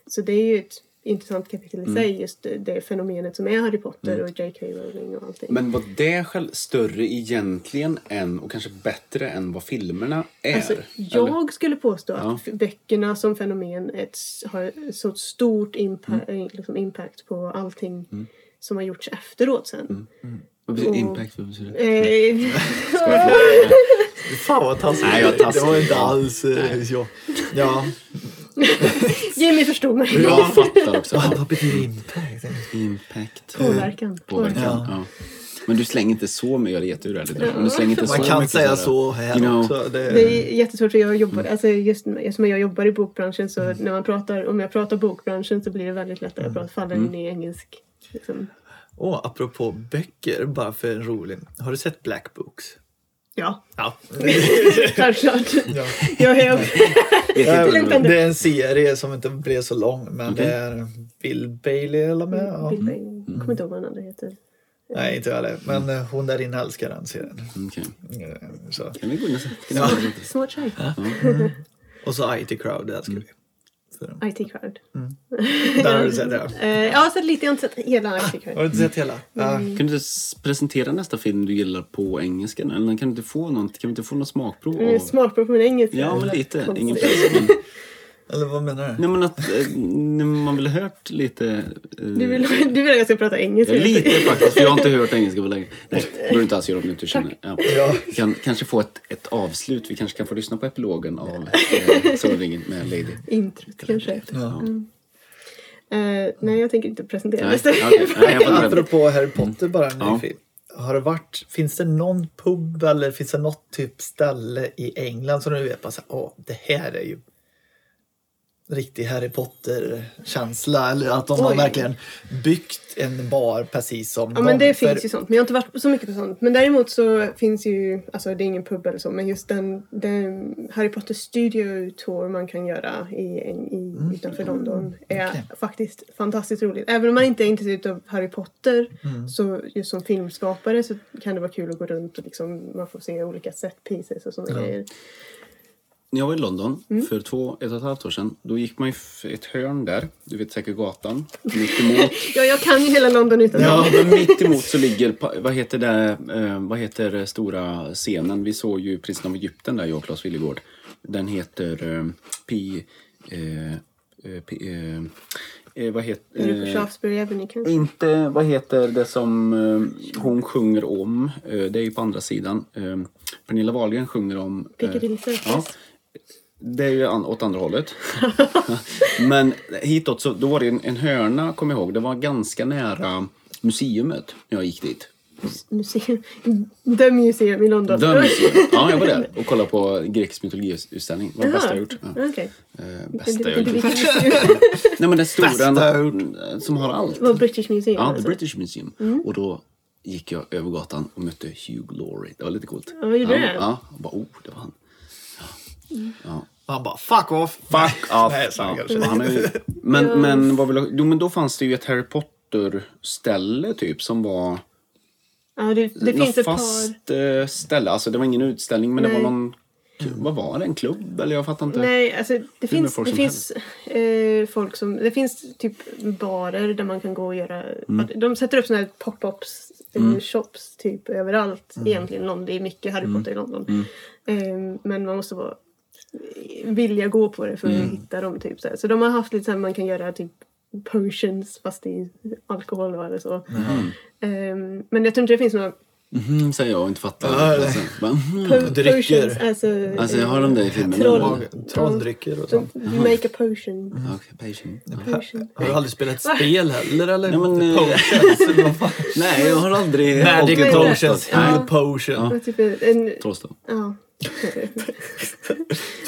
Så det är ju ett intressant kapitel i sig, just det, det fenomenet som är Harry Potter
Mm.
och J.K. Rowling och allting.
Men var det själv större egentligen än, och kanske bättre än vad filmerna är?
Alltså, jag
Eller?
skulle påstå att böckerna som fenomen är ett, har så stort impa-
Mm.
liksom impact på allting som har gjorts efteråt sen.
Mm. Vad betyder
och-
impact? Vad betyder det?
Eh,
Fan vad taskigt.
Nej, jag är taskig.
Det var inte alls... eh, Ja. ja.
Jimmy förstod mig.
Jag fattar också.
Vad
Ja,
vad betyder impact?
impact.
Påverkan.
Påverkan.
Ja.
Ja. Men du slänger inte så mycket. Jag är jätteurärlig där. Men du slänger inte så
Man kan
mycket
säga
här,
så här
you know.
också. Det,
Det är jättesvårt för jag
Mm.
jobbar, alltså just eftersom jag jobbar i bokbranschen så när man pratar, om jag pratar bokbranschen så blir det väldigt lätt att
Mm.
jag pratar, faller in i engelsk. Liksom.
Åh, apropå böcker, bara för en rolig. Har du sett Black Books?
Ja,
Ja.
självklart.
Ja.
Jag är
Vet inte
Till en
vad-
pendel.
Det är en serie som inte blev så lång, men det är Bill Bailey eller med. Ja.
Bill Bailey. Kommer inte ihåg vad den andra heter.
Nej, inte jag heller. Men eh, hon där inne älskar den serien.
Okej.
Eh, Så.
Kan vi gå in och se?
Ja.
Smart tjej.
Och så IT Crowd, det älskar vi. Så.
Äh?
IT Crowd.
Där har du sett det.
Eh, jag har sett lite, jag har inte sett hela IT Crowd.
Har du inte sett
Mm.
hela? Ja.
Kan du inte s- presentera nästa film du gillar på engelska? Eller kan, du inte få någon, kan vi inte få något smakprov?
Men det är
Av?
Smakprov på min engelska.
Ja, men lite.
Mm, Konstigt.
Ingen press. Men,
Eller vad menar du?
nej, men att eh, när man vill ha hört lite... eh,
Du vill, du vill att jag ska prata engelska?
ja, lite faktiskt, för jag har inte hört engelska på länge. Nej, det behöver du inte alls göra om du inte känner. Ja.
Ja.
Vi kan kanske få ett, ett avslut. Vi kanske kan få lyssna på epilogen av eh, Solringen med Lady.
Introt kanske. Mm.
Ja.
Eh, nej, jag tänker inte presentera
Nej,
nästa
okej. Nej, jag fattar.
Mm.
Apropå Harry Potter bara en
Ja.
nyfiken. Har det varit, finns det någon pub eller finns det något typ ställe i England som du vet bara så här, åh, det här är ju riktig Harry Potter-känsla eller att de har
Oj.
verkligen byggt en bar precis som
Ja men
dem.
det
För-
finns ju sånt. Men jag har inte varit på så mycket på sånt. Men däremot så finns ju, alltså det är ingen pub eller så, men just den, den Harry Potter Studio Tour man kan göra i, i,
Mm.
utanför London är
Okej.
faktiskt fantastiskt roligt. Även om man inte är intresserad av Harry Potter
Mm.
så just som filmskapare så kan det vara kul att gå runt och liksom man får se olika set pieces och sådana grejer.
När jag var i London
Mm.
för två, ett och ett halvt år sedan, då gick man ju f- ett hörn där. Du vet säkert gatan. Mitt emot
Ja, jag kan ju hela London utan
Ja, men mitt emot så ligger, pa- vad heter det, eh, vad heter eh, stora scenen? Vi såg ju Prinsen av Egypten där, jag och Claes Willegård. Den heter eh, Pi... Eh, eh, pi eh, eh, vad
Är du på
heter... Eh,
Shaftesbury Avenue kanske?
inte, vad heter det som eh, hon sjunger om? Eh, det är ju på andra sidan. Eh, Pernilla Wahlgren sjunger om... eh,
Piccadilly Circus.
ja. Det är ju an- åt andra hållet. Men hitåt så då var det en, en hörna, kommer jag ihåg. Det var ganska nära museet när jag gick dit.
Museum. The Museum i London.
The museum. Ja, jag var där och kollade på grekisk mytologiutställning. Det var det bästa jag gjort. Ja.
Jaha, okej.
Eh,
Det-
bästa
det-
jag
det-
gjort.
det-
Nej, men det stora
Bästa jag gjort.
eh, som har allt.
Det var British Museum.
Ja, The
alltså.
British Museum. Och då gick jag över gatan och mötte Hugh Laurie. Det var lite coolt.
Ja, vad gjorde
ja,
det?
Ja, jag bara, oh, det var han.
Man bara fuck off!
Fuck off!
Nej, så
ja.
kanske.
han är ju, men, men, vad vill jag, jo, men då fanns det ju ett Harry Potter-ställe typ som var...
Ja, det, det
något
finns ett par...
fast eh, ställe. Alltså det var ingen utställning men det
Nej.
var någon... Vad var det? En klubb? Eller jag fattar inte.
Nej, alltså det
med
finns,
folk
det
som
finns eh, folk som... Det finns typ barer där man kan gå och göra...
Mm.
De sätter upp såna här pop-ups, eh, shops typ överallt
Mm.
egentligen. London, det är mycket Harry Potter i London. Eh, men man måste vara vilja gå på det för att
Mm.
hitta dem. Typ, så, här. så de har haft lite så här, man kan göra typ potions fast i alkohol va, eller så.
Mm.
Eh, men jag tror inte det finns några
Mhm, säger jag och inte fattar.
Ja, nej.
alltså, bara, mhm.
po-
Drycker.
potions. Alltså,
alltså
eh,
jag har dem där i filmen.
Troll.
eller?
Mag- Trolldrycker och sånt.
You make a potion.
Ja, Okej, patient. Ja.
Potion.
Har du aldrig spelat ett spel heller? Eller?
Nej, men, eh,
Potions? vad fan?
Nej, jag har aldrig...
Magic
aldrig-
eh,
potions,
Potions.
Nej,
inte potion.
Och Typ en,
Trollstav.
ja, I
alltså.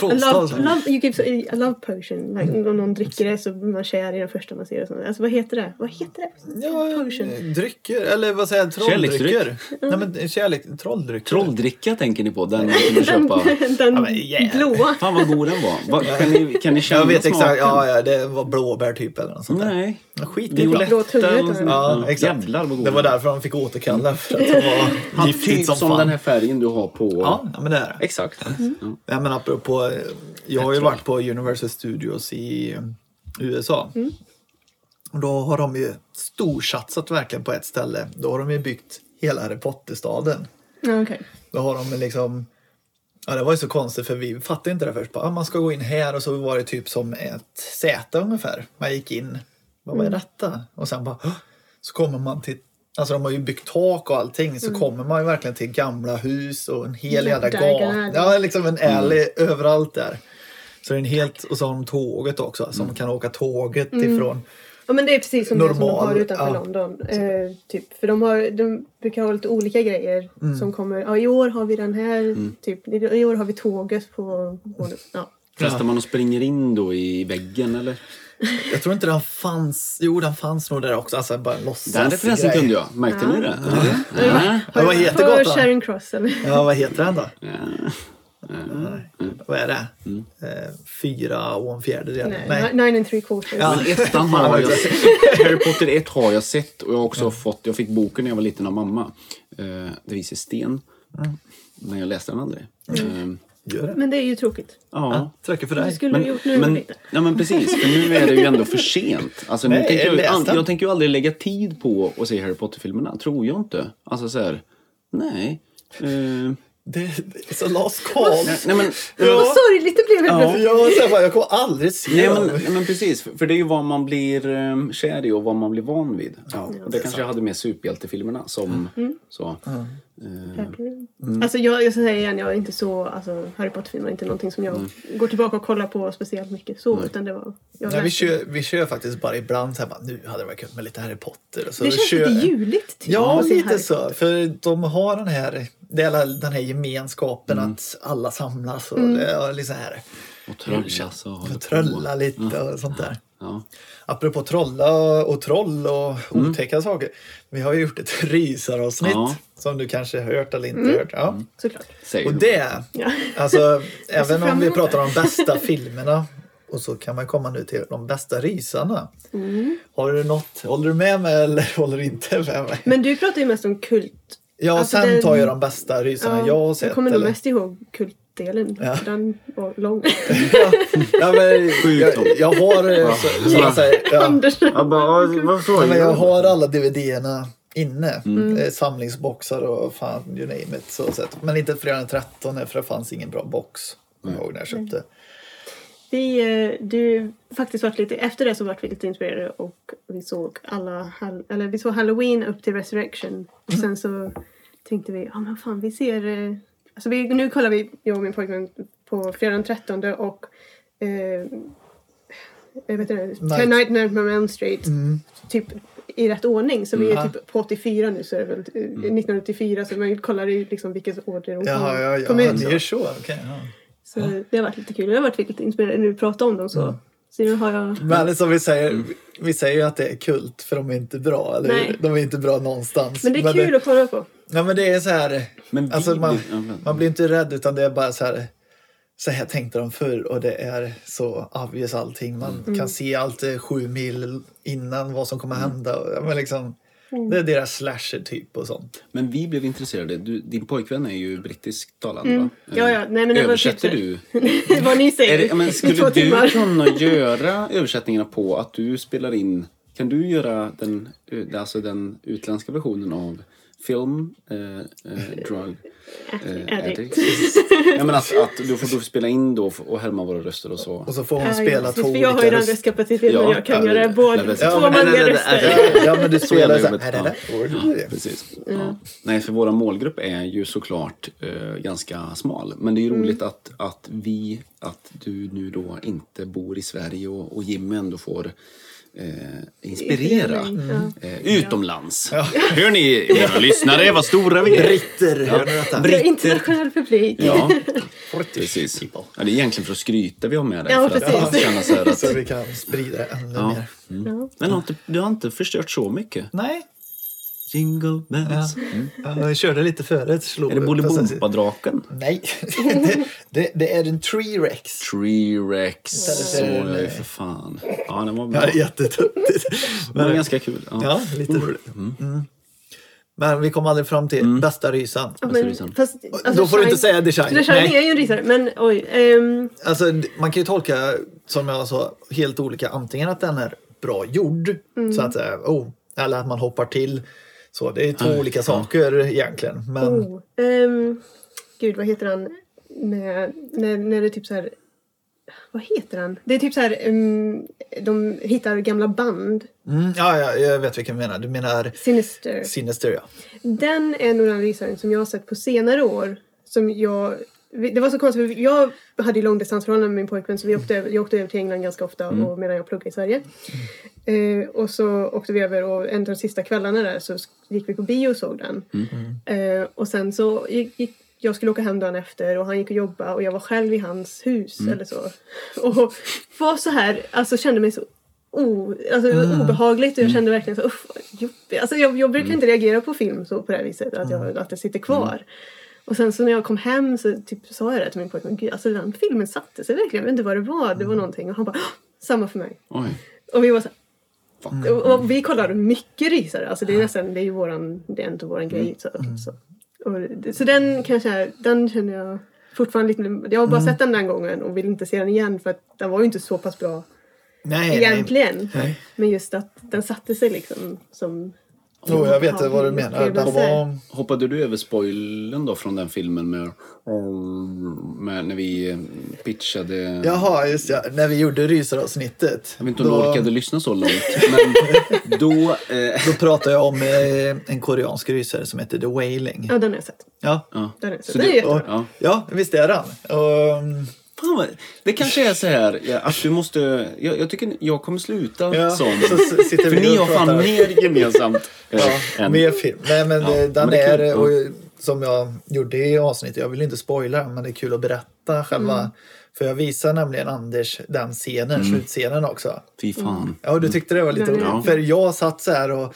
love,
Trollstav.
love, you give so, I love potion. Like, Om någon dricker det så blir man kär i den första man ser. Och sånt. Alltså vad heter det? Vad heter det?
Ja, eh,
Potion.
drycker, eller vad säger jag, trolldrycker.
Kärleksdryck.
Nej men eh, kärlek, trolldrycker.
Trolldricka tänker ni på, den man kunde köpa.
Den
Ja, men, yeah.
blåa.
Fan vad god den var. Va, kan, ni, kan ni känna
jag vet exakt,
smaken?
ja, ja det var blåbär typ eller något sånt där.
Nej.
Ja, Skit i
Violetta
Blå tunga,
eller något
tror
sånt.
jag.
Ja,
Ja,
exakt.
Jävlar vad god
Det var
den Mm.
därför de fick återkalla, för att det var
Han typ
giftigt som,
som,
fan.
den här färgen du har på.
Ja, Mm. ja, men det är det.
Exakt. Ja.
Ja, men apropå, eh, jag har ju varit på Universal Studios i eh, USA. Och då har de ju storsatsat verkligen på ett ställe. Då har de ju byggt hela Harry Potter-staden.
Ja, okej.
Då har de liksom... Ja, det var ju så konstigt för vi fattade inte det först. Bara, ah, man ska gå in här och så var det typ som ett säte ungefär. Man gick in. Bara, Vad är detta? Och sen bara... "Hå?" Så kommer man till... Alltså de har ju byggt tak och allting. Så kommer man ju verkligen till gamla hus och en hel jävla gata.
Diagonal.
Ja, liksom en alley överallt där. Så det är en helt... Och så har de tåget också. Så man kan åka tåget ifrån...
Ja, men det är precis som det som de
Normal,
har utanför
ja.
London. Eh, typ. För de, har, de brukar ha lite olika grejer
Mm.
som kommer. Ja, I år har vi den här,
Mm.
typ. I år har vi tåget på... på ja.
Testar man och springer in då i väggen eller?
Jag tror inte den fanns... Jo, den fanns nog där också. Alltså bara en
Den referensen
grej.
kunde jag. Märkte ni det? Ja. Ja.
Ja, vad heter
För
gatan?
Charing Cross eller?
Ja, vad heter den då?
Ja.
Vad är det?
Mm.
Eh, fyra och en fjärdedel?
Nej. Nine and three quarters.
Ja.
Men ettan har jag sett. Harry Potter 1 har jag sett och jag har också fått, jag fick boken när jag var liten av mamma. Eh, Det visar sten.
Mm.
Men jag läste den aldrig. Eh,
Gör det.
Men det är ju tråkigt.
Ja.
Tråkigt för
Du
dig.
skulle ha gjort nu
men,
lite.
ja, men precis, för nu är det ju ändå för sent. Alltså, nu
Nej,
tänker jag, ju
läs
an-
den.
jag tänker ju aldrig lägga tid på att se Harry Potter-filmerna, tror jag inte. Alltså så här, nej. Eh, nej,
Det, det är så Lars Karl.
nej, men,
Vad
Ja.
sorgligt det blev helt
Ja.
plötsligt.
Jag, så här bara, jag kommer aldrig se
nej, men,
dem.
nej, men precis. För för det är ju vad man blir um, kär i och vad man blir van vid. och det, kanske jag hade med superhjältefilmerna
Mm.
som
Mm.
så.
Alltså jag, jag ska säga igen, jag är inte så, alltså Harry Potter-filmer är inte någonting som jag
Mm.
går tillbaka och kollar på speciellt mycket så, utan det var... Jag
Nej, vi,
läste.
kör, vi kör faktiskt bara ibland så här bara, nu hade det varit kul med lite Harry Potter. Och Så
det
då
känns
kör-
lite juligt typ.
Ja,
att se
lite
Harry.
så. För de har den här, det är alla- den här gemenskapen
Mm.
att alla samlas
Mm.
och, och liksom här,
Och trölla så håller på.
och trölla lite
Mm.
och sånt där.
Ja.
Apropå trolla och troll och otäcka saker. Vi har ju gjort ett rysaravsnitt
Ja.
som du kanske hört eller inte hört. Ja.
Såklart.
Säger
Och
du.
det,
Ja.
alltså även
fram
om vi
emot
pratar om de bästa filmerna och så kan man komma nu till de bästa rysarna. Har du något, håller du med mig eller håller du inte med mig?
Men du pratar ju mest om kult.
Ja,
Alltså,
sen
det-
tar jag de bästa rysarna jag har sett.
jag kommer nog
eller?
mest ihåg kultdelen. för Den var lång.
Ja, ja, men,
Skjut dem.
jag, jag har, eh, så, så att säga, ja.
Anders.
Jag bara, vad
Ja,
frågar
men jag
du?
har alla DVD-erna inne.
Mm.
Eh, Samlingsboxar och fan, you name it. Så sett. Men inte fredagen den 13 för det fanns ingen bra box. Kommer jag ihåg när jag
Mm.
köpte.
Vi, eh, du, faktiskt vart lite, efter det så vart vi lite inspirerade och vi såg alla, hall- eller vi såg Halloween upp till Resurrection. Och
Mm.
sen så tänkte vi, ja men fan vi ser, eh, alltså vi, nu kollar vi, jag och min pojkvän, på fredag den 13 och eh, jag vet inte, Ten Night Nightmare on Elm Street.
Mm.
Typ i rätt ordning. Så vi är typ på 84 nu så är det väl eh, 1984 så man kollar i liksom vilket år de kom,
Mm. Jaha, ja, ja,
kom Mm.
ja,
ut.
det är så. okej, ja.
Så det har varit lite kul. Jag har varit lite inspirerad när vi pratade om dem så. Så nu har jag...
Men som vi säger, vi säger ju att det är kult för de är inte bra. Eller
Mm. Nej.
hur? De är inte bra någonstans.
Men det är kul att kolla på.
Ja, men det är så här.
Men vi
alltså, man,
blir- ja, men-
man blir inte rädd utan det är bara så här. Så här tänkte de förr och det är så obvious allting. Man
Mm.
kan se allt eh, sju mil innan vad som kommer hända. Och, ja, men liksom,
Mm.
Det är deras slasher typ och sånt.
Men vi blev intresserade. Du, din pojkvän är ju brittisktalande va?
Mm. Ja, ja. Nej, men det var
Översätter
typ-
du?
Vad ni säger
Är det, ja, men
i två
skulle
timmar.
du kunna göra översättningarna på att du spelar in... Kan du göra den, eh, alltså den utländska versionen av film, eh, eh, drug, eh,
Addict.
addict? Ja, men att, att du får du får spela in då och härma våra röster och så.
Och så får hon
Ja,
spela
precis,
två
för jag har ju den
röst-
röstkapacitet
Ja,
när jag kan
ja,
göra
det-
både
det- det-
två
det-
manliga
det-
röster.
Ja, ja, men du spelar
jävla
så här.
jobbigt,
Är det
ja.
där?
Precis. Ja. Nej, för våra målgrupp är ju såklart eh, ganska smal. Men det är ju
Mm.
roligt att, att vi, att du nu då inte bor i Sverige och, och Jimmy ändå får eh, inspirera
Mm. Ja.
eh, utomlands. Hör ni, era lyssnare, vad stora vi är.
Britter, hör ni detta?
Britter.
Internationell publik.
Ja, precis. Ja, det är egentligen för att skryta vi har med dig.
Ja,
för att
precis.
känna så här att,
Så vi kan sprida det ännu
ja. Mm.
mer.
Ja.
Men har inte, du har inte förstört så mycket.
Nej,
Jingle bells.
ja, jag körde lite förut. Slog
Är det
upp och sen-
Bolibompa-draken?
Nej, det, det, det är en tree rex.
T-Rex. Så
för-
jag ju för fan. Ja, den var bra.
Ja, jättetöntigt.
Den var
Men,
ganska kul. Ja.
ja, lite roligt. Mm. Men vi kom aldrig fram till bästa rysan.
Ja,
Vad
men,
ska vi
fast, alltså,
Då får du inte
Shine-
säga The Shining.
The Shining är
Nej.
ju en rysare, men oj. ehm,
Alltså, d- man kan ju tolka, som jag sa, helt olika. Antingen att den är bra gjord, så att säga, oh, eller att man hoppar till. Så det är två olika saker egentligen. Men
oh, ehm, gud, vad heter han? När, när, när det är typ så här... Vad heter han? Det är typ så här... ehm, de hittar gamla band.
mm, ja, ja, jag vet vilken du menar. Du menar
Sinister.
Sinister, ja.
Den är nog den rysaren som jag har sett på senare år. Som jag, det var så konstigt, för jag hade ju långdistansförhållande med min pojkvän så vi åkte, jag åkte över till England ganska ofta och medan jag pluggade i Sverige. Eh, och så åkte vi över och en av de sista kvällarna där så sk- gick vi på bio och såg den. Eh, och sen så gick, gick jag skulle åka hem dagen efter och han gick och jobbade och jag var själv i hans hus eller så. Och var så här, alltså kände mig så o, alltså, det var obehagligt och jag kände verkligen så uff, vad jobbigt." alltså, jag, jag brukar inte reagera på film så på det här viset, att, jag, att det sitter kvar. Och sen så när jag kom hem så typ, sa jag det till min pojkvän, gud alltså den filmen satte sig verkligen, jag vet inte vad det var, det var någonting. Och han bara, "Åh, samma för mig.
Oj.
Och vi var så
Mm.
här, och, och vi kollar mycket rysare, alltså det är nästan, det är ju våran, det är inte våran grej.
Mm.
Så, så. Och, det- så den kanske, den känner jag fortfarande lite, jag har
Mm.
bara sett den den gången och vill inte se den igen för att den var ju inte så pass bra
Nej, nej.
egentligen.
Nej.
Men just att den satte sig liksom som...
Jo, jag vet vad du menar. Den var...
Hoppade du över spoilern då från den filmen med, med när vi eh, pitchade?
Jaha, just det. När vi gjorde rysaravsnittet.
Jag vet inte om du orkade lyssna så långt. Men då... Eh,
Då pratade jag om eh, en koreansk rysare som heter The Wailing.
Ja, den har jag sett.
Ja,
ja.
Den har jag sett.
Så
Den är
du-
och,
jättebra.
Ja.
ja visst är den. Um,
Fan vad, det kanske är så här ja, att du måste... Jag, jag tycker jag kommer sluta
ja,
som...
så s- sitter
För
vi
ni
och
har fan
pratar.
mer gemensamt eh,
Ja,
än...
mer film. Nej, men
Ja,
eh, den
men det är
är,
kul.
och, som jag gjorde i avsnittet, jag vill inte spoila den, men det är kul att berätta själva. För jag visar nämligen Anders den scenen,
Mm.
slutscenen också.
Fy fan.
Ja, du tyckte det var lite
Mm.
roligt. För jag satt så här och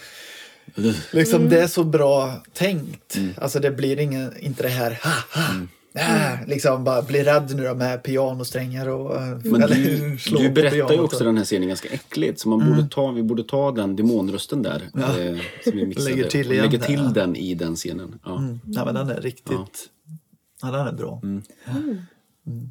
liksom det är så bra tänkt.
Mm.
Alltså det blir ingen, inte det här ha ha.
Mm.
Ah, liksom bara bli rädd nu då med pianosträngar och eh,
Men du,
eller slå
du
på
berättar ju
pianot Mm.
också
och
den här scenen ganska äckligt. Så man borde ta, vi borde ta den demonrösten där. Eh, som vi mixade.
Lägger till
och
igen
lägger
där,
till
ja. Mm.
den i den scenen. Ja.
Nej men den är riktigt, ja. den är bra. Ja. Mm.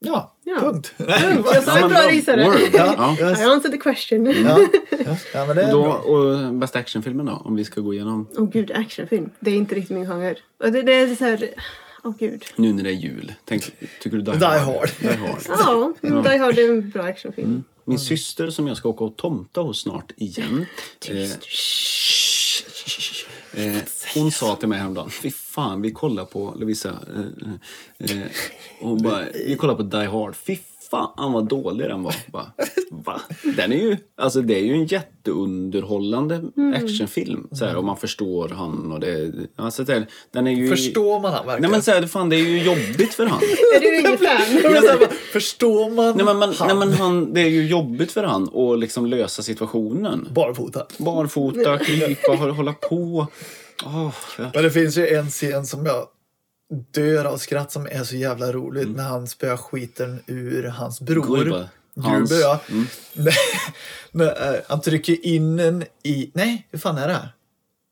Ja,
Ja.
punkt.
Jag sa en
men
bra
bra.
rysare.
Word.
ja,
Ja.
ja.
I answered the question. Åh
Ja, ja. ja, men det är
Då,
bra.
och bästa actionfilmen då, om vi ska gå igenom
gud, actionfilm. Det är inte riktigt min genre. Och det, det är så här... Åh gud.
nu när det är jul. Tänk, tycker du Die Hard?
Die Hard.
Die Hard.
Ja, Die Hard är en bra actionfilm.
Mm.
Min syster som jag ska åka och tomta hos snart igen. Eh, Eh, hon sa till mig häromdagen, fy fan vi kollar på Lovisa. Eh, eh, och hon bara, vi kollar på Die Hard. Fy fan vad dålig den var. Bara, Va? Den är ju, alltså det är ju en jätteunderhållande
Mm.
actionfilm. Så här, och man förstår han och det. Alltså, det- den är ju...
Förstår man han
Nej
verkligen?
men så här, fan det är ju jobbigt för han.
Är du ingen fan?
Jag menar så här, bara, Förstår man,
Nej men, man,
han
nej, men han, det är ju jobbigt för han att liksom lösa situationen.
barfota?
Barfota, krypa, hå- hålla på. Åh, ja.
Men det finns ju en scen som jag dör av skratt som är så jävla roligt när han spöar skiten ur hans bror.
Gruber. Hans.
Gruber, alltså. ja.
Mm.
Men, eh, han trycker in en i... Nej, hur fan är det?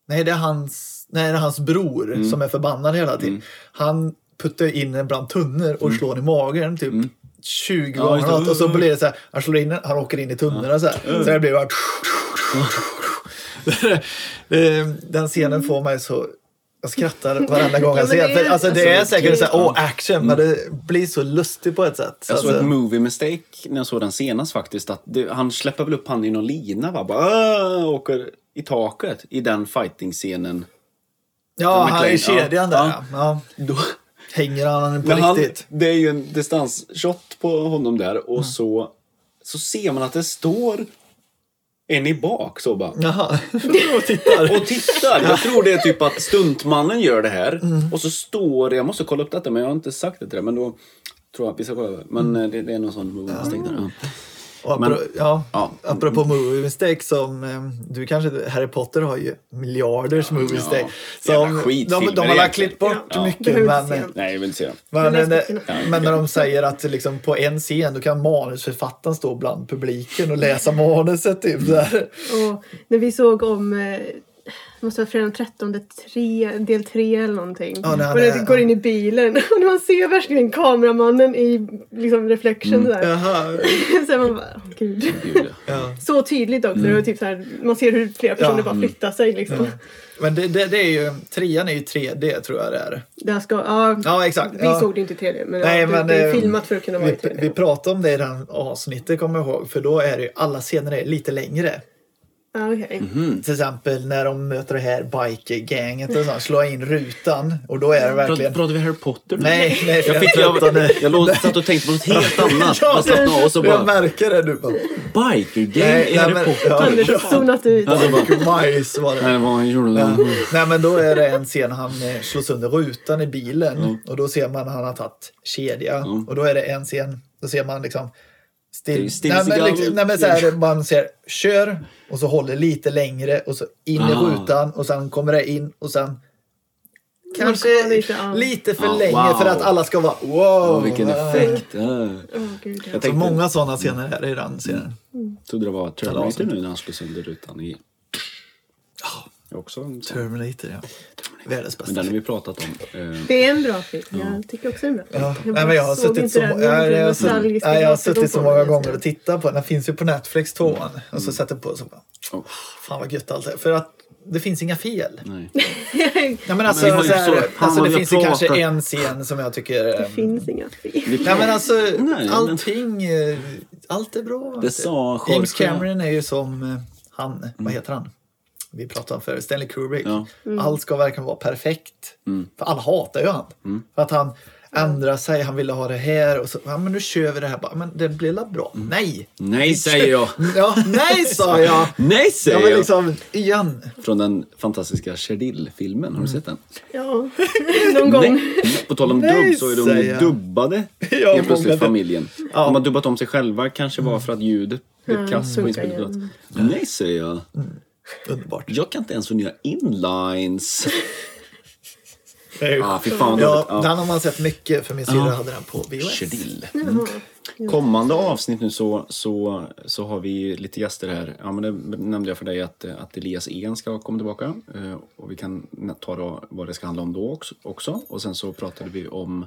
Nej, det är hans, nej, det är hans bror
Mm.
som är förbannad hela tiden. Han puttar in en bland tunnor
Mm.
och slår den i magen typ 20
Ja, just
gånger.
det. Mm.
något. och så blir det så här, han slår in den, han åker in i tunnorna så här. Så det blir bara... Eh, Den scenen får mig så... Jag skrattar varenda gång jag
Mm. Ja, men
ser
det
den.
är- Mm.
För Alltså,
alltså,
det är
det är
säkert så här,
kul.
åh, action, men det blir så lustigt på ett sätt. Så
Jag såg
alltså-
ett movie mistake när jag såg den senast faktiskt. Att det, han släpper väl upp han i någon lina va? Bara, "Åh", åker i taket i den fighting-scenen.
ja, han är i
McLean, ja.
kedjan där.
Ja.
Ja. Ja.
Då,
Hänger han på
när han,
riktigt?
det är ju en distansshot på honom där och så så ser man att det står en i bak så bara.
Jaha, och tittar.
Och tittar! Jag tror det är typ att stuntmannen gör det här.
Mm.
Och så står det, jag måste kolla upp detta men jag har inte sagt det till dig. Men då tror jag att vi ska kolla. Men
Mm.
eh, det, det är någon sån movie mistake där. Ja.
Och apro- ja,
Ja.
Apropå movie mistake som eh, du kanske, Harry Potter har ju miljarders movie mistake.
Jävla
Som, de,
skitfilmer
de har
egentligen.
väl klippt bort
Ja.
mycket
Behöver
men, eh,
inte se dem.
Nej, jag vill inte se den.
men,
Jag läste
men,
böckerna.
men när de säger att liksom, på en scen då kan manusförfattaren stå bland publiken och läsa manuset. Typ, där.
Och när vi såg om, eh, det måste vara fredag den 13, tre, del 3 eller någonting.
Ja, när han
och när
är-
det går in i bilen och när man ser verkligen kameramannen i liksom, reflection
Mm,
där.
Jaha.
så är man bara, åh gud.
Gud, ja.
Ja.
Så tydligt också. Det var typ så här, man ser hur flera personer
Mm. Ja.
bara flyttar sig liksom.
Men det, det, det är ju, trean är ju 3D tror jag det är.
Där ska, ja,
Ja, exakt.
Vi
Ja.
såg det inte i 3D men,
Nej,
ja, det-
men,
det är
eh,
filmat för att kunna vara i
Vi,
typ
3D.
vi pratade om det i den avsnittet kommer jag ihåg för då är det ju alla scener är lite längre.
Ja, okej.
Mm.
Till exempel när de möter det här bikergänget och sånt, slår jag in rutan och då är det verkligen...
Pratar vi Harry Potter nu?
Nej, nej.
Jag, fick,
utan,
jag,
eh,
jag låg, satt och tänkte på något helt annat.
Ja,
Bara slappna av och så
jag
bara...
märker det nu. Bara,
Bikergäng i Harry
men-
Potter.
ja.
Anders har zonat ut.
Alltså bara...
Majs var det.
Nej, vad gjorde
Ja.
de?
Nej men då är det en scen han eh, slår sönder rutan i bilen och då ser man att han har tagit kedja och då är det en scen, då ser man liksom
Det är
Still,
still
nej, men,
cigarr.
liksom, nej, men så här, man ser kör och så håller lite längre och så in i
Ah.
rutan och sen kommer det in och sen
kollar
kanske
lite,
lite,
ja.
för
Ah,
länge
wow.
för att alla ska vara wow.
Åh, vilken effekt. Ja.
Åh, gud, ja.
Jag
Så
tänkte,
många sådana scener här i den scenen.
trodde det var Terminator nu när han slog sönder rutan i... Ja. Också en sån.
Terminator ja. Världens
Men
bästa.
den har vi pratat om. Eh,
Det är en bra film. Jag tycker också den är bra.
Ja. Nej, men jag har
såg
suttit
inte
så,
den.
må-
Jag
nej,
blev
jag har
nostalgisk
suttit, nej, jag har
och
suttit så
kom på
många
den
gånger
just
och tittat på den. Den finns ju på Netflix tvåan. Och
Mm.
så sätter jag på och så bara,
oh,
fan vad gött allt är. För att det finns inga fel.
nej.
nu.
Nej, men alltså,
vi har ju
så här,
så-
alltså,
fan, vad
det
vi
finns ju
pratar.
kanske en scen som jag tycker... eh,
Det finns inga fel.
Nej men alltså
men-
allting, eh, allt är bra.
Det sa Jorge. Mm.
James Cameron är ju som eh, han, vad heter han? Vi pratade om förut, Stanley Kubrick.
Ja. Mm.
Allt ska verkligen vara perfekt. För alla hatar ju han. För att han ändrar sig, han ville ha det här och så, ja men nu kör vi det här. Bara, Men det blir väl bra? Nej!
Mm. Nej, säger jag.
Ja, nej sa jag!
Nej,
Ja
säger
men
jag.
liksom, igen.
Från den fantastiska Cherdil-filmen. Har du
Mm.
sett den?
Ja, någon gång.
Nej. På tal om
Nej,
dubb så är de
säger
ju
jag.
dubbade
Ja,
helt
många-
plötsligt familjen.
Ja.
De har dubbat om sig själva, kanske var för att ljudet blev kass på
funkar
inspelningsplanet. Nej, säger jag.
Underbart.
Jag kan inte ens få nya inlines.
Det är ju-
Ah, fy fan.
Ja,
dåligt. Ja.
den har man sett mycket för min syrra hade den på VHS.
Cherdil.
Jaha.
Kommande avsnitt nu så, så, så har vi lite gäster här. Ja, men det nämnde jag för dig att, eh, att Elias En ska komma tillbaka. Eh, Och vi kan nä- ta då vad det ska handla om då också- också. Och sen så pratade vi om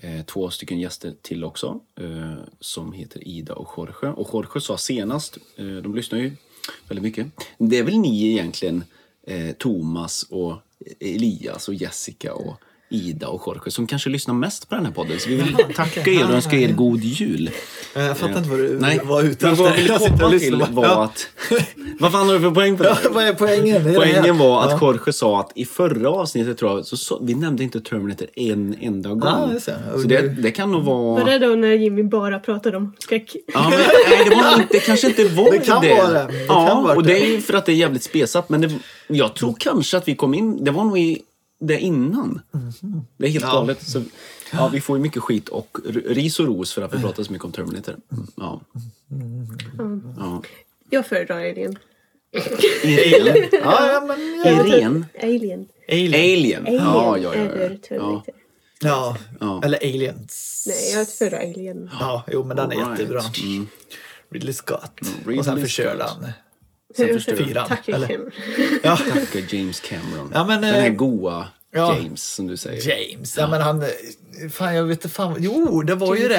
eh, två stycken gäster till också. eh, Som heter Ida och Jorge. Och Jorge sa senast, eh, de lyssnar ju väldigt mycket. Det är väl ni egentligen, eh, Thomas och Elias och Jessica och Ida och Jorge som kanske lyssnar mest på den här podden. Så vi vill tacka er och önska er god jul.
Eh, Jag fattar inte vad du
Nej,
var ute
men vad jag
efter.
ville
Jag sitter
komma
och
till
lyssnar
var
bara. Ja.
att... Vad fan har du för poäng på det här?
Vad är poängen? Det är det här.
Poängen var att
Ja.
Jorge sa att i förra avsnittet tror jag, så, så, vi nämnde inte Terminator en enda gång.
Ja, just det. Och
Så det,
du-
det kan nog
Var
vara...
det då när Jimmy bara pratade om skräck?
Ja, men, nej, det, var, inte- det kanske inte var
Det kan vara det. Det
ja,
kan vara
och
det.
det är ju för att det är jävligt spesat. Men det, jag tror kanske att vi kom in... Det var nog i, det innan. Det är helt galet. Så, ja, vi får ju mycket skit och r- ris och ros för att vi pratar så mycket om Terminator. Ja. ja.
Jag föredrar Alien.
Irene.
Ja, typ. ja, men, ja.
Irene.
Typ Alien.
Alien.
Alien
Ja, ja, ja,
över
ja. ja.
Terminator.
Ja.
Ja.
eller Aliens.
Nej, jag föredrar Alien.
Ja, jo men den är
All right. Mm.
jättebra. Ridley Scott.
Ridley
och sen förkörde
Scott.
han. fyran,
Tack
eller?
Jim.
Ja,
Tacka James Cameron.
Ja, men,
Den här
eh,
goa
ja.
James som du säger.
James. Ja, men han... eh, Fan, jag vet inte fan. Jo, det var ju det.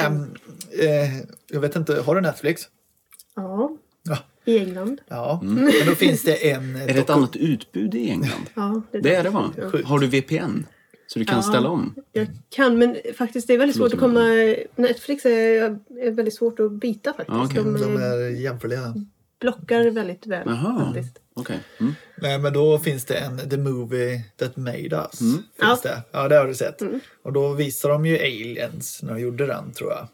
Eh, jag vet inte, har du Netflix?
Ja,
Ja.
i England.
ja. Men då finns det en...
Mm. Är det ett annat utbud i England?
Ja,
Det är det va?
Ja.
Har du VPN? Så du kan ställa om?
Jag kan, men faktiskt det är väldigt svårt att komma... Netflix är, är väldigt svårt att bita faktiskt.
Ja, okej.
De,
De
eh,
är jämförliga.
blockar väldigt väl
Jaha, okej.
faktiskt.
Mm.
Nej, men då finns det en The Movie That Made Us.
Mm.
Finns
Ja.
Det. ja, det har du sett. Och då visar de ju Aliens när de gjorde den, tror jag.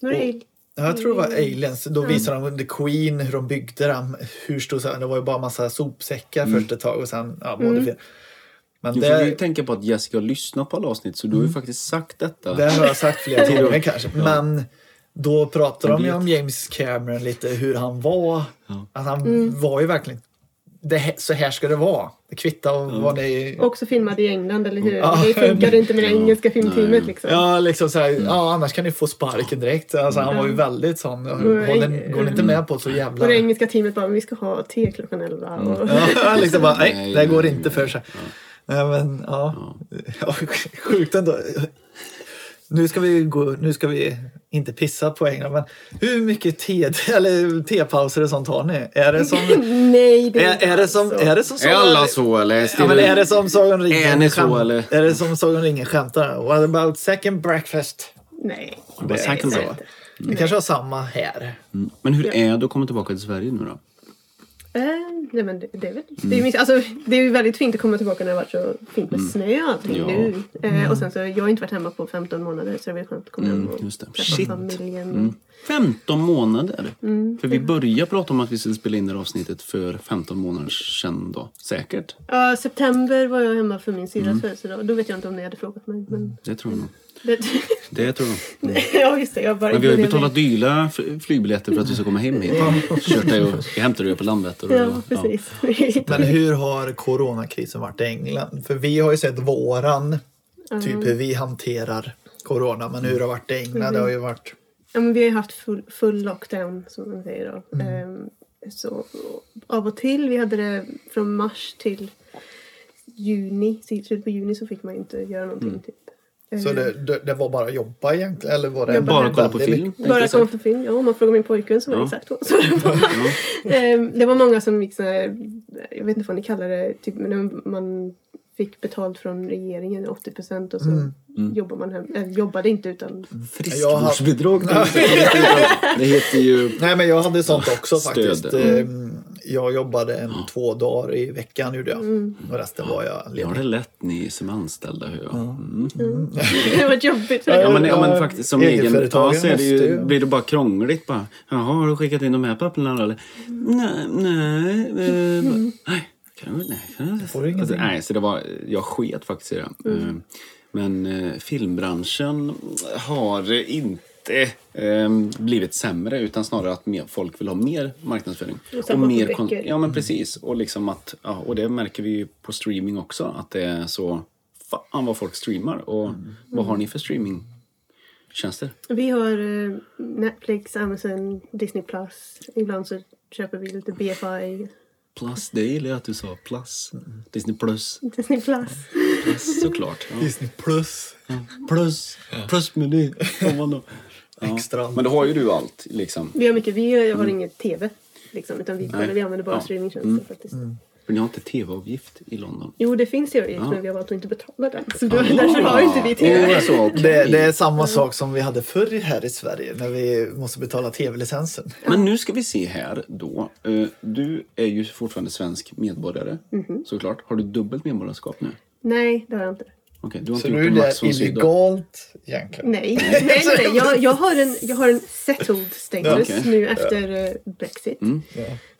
Nu är det Alien.
Ja, jag tror det var Aliens. Då visade de The Queen, hur de byggde den. Hur stor, det var ju bara massa sopsäckar
Mm.
först ett tag och sen ja, modifierade. Men
Nu får vi ju
det, Mm.
tänka på att Jessica har lyssnat på alla avsnitt så du har ju faktiskt sagt detta.
det har jag sagt flera
Tidigare.
gånger kanske. Men då pratade
Jag
de ju
vet.
om James Cameron lite, hur han var. Att han var ju verkligen, det, här- så här ska det vara. Det kvittar vad ni
Också filmad i England, eller hur?
Ja.
Det funkade inte med det engelska filmteamet liksom.
Ja, liksom så
Mm.
här, ja, annars kan ni få sparken direkt. Alltså, han var ju väldigt sån. Håller, går ni inte med på så jävla...
Och det engelska teamet bara, men vi ska ha te klockan elva. Och...
Mm. Ja, liksom bara, nej,
Nej,
det går
nej,
inte för sig. Nej, men ja. ja. Sjukt ändå. Nu ska vi gå, nu ska vi inte pissa på England, men hur mycket te, eller tepauser och sånt har ni? Är det som,
Nej, det
är, är det som, är det som,
Är alla så eller?
Ja, men är det som Sagan om
Är ni
ringen
så, eller?
skämt- Är det som Sagan om ringen skämtar? What about second breakfast?
Nej.
Vad
Nej,
säkert
det är
så.
inte.
Mm.
Vi kanske har samma här.
Men hur är det att komma tillbaka till Sverige nu då?
Eh, nej, men det, det, är väl, det, är
Mm.
ju, mitt- alltså, det är ju väldigt fint att komma tillbaka när det har varit så fint med snö och allting
Ja.
nu.
Mm.
Eh, och sen så, jag har inte varit hemma på 15 månader så det blir skönt att komma hem och
just det.
träffa
Shit.
familjen.
Mm.
15 månader! För vi började prata om att vi skulle spela in det här avsnittet för 15 månader sedan då. Säkert.
Ja, september var jag hemma för min syrras
Mm.
födelsedag. Då vet jag inte om ni hade frågat mig. Men
Det tror jag nog.
det,
Det tror jag nog.
ja, just det. Jag bara
Men vi har ju
ignorerade
betalat dyra f- flygbiljetter för att vi ska komma hem hit. Kört dig och, jag hämtade dig på Landvetter.
det.
Och,
Ja, precis.
Men hur har coronakrisen varit i England? För vi har ju sett våran, typ hur vi hanterar corona. Men hur har det varit i England? Det har ju varit...
Ja, men vi har ju haft full, full lockdown, som man säger. Då.
Mm.
Ehm, så, och av och till. Vi hade det från mars till juni. Så i slutet på juni så fick man ju inte göra någonting.
Mm.
Typ.
Så
Ehm,
det, det, det var bara att jobba egentligen? Eller var det
Jobba.
Bara kolla på
väldigt-
film.
Bara kom för film. Ja, om man frågar min pojkvän så var det
Ja.
exakt så. så det, var. Ehm, det var många som gick så här, jag vet inte vad ni kallar det, typ, men när man fick betalt från regeringen 80 procent och så
Mm.
jobbar man hem, eller jobbade inte utan
Friskvårdsbidrag. Det heter ju...
Nej, men jag hade sånt också
Ah, Stöd. Mm.
faktiskt. Ehm, Jag jobbade en, två dagar i veckan gjorde jag.
Mm.
Och resten var jag
Ni
ledig.
har det lätt ni som är anställda, hör jag. Mm.
det var jobbigt.
Ja, men, ja,
Ja,
men faktiskt som egen ja,
egenföretagaren
så är det
måste
ju,
ju-
blir det bara krångligt. Bara. Jaha, har du skickat in de här papperna då, eller? Nej, nej. eh, nej, kan du, nej, kan du,
Mm. får du
alltså,
ingenting. Mm.
nej, så det var, jag sket faktiskt i det. Eh, Men eh, filmbranschen har inte eh, blivit sämre utan snarare att mer, folk vill ha mer marknadsföring.
Och samma
mer
på böcker.
Ja, men precis. Och, liksom att, ja, och det märker vi ju på streaming också, att det är så... Fan vad folk streamar. Och vad
Mm.
har ni för streamingtjänster?
Vi har eh, Netflix, Amazon, Disney+. Plus. Ibland så köper vi lite BFI,
Plus, det gillar jag att du sa. Plus. Disney plus.
Disney+. Plus.
Plus, såklart. Ja.
Disney plus.
Plus. Plusmeny. får man då. Ja.
Extra.
Men då har ju du allt, liksom.
Vi har mycket, vi har inget TV. Liksom, utan vi,
Nej.
vi använder bara
Ja. Mm.
streamingtjänster faktiskt.
För ni har inte tv-avgift i London.
Jo, det finns tv-avgift men vi har valt att inte betala den. Så då, därför har inte vi tv.
Åh, det är så, okej.
Det, det är samma sak som vi hade förr här i Sverige när vi måste betala tv-licensen.
Men nu ska vi se här då. Eh, Du är ju fortfarande svensk medborgare,
Mhm.
såklart. Har du dubbelt medborgarskap nu?
Nej, det har jag inte.
Okej, du har
Så
inte
nu
gjort
är
en
det
Max von Sydow?
illegalt egentligen.
Nej, nej, nej. nej. Jag, jag, har en, jag har en settled status
Okej. Mm.
nu efter eh, Brexit.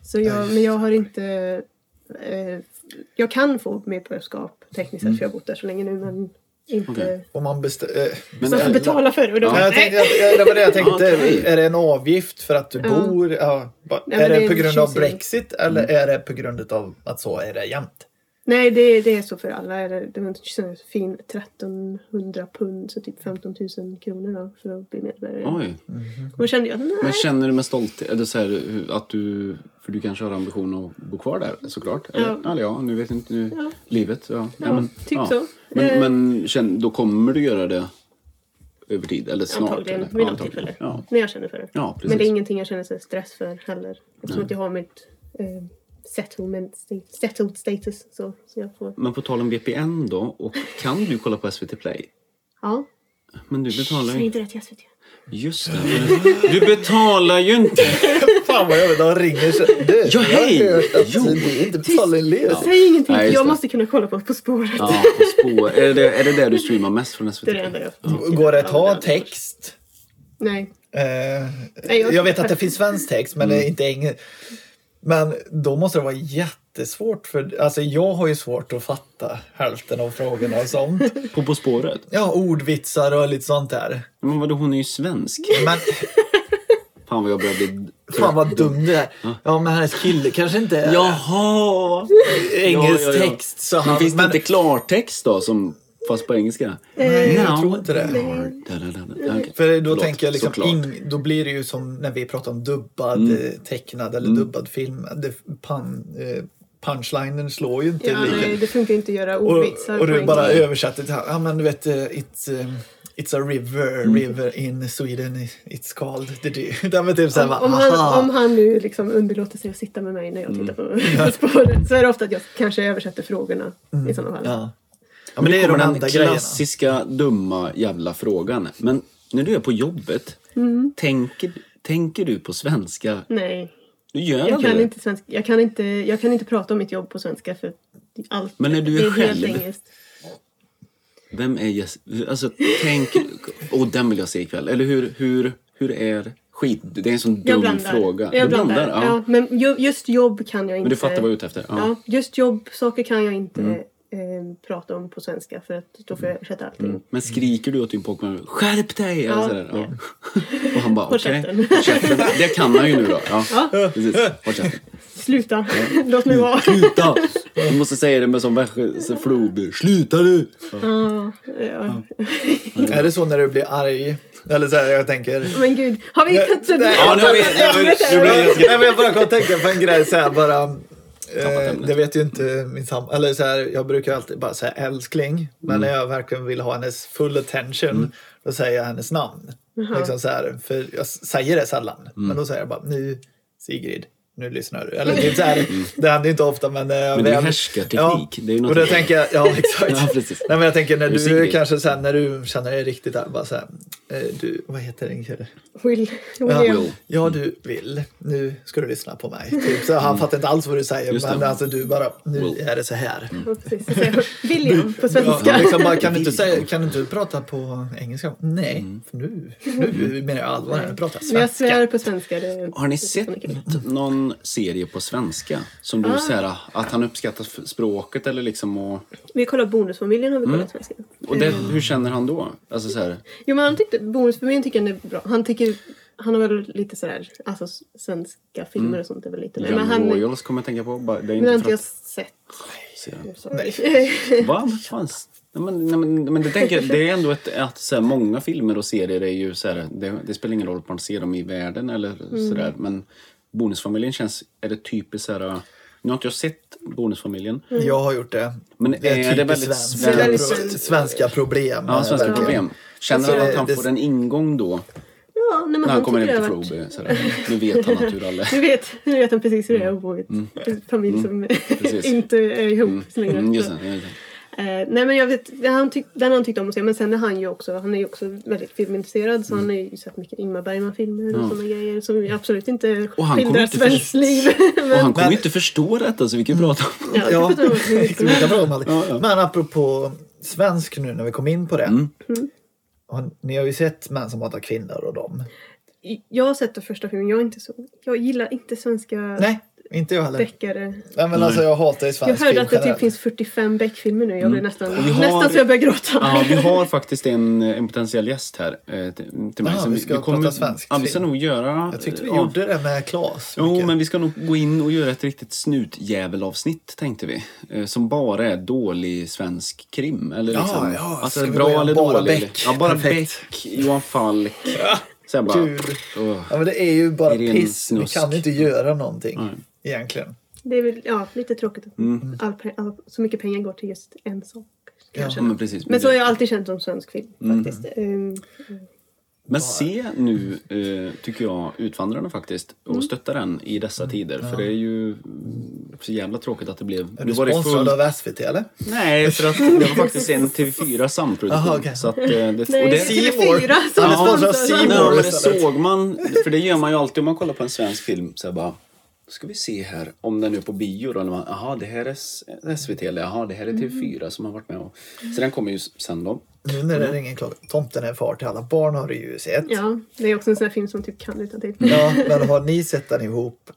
Så jag, men jag har inte... Eh, jag kan få medborgarskap tekniskt sett för jag har bott där så länge nu men inte...
Mm. Okej.
Om man bestä- eh,
Men
Man får
alla-
betala för det. Och då,
Ja, jag
nej.
tänkte, att- det var det jag tänkte.
Okej.
Är det en avgift för att du bor? Ja. Va-
Nej,
är
men
det,
det är
på grund av
tjusig.
Brexit eller
Mm.
är det på grund av att så är det jämt?
Nej, det, det är så för alla. Är Det det var en sån fin 1300 pund, så typ 15 000 kronor då, för att bli medborgare.
Oj.
Och då kände jag, nej.
Men känner du med stolthet, eller så här, hur- att du, för du kanske har ambition att bo kvar där såklart? Eller,
Ja.
eller ja, nu vet inte, nu, livet. Ja, ja,
typ så.
Men,
Eh.
men känn, då kommer du göra det över tid, eller snart?
Antagligen
eller?
vid något
Antagligen.
tillfälle.
Ja.
När jag känner för det.
Ja, precis.
Men det är ingenting jag känner så här stress för heller. Eftersom att jag har mitt eh, settlement sta- settled status. Så, så jag får...
Men på tal om VPN då, och kan du kolla på SVT Play?
Ja.
Men du betalar
Säg
ju...
inte det till SVT.
Just det. Du betalar ju inte!
Fan vad jag de ringer så. Du,
Ja, hej!
Jag har hört att
Jo.
du inte betalar en lön.
Säg ingenting.
Nej, just
jag
det.
måste kunna kolla på På spåret.
Ja, på spår. Är det, är det där du streamar mest från SVT
Det är
Play?
det enda jag
Går det att ha text?
Nej.
Eh,
Nej, jag-
jag vet att det finns svensk text, men
Mm.
det är inte engelsk. Men då måste det vara jättesvårt. För, alltså jag har ju svårt att fatta hälften av frågorna och sånt.
På På spåret?
Ja, ordvitsar och lite sånt där.
Men vadå, hon är ju svensk.
Men
Fan vad jag börjar bli...
fan vad dum det är. Ja, men hennes kille kanske inte är
Jaha!
engelsk
Ja, ja, ja.
text. Så
Men
han,
finns det
men-
inte klartext då, som, fast på engelska?
Eh,
Nej, jag tror inte det. För då tänker jag liksom,
Såklart. Mm.
ing, då blir det ju som när vi pratar om dubbad eh, tecknad eller dubbad film. Det, pan, eh, punchlinen slår ju inte
Ja,
lika.
nej, det funkar inte att göra ordvitsar
Och, och du
på
bara
engelska.
översätter till, ja men du vet, eh, it's, um, it's a river,
Mm.
river in Sweden, it's called. Det är det var typ såhär,
Om han,
aha.
om han nu liksom underlåter sig att sitta med mig när jag
Mm.
tittar på På spåret så är det ofta att jag kanske översätter frågorna
Mm.
i sådana fall.
Ja. ja,
Men
men det är de
den
enda grejerna.
klassiska dumma jävla frågan. Men när du är på jobbet, Mm. tänker, tänker du på svenska?
Nej,
Du gör
jag
aldrig
kan,
det.
inte svenska, jag, kan inte, jag kan inte prata om mitt jobb på svenska för allt
Men när du är
det är helt
själv?
engelskt.
Vem är Jess? Alltså, tänk... Åh, den vill jag se ikväll. Eller hur, hur, hur är skit? Det är en sån
Jag
dum
blandar.
fråga.
Jag
du
blandar. ja. men ju, just jobb kan jag inte.
Men du fattar vad jag är ute efter? Ja. Mm.
Ja, just jobbsaker kan jag inte eh, prata om på svenska för att då får jag översätta allting.
Men skriker du åt din pojkvän skärp dig? Eller
Ja,
sådär.
ja.
Ja. Och han bara
Håll
okej.
käften.
Håll käften. Det kan han ju nu då. Ja, precis. Håll käften.
Sluta! Låt mig vara!
Sluta! Du måste säga det med sån västgötaflod. Sluta du!
Ja, ja.
Är det så när du blir arg? Eller såhär, jag tänker.
Men gud, har vi inte suttit
Ja, nu har vi- nu har vi- nu blir det-
Nej, men jag bara kom att tänka på en grej så här bara.
Tappat
Eh,
ämnet.
det vet ju inte min sambo. Eller så här, jag brukar alltid bara säga älskling. Men
Mm.
när jag verkligen vill ha hennes full attention då säger jag hennes namn. Liksom så här, för jag s- säger det sällan.
Mm.
Men då säger jag bara nu Sigrid. Nu lyssnar du. Eller typ så här, det händer ju inte ofta men... Men
Mm. det är ju härskarteknik. Det är ju något
och då
annat.
tänker jag, ja exakt.
Ja, precis.
Nej, men jag tänker när
Nu
du
Sigrid.
kanske sen när du känner dig riktigt arg bara så här, eh, du, vad heter din kille?
Will,
Ja,
William.
Will. Mm.
ja du vill. Nu ska du lyssna på mig. Typ. Så han fattar inte alls vad du säger
Just det.
men alltså, du bara, nu
Will. Mm.
är det så här.
Ja, precis. Så säger jag William på
Ja,
svenska.
liksom bara, kan, du inte säga, kan du inte prata på engelska? Nej,
Mm.
för nu, nu menar jag allvar. här. Prata
Men jag
svenska.
svär på svenska. Det...
Har ni sett någon serie på svenska? Som
Ah.
du säger att han uppskattar f- språket eller liksom och...
Vi kollar Bonusfamiljen har vi kollat
Mm.
svenska.
och det,
Mm.
hur känner han då? Alltså så här,
Jo men han tyckte, Bonusfamiljen tycker han är bra. Han tycker, han har väl lite sådär, alltså s- svenska filmer
Mm.
och sånt är väl lite... Nej, men han,
Young
nu
Royals kommer jag tänka på. Bara, det är
har
inte
inte
för
jag
att
sett.
se den.
så-
Va? Vad fan? Nej, men, nej, men, men det, tänker, jag- det är ändå ett, att så här, många filmer och serier är ju så här, det, det spelar ingen roll om man ser dem i världen eller
Mm.
sådär. Men Bonusfamiljen känns, är det typiskt så här, nu har inte jag sett Bonusfamiljen.
Mm.
Jag har gjort det.
Men är det
typiskt
väldigt
svenska,
Det är väldigt
pro-
svenskt.
svenska problem.
Ja, svenska
verkligen.
problem. Känner
Alltså,
han att
det-
han
det-
får en ingång då?
Ja, nej, men
När han kommer
tycker
hem till
det har varit-
Frobe. så här. Nu vet han att hur alla... Mm.
Nu vet, nu vet han precis hur det är att bo i en familj som
Precis.
inte är ihop så länge.
Mm, just
Så,
det, just det.
eh, nej men jag vet, han tyck, den har han tyckt om att se men sen är han ju också, han är ju också väldigt filmintresserad så
Mm.
han har ju sett mycket Ingmar Bergman-filmer och sådana grejer som ju absolut inte
Och han kommer
skildrar
inte för-
svenskt liv.
Och
men,
han kommer ju inte förstå detta så vi kan ju prata om
ja, det
Ja,
pratar vi om också.
exakt. Vi kan prata om allt.
Ja, ja. Mm.
Men apropå svensk nu när vi kom in på det.
Mm.
Har- Ni har ju sett Män som hatar kvinnor och dem.
jag har sett den första filmen, jag är inte så, jag gillar inte svenska
Nej, inte jag heller.
deckare.
Nej, men alltså jag hatar ju
Jag
svensk
hörde att det typ
generellt.
finns 45 Beck-filmer nu, jag blir nästan,
Mm. Och vi har-
nästan så jag börjar gråta.
Ja, vi har faktiskt en, en potentiell gäst här eh, till till mig.
Jaha,
så
vi ska prata svenskt
Ja, vi ska
film.
nog göra...
Jag tyckte vi
ja.
gjorde det med Claes.
Jo,
mycket.
men vi ska nog gå in och göra ett riktigt snutjävelavsnitt tänkte vi. Eh, Som bara är dålig svensk krim. Eller
Ja,
liksom,
ja,
alltså
ska vi gå
bra
igenom
eller
bara
dålig.
Beck?
Ja, bara
Perfekt.
Beck, Johan Falk. Sen bara...
Gud.
Åh.
Ja, men det är ju bara
Är det en
piss. Vi
snusk?
kan ju inte göra någonting egentligen.
Det är väl ja, lite tråkigt att all, pe- all, så mycket pengar går till just en sak. Kanske.
Mm. Ja, men precis. Mm.
Men så har jag alltid känt om svensk film faktiskt. Ehm,
Men se nu, eh, tycker jag, Utvandrarna faktiskt
Mm.
och stötta den i dessa tider. För det är ju mm, så jävla tråkigt att det blev...
Är
nu
du
var det
sponsrad
fullt-
av SVT eller?
Nej, för att det var faktiskt en TV4
Aha,
samproduktion.
okej.
Så att, eh, det, och
Nej,
det,
TV4 som
Ja,
sponsrar
sponsrad av
C
Nej,
More
men
Seymour
det
istället.
såg man, för det gör man ju alltid om man kollar på en svensk film. Så här bara, ska vi se här om den är på bio då. Eller Mm. man, aha, det här är S- SVT eller aha, det här är TV4 som har varit med och... Så den kommer ju s- sen då.
Nu när det ringer klockan. Tomten är far till alla barn har du ju sett.
Ja, det är också en sån här film som typ kan utan till.
Ja, men har ni sett den ihop?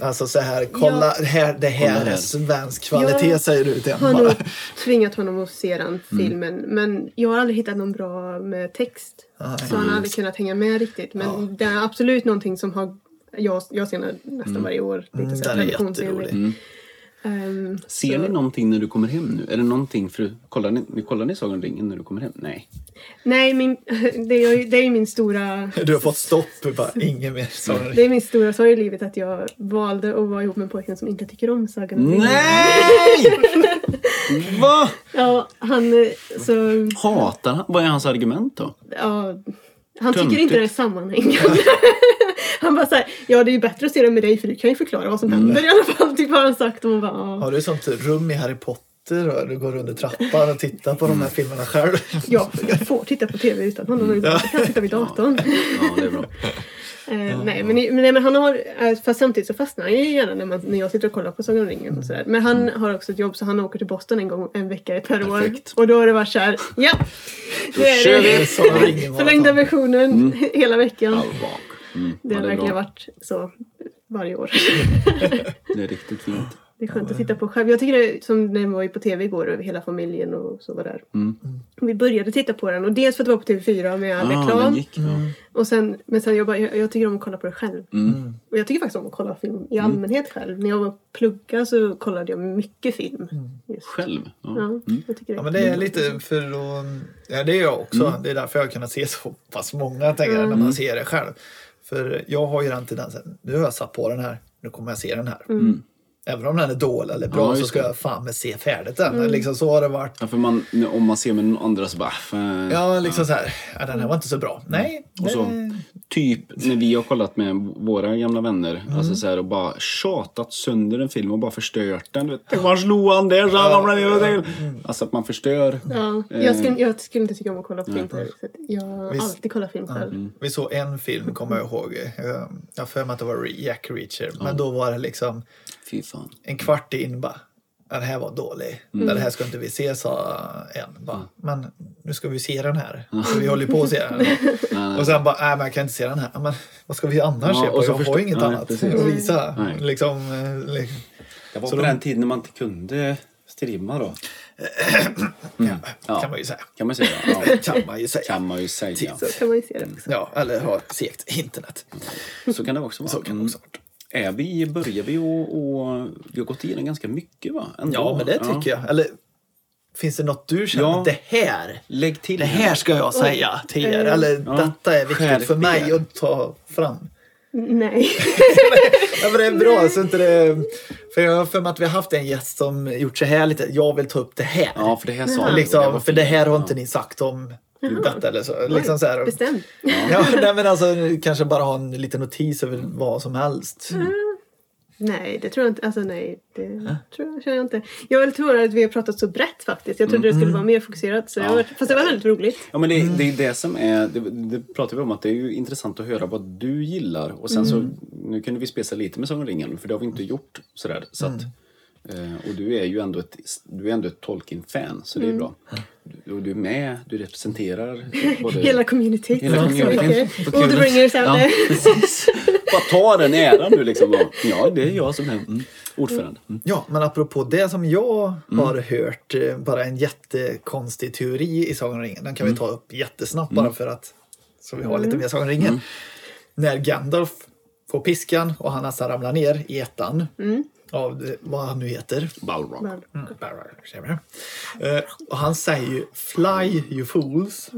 Alltså så här, kolla, här, det här
Kolla här.
är svensk kvalitet
Jag
säger du till en
har nog
bara.
tvingat honom att se den filmen. Men jag har aldrig hittat någon bra med text.
Mm. Ah,
så han har aldrig kunnat hänga med riktigt. Men det är absolut någonting som har, jag, jag ser den nästan varje år. Lite
Mm,
så här
den är
traditionsenligt. Ehm,
Ser ni någonting när du kommer hem nu? Är det någonting för... Kollar ni, ni, kollar ni Sagan om ringen när du kommer hem? Nej.
nej, min, det, är ju, det är ju min stora...
Du har fått stopp, bara ingen mer. Sorry.
Det är min stora sorg i livet att jag valde att vara ihop med en pojkvän som inte tycker om Sagan om ringen.
Nej! Vad?
Ja, han, eh, så,
Hatar han? Vad är hans argument då?
ja, han tycker
Töntigt.
inte det är sammanhängande. han bara såhär, ja det är ju bättre att se det med dig för du kan ju förklara vad som
Mm.
händer i alla fall. Typ har han sagt och man bara, ja.
Har du sånt rum i Harry Potter och du går under trappan och tittar på de här filmerna själv?
Ja, jag får titta på tv utan
Mm.
honom. Jag kan titta vid datorn.
Ja, det är bra.
Eh, nej, men, i- men, nej, men han har, eh, fast samtidigt så fastnar han ju gärna när, man, när jag sitter och kollar på Sagan om ringen och sådär. Men han har också ett jobb så han åker till Boston en gång en vecka per år.
Mm. Perfekt.
Och då har det varit såhär, ja! Det
kör vi.
Så ringer man.
Förlängda versionen hela veckan.
Allvar. Mm.
det
ja,
har
det, är
verkligen
bra.
varit så varje år.
det är riktigt fint.
Det är skönt att titta på själv. Jag tycker det är som när vi var ju på tv igår och hela familjen och så var där.
Mm.
Vi började titta på den och dels för att det var på TV4 med all
Ah, den
reklam.
gick, ja.
Och sen, men sen jag, bara, jag, jag tycker om att kolla på det själv.
Mm.
Och jag tycker faktiskt om att kolla film i allmänhet själv. När jag var plugga så kollade jag mycket film. Just.
Mm. Själv? Mm. Ja.
Ja, jag tycker det.
Ja, men det är lite för att... Ja, det är jag också.
Mm.
Det är därför jag har kunnat se så pass många, tänker jag, när man ser det själv. För jag har ju den tendensen, nu har jag satt på den här, nu kommer jag se den här. Även om den är dålig eller
Mm. Ja,
bra
just
så ska
det.
jag fan med se färdigt den. Liksom så har det varit.
Ja, för man, om man ser med någon andra så bara... "Äh, Fan.
Ja, liksom så här, ja, den här var inte så bra. Nej,
Mm. Och så,
det-
typ när vi har kollat med våra gamla vänner alltså så här, och bara tjatat sönder en film och bara förstört den. Du vet, Tänk var slog han där så han ramlade ner. och där." Alltså att man förstör.
Ja, jag, skulle, jag skulle inte tycka om att kolla på film på det viset. Jag har
Visst.
alltid kollat film själv.
mm.
Vi såg en film, kommer jag ihåg. Eh, Jag har för mig att det var Re- Jack Reacher. Men då var det liksom
Fy fan.
en kvart in bara. "Ja, Det här var dålig.
Mm.
Det här ska inte vi se, sa en. Bara, men nu ska vi se den här. Så vi håller ju på att se den. och sen bara, nej men jag kan inte se den här. "Ja, Men vad ska vi annars
Ja,
se på?
och så
Jag
förstå-
har ju inget
Nej,
annat
precis.
att visa.
Nej.
Liksom, eh, liksom.
Jag var
Så
på
de-
den tiden när man inte kunde streama då. Mm. Ja.
Kan man ju säga.
Kan man säga. Ja.
Kan man ju säga.
Kan man ju säga.
Så kan man ju se det också.
Ja, eller ha segt internet.
Så kan det också vara.
Så kan det också
Mm. Är vi, börjar vi och, och vi har gått igenom ganska mycket va? Ändå.
Ja, men det tycker jag. Eller finns det något du känner
Ja.
att det här
Lägg till
Det här ska jag säga till er.
Eh,
Eller
ja.
detta är viktigt
Skärp
för mig
er.
att ta fram.
Mm.
Nej.
Ja, men det är bra. Så inte det, för jag har för mig att vi har haft en gäst som gjort så här lite. Jag vill ta upp det här.
Ja, för det här sa
Jaha.
vi. Det var
liksom, för
fint. Mm.
det här har inte ni sagt om detta eller så. Liksom så här.
Bestämd.
Ja, nej, men alltså, kanske bara ha en liten notis över vad som helst.
Nej, det tror jag inte. Alltså nej, det tror jag, känner jag inte. Jag är lite förvånad att vi har pratat så brett faktiskt. Jag
Mm,
trodde det skulle vara mer fokuserat. Så jag var, fast det var väldigt roligt.
Ja, men det, det är det som är, det, det pratar vi om, att det är ju intressant att höra vad du gillar. Och sen
Mm.
så, nu kunde vi spesa lite med Sagan om ringen, för det har vi inte gjort sådär. Så att,
Mm.
eh, och du är ju ändå ett, du är ändå ett Tolkien-fan, så
Mm.
det är bra. Du, och du är med, du representerar både...
Hela communityt.
Hela communityn. Vad
Och
kul.
the bringers out
Ja,
there.
precis. Bara ta den äran nu liksom. Och, ja, det är jag som är mm, ordförande. Mm.
Ja, men apropå det som jag har hört, eh, bara en jättekonstig teori i Sagan om ringen. Den kan vi ta upp jättesnabbt bara för att så vi har lite mer Sagan om ringen. När Gandalf får piskan och han nästan ramlar ner i ettan av eh, vad han nu heter.
Balrog.
Eh, Och han säger ju Fly you fools.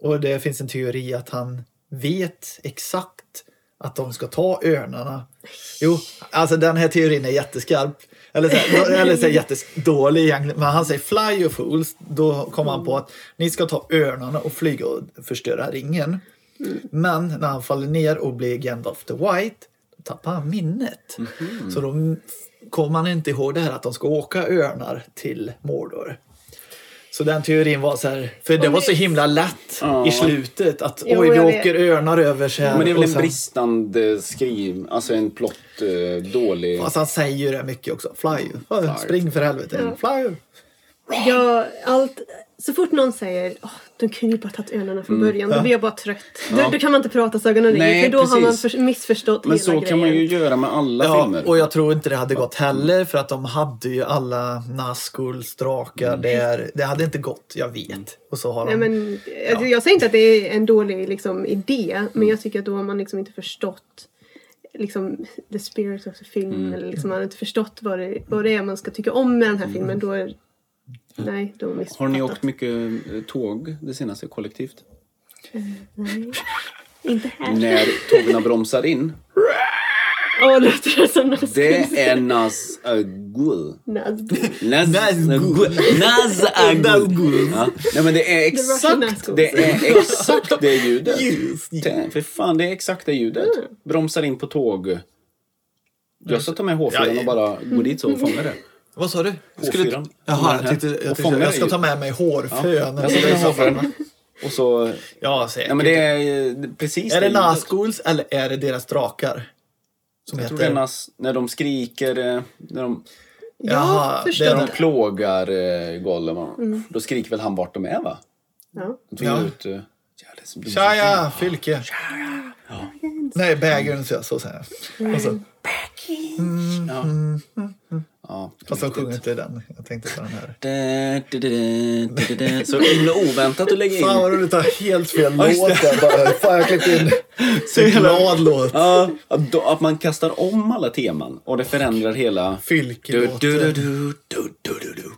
Och det finns en teori att han vet exakt att de ska ta örnarna. Jo, alltså den här teorin är jätteskarp. Eller, så här, eller så här, jättedålig egentligen. Men han säger Fly you fools. Då kommer han på att ni ska ta örnarna och flyga och förstöra ringen. Men när han faller ner och blir Gandalf the White då tappar han minnet.
Mhm.
Så då kommer han inte ihåg det här att de ska åka örnar till Mordor. Så den teorin var så här, för det var så himla lätt i slutet att
Jo,
oj vi
jag vet.
åker örnar över så här.
Men det är
och
väl en
sen-
bristande skriv, alltså en plott, eh, dålig...
Fast han säger ju det mycket också. Fly you. Spring för helvete. Fly you.
Jag, allt, så fort någon säger åh, de kunde ju bara tagit önerna från början, då blir jag bara trött.
Mm, Ja.
Då, då kan man inte prata så ögonen
Nej,
Nej, för då har man
precis.
för, missförstått
Men
hela
så
grejen.
kan man ju göra med alla
Ja,
filmer.
och jag tror inte det hade gått heller för att de hade ju alla Nazguls drakar
Mm.
där. Det hade inte gått, jag vet. Och så har
Nej,
de...
men, alltså, Jag säger inte att det är en dålig liksom, idé,
Mm.
men jag tycker att då har man liksom inte förstått liksom, the spirit of the film.
Mm.
Eller liksom, man har inte förstått vad det, vad det är man ska tycka om med den här filmen. Då är, nej, då har man
Mm. Har ni
missuppfattat.
åkt mycket eh, tåg det senaste kollektivt?
Nej, inte här.
När tågen bromsar in.
Åh, låter det som något
Det är Nazgul.
skumt.
Nazgul. Nazgul. Ja. Nej men det är
Russian
exakt
Nazgul.
det, är exakt det ljudet.
Yes, yes.
Tänk, För fan, det är exakt det ljudet. Bromsar in på tåg. Jag ska ta med H4
Ja,
och bara gå dit så och fånga det.
Vad sa du?
H4.
Jaha, jag, tyckte, jag,
Och
tyckte,
fångar
jag ska
ju.
ta med mig hårfön.
Jag ska ta med soffan. Och så...
Ja, säkert.
Ja men det är eh, precis
Är det
ljudet.
Nazguls eller är det deras drakar? Som
Jag tror det är
heter...
nas, när de skriker, eh, när de,
Jaha,
Jag
det
förstår
är
när
de-
de plågar eh, Gollum. Då skriker väl han vart de är va?
Ja.
De tvingar
Ja.
ut... eh, ja, det är som-
Tjaja, Fylke! Nej, bägaren så, så säger jag.
Alltså,
Och så,
Ja. Ja.
Mm. fast de sjunger inte den. Jag tänkte på den här.
Da, da, da, da, da, da. Så himla oväntat att lägga in.
Fan vad roligt, det var helt fel
just
låt där bara. Fan, jag klippte in en glad låt.
Ja, att, då, att man kastar om alla teman och det förändrar hela... Du, du, du,
Fylkelåten.
du, du, du, du, du.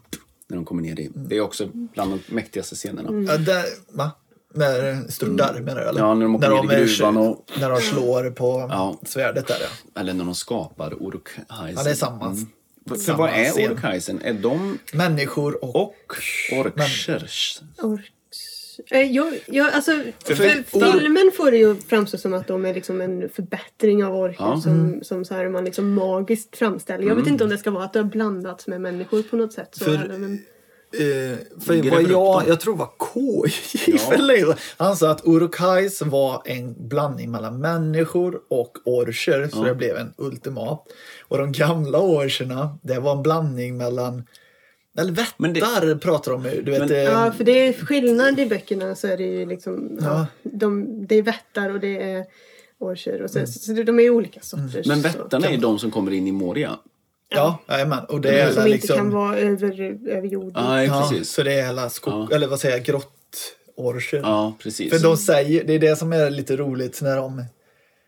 När de kommer ner i... Det är också bland de mäktigaste scenerna.
Ja, där, va? När störtar menar du? Eller?
Ja, när de åker ner i
är-
gruvan och-
När de slår på
Ja.
svärdet där ja.
Eller när de skapar Urkheisen.
Ja, det är samma.
För
samma
vad är
scen.
Urkheisen? Är de...
Människor och...
Och orcher.
Orks- Eh, Jag, jag, alltså, för,
för-
filmen får det ju framstå som att de är liksom en förbättring av orker
Ja. Mm.
som, som så här man liksom magiskt framställer. Jag vet inte om det ska vara att det har blandats med människor på något sätt. Så
För-
eller, men,
Eh, för
Gräver
vad
upp
jag,
dem.
jag tror var K
Ja.
ja. Han sa att Urukais var en blandning mellan människor och orcher, så det blev en ultimat. Och de gamla orcherna, det var en blandning mellan... Eller
Men det-
vättar pratar de om. Du vet,
Men-
eh,
ja, för det är skillnad i böckerna så är det ju liksom, ja.
Ja.
de, det är vättar och det är orcher. Och så, så, så de är ju olika sorters.
Mm. Men
så.
vättarna är ju de som kommer in i Moria.
ja, jajamän. Och det är
Som
hela,
inte
liksom,
kan vara över, över jorden.
Nej,
ja,
precis.
Så det är hela skog... Eller vad säger jag? Grottorcher.
Ja, precis.
För de säger, det är det som är lite roligt när de...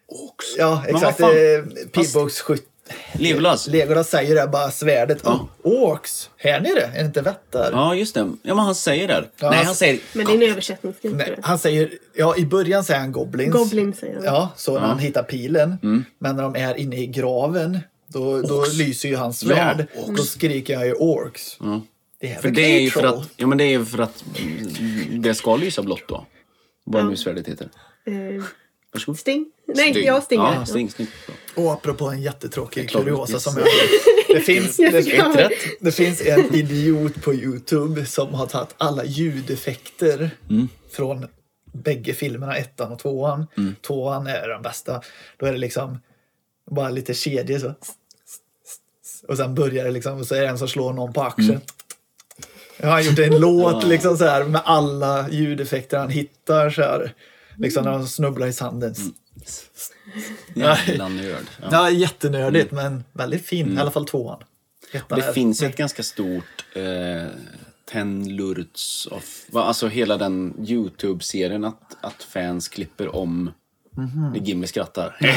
Orks.
Ja,
Men vad
exakt.
fan?
eh, Pilbågsskytt...
Legolas.
Legolas säger det bara svärdet.
Ja.
Oh, Orks, här nere, är det inte vättar?
Ja, just det. Ja, men han säger det.
Ja,
Nej,
han-
han säger...
Men det är en översättningsgrej. tror
Nej,
jag.
han säger, ja i början säger han goblins.
Goblin säger han.
Ja, så när han hittar pilen.
Mm.
Men när de är inne i graven, då, då lyser ju hans svärd.
Ja,
då skriker han ju orks. Det är
För
väl
det är ju för
K-troll.
att... Ja, men det är ju för att det ska lysa blått då. Vad nu svärdet heter.
Eh,
Varsågod.
Sting? Nej, jag stingar.
Ja, sting, sting.
Och apropå en jättetråkig
klart,
kuriosa
yes.
som jag det finns,
Jag
det,
fick höra. Ett rätt.
det finns en idiot på Youtube som har tagit alla ljudeffekter från bägge filmerna, ettan och tvåan. Tvåan är den bästa. Då är det liksom bara lite kedjor så. Och sen börjar det liksom, och så är det en som slår någon på axeln. Jag har gjort en låt liksom så här med alla ljudeffekter han hittar så här. Liksom när han snubblar i sanden.
Jävla nörd. Ja.
Ja, jättenördigt men väldigt fin. I alla fall tvåan. Ettan
Det
är-
finns ju ett ganska stort eh, Ten Lurts of... Va, alltså hela den Youtube-serien att, att fans klipper om
Mhm.
när Gimli skrattar.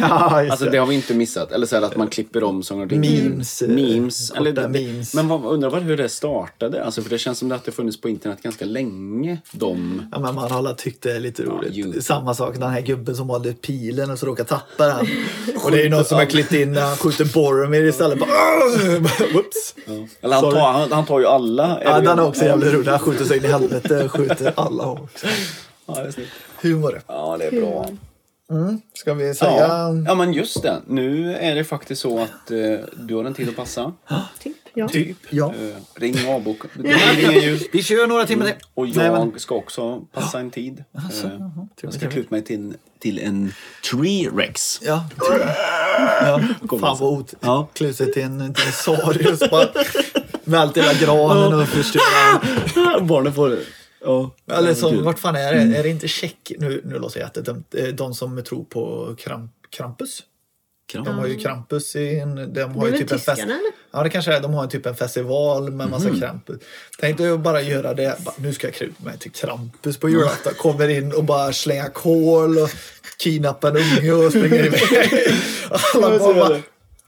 Ja, just
Alltså det har vi inte missat. Eller så här att man klipper om sånger och ting.
Memes, eh,
memes.
korta
Eller, det-
memes.
Men vad, undrar vad, hur det startade. Alltså, för det känns som att det funnits på internet ganska länge. De...
Ja, men man har alla tyckt det är lite roligt.
ju.
Samma sak den här gubben som valde pilen och så råkar tappa den. Och det är ju någon som har klippt in när han skjuter Boromir istället. Bara, "Åh!" Whoops!
Eller han,
Sorry.
tar, han, han tar ju alla.
Ja,
Eller-
den är också jävligt rolig. Han skjuter sig in i helvete. Skjuter alla också.
Ja, det är snyggt.
Humor.
Ja, det är bra.
Mm, Ska vi säga...
Ja. ja, men just det. Nu är det faktiskt så att eh, du har en tid att passa.
Typ, ja.
Typ.
Ja.
Eh, ring och avboka. Det blir ingen ljud.
Vi kör några timmar till.
Och
Nej,
jag
men,
ska också passa en tid. Eh, jag ska
trevligt.
klä ut mig till, en- till en tree rex.
ja. ja. Fan vad ot-
Ja.
klä ut sig till en dinosaurius. Bara, Vält hela granen och förstör.
Barnen får... Ja.
Eller som,
Gud.
vart fan är det? Är det inte Tjeck? Nu, nu låter jag jättedumt. Eh, De som tror på Kramp, Krampus?
Kram.
De har ju Krampus i en... De har
är
ju
väl
typ en fest...
tyskarna, eller?
Ja, det kanske är. De har typ en festival med massa Krampus. Tänk dig att bara göra det. Bara, Nu ska jag klä ut mig till Krampus på julafton. Kommer in och bara slänga kol och kidnappar en unge och springer iväg. Alla barn bara,
Har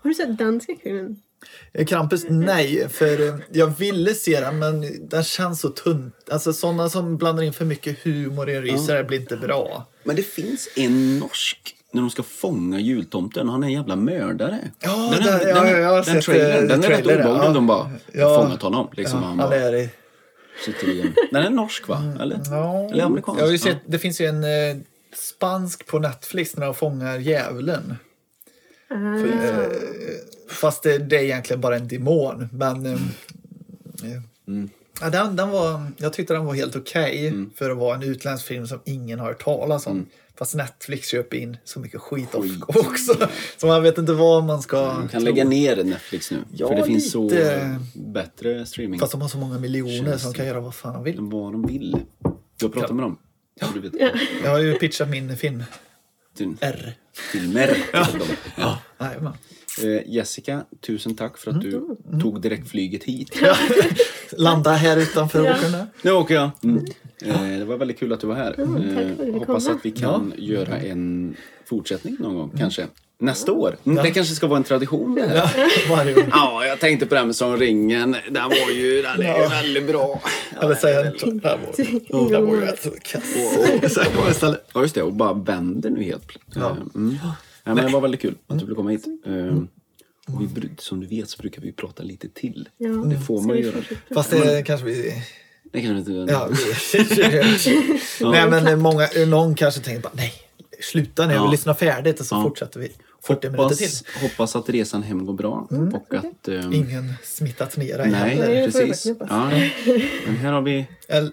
du sett danska filmen?
Eh, Krampus, nej. För eh, jag ville se den, men den känns så tunt. Alltså sådana som blandar in för mycket humor i en rysare blir inte bra.
Men det finns en norsk när de ska fånga jultomten. Han är en jävla mördare.
Ja,
den,
där- ja,
den,
ja, jag har
den
sett,
trailern,
eh,
den är rätt
trailern,
obehaglig.
ja.
De bara
Ja.
ja. fångat honom. Liksom,
Ja,
han
ja, det
bara
är det.
sitter i en... Den är norsk, va? Eller,
Ja.
Eller amerikansk?
Jag har ju sett, Det finns ju en eh, spansk på Netflix när de fångar djävulen.
Ah,
Eh, fast det, det är egentligen bara en demon. Men, eh, eh, ja, den, den var, jag tyckte den var helt okej
Mm.
för att vara en utländsk film som ingen har hört talas om. Fast Netflix köper in så mycket skit, of- också. Så man vet inte vad man ska...
Man kan lägga ner Netflix nu.
Ja,
för det finns
lite.
så bättre streaming
Fast de har så många miljoner som kan göra vad fan de vill.
än vad de vill. Du har pratat med dem? Ja. Du vet,
Jag har ju pitchat min film.
till,
R.
filmer. till dem. Ja.
Jajamän.
Eh, Jessica, tusen tack för att
Mm.
du tog direktflyget hit.
Landa här utanför
Ja.
Åkarna.
Nu åker jag. Mm. Eh, det var väldigt kul att du var här.
Mm, tack för att du
eh,
fick
hoppas
komma.
att vi kan göra en fortsättning någon gång, kanske. Nästa år. Mm, Det kanske ska vara en tradition det här. Mm. Ja.
Varje år.
jag tänkte på det här med Som ringen. Den var ju, den är ju
Ja.
väldigt bra.
Eller säga en sån här vår. Det här var ju
ja.
rätt så kass.
Och, och, så här, istället. Ja, just det. Och bara vänder nu helt plötsligt.
Ja. Mm.
Eh, Mm. Nej, men det var väldigt kul att du ville komma hit. Eh, och vi, bru- som du vet så brukar vi prata lite till.
Ja.
Det får
Ska
man
vi
göra.
fortsätta?
Fast det kanske vi...
Det kanske inte...
Ja, vi... nej, men många, någon kanske tänker bara nej, sluta nu,
Ja.
vi lyssnar färdigt och så
Ja.
fortsätter vi 40 minuter till.
Hoppas, hoppas att resan hem går bra och att... eh,
Ingen smittats ner här
Nej,
heller.
Mm, Nej, det får jag
precis.
verkligen
Ja, men här har vi...
Eller,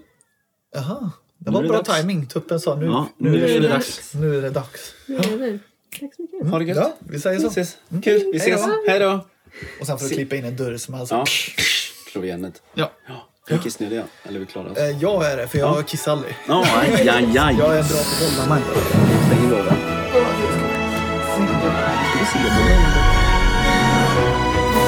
jaha, det
Nu
var
är det
bra
dags.
timing. Tuppen sa Mm. nu,
Ja, nu är det dags.
nu är det dags.
Nu är det. Tack så mycket.
Ha det gött.
Ja, vi säger
Vi
så. Mm.
ses. Kul, vi ses.
då.
Hej då.
Och sen får du klippa in en dörrsmäll. så-
Ja. Slår vi igen ett.
Ja.
Ja. Jag är kissnödig, ja. Eller vi klarar oss.
Eh, Jag är det, för jag kissar aldrig.
Ja, aj, aj, aj.
Jag är bra på att hålla mig.
Stäng lådan. Ska vi se på den?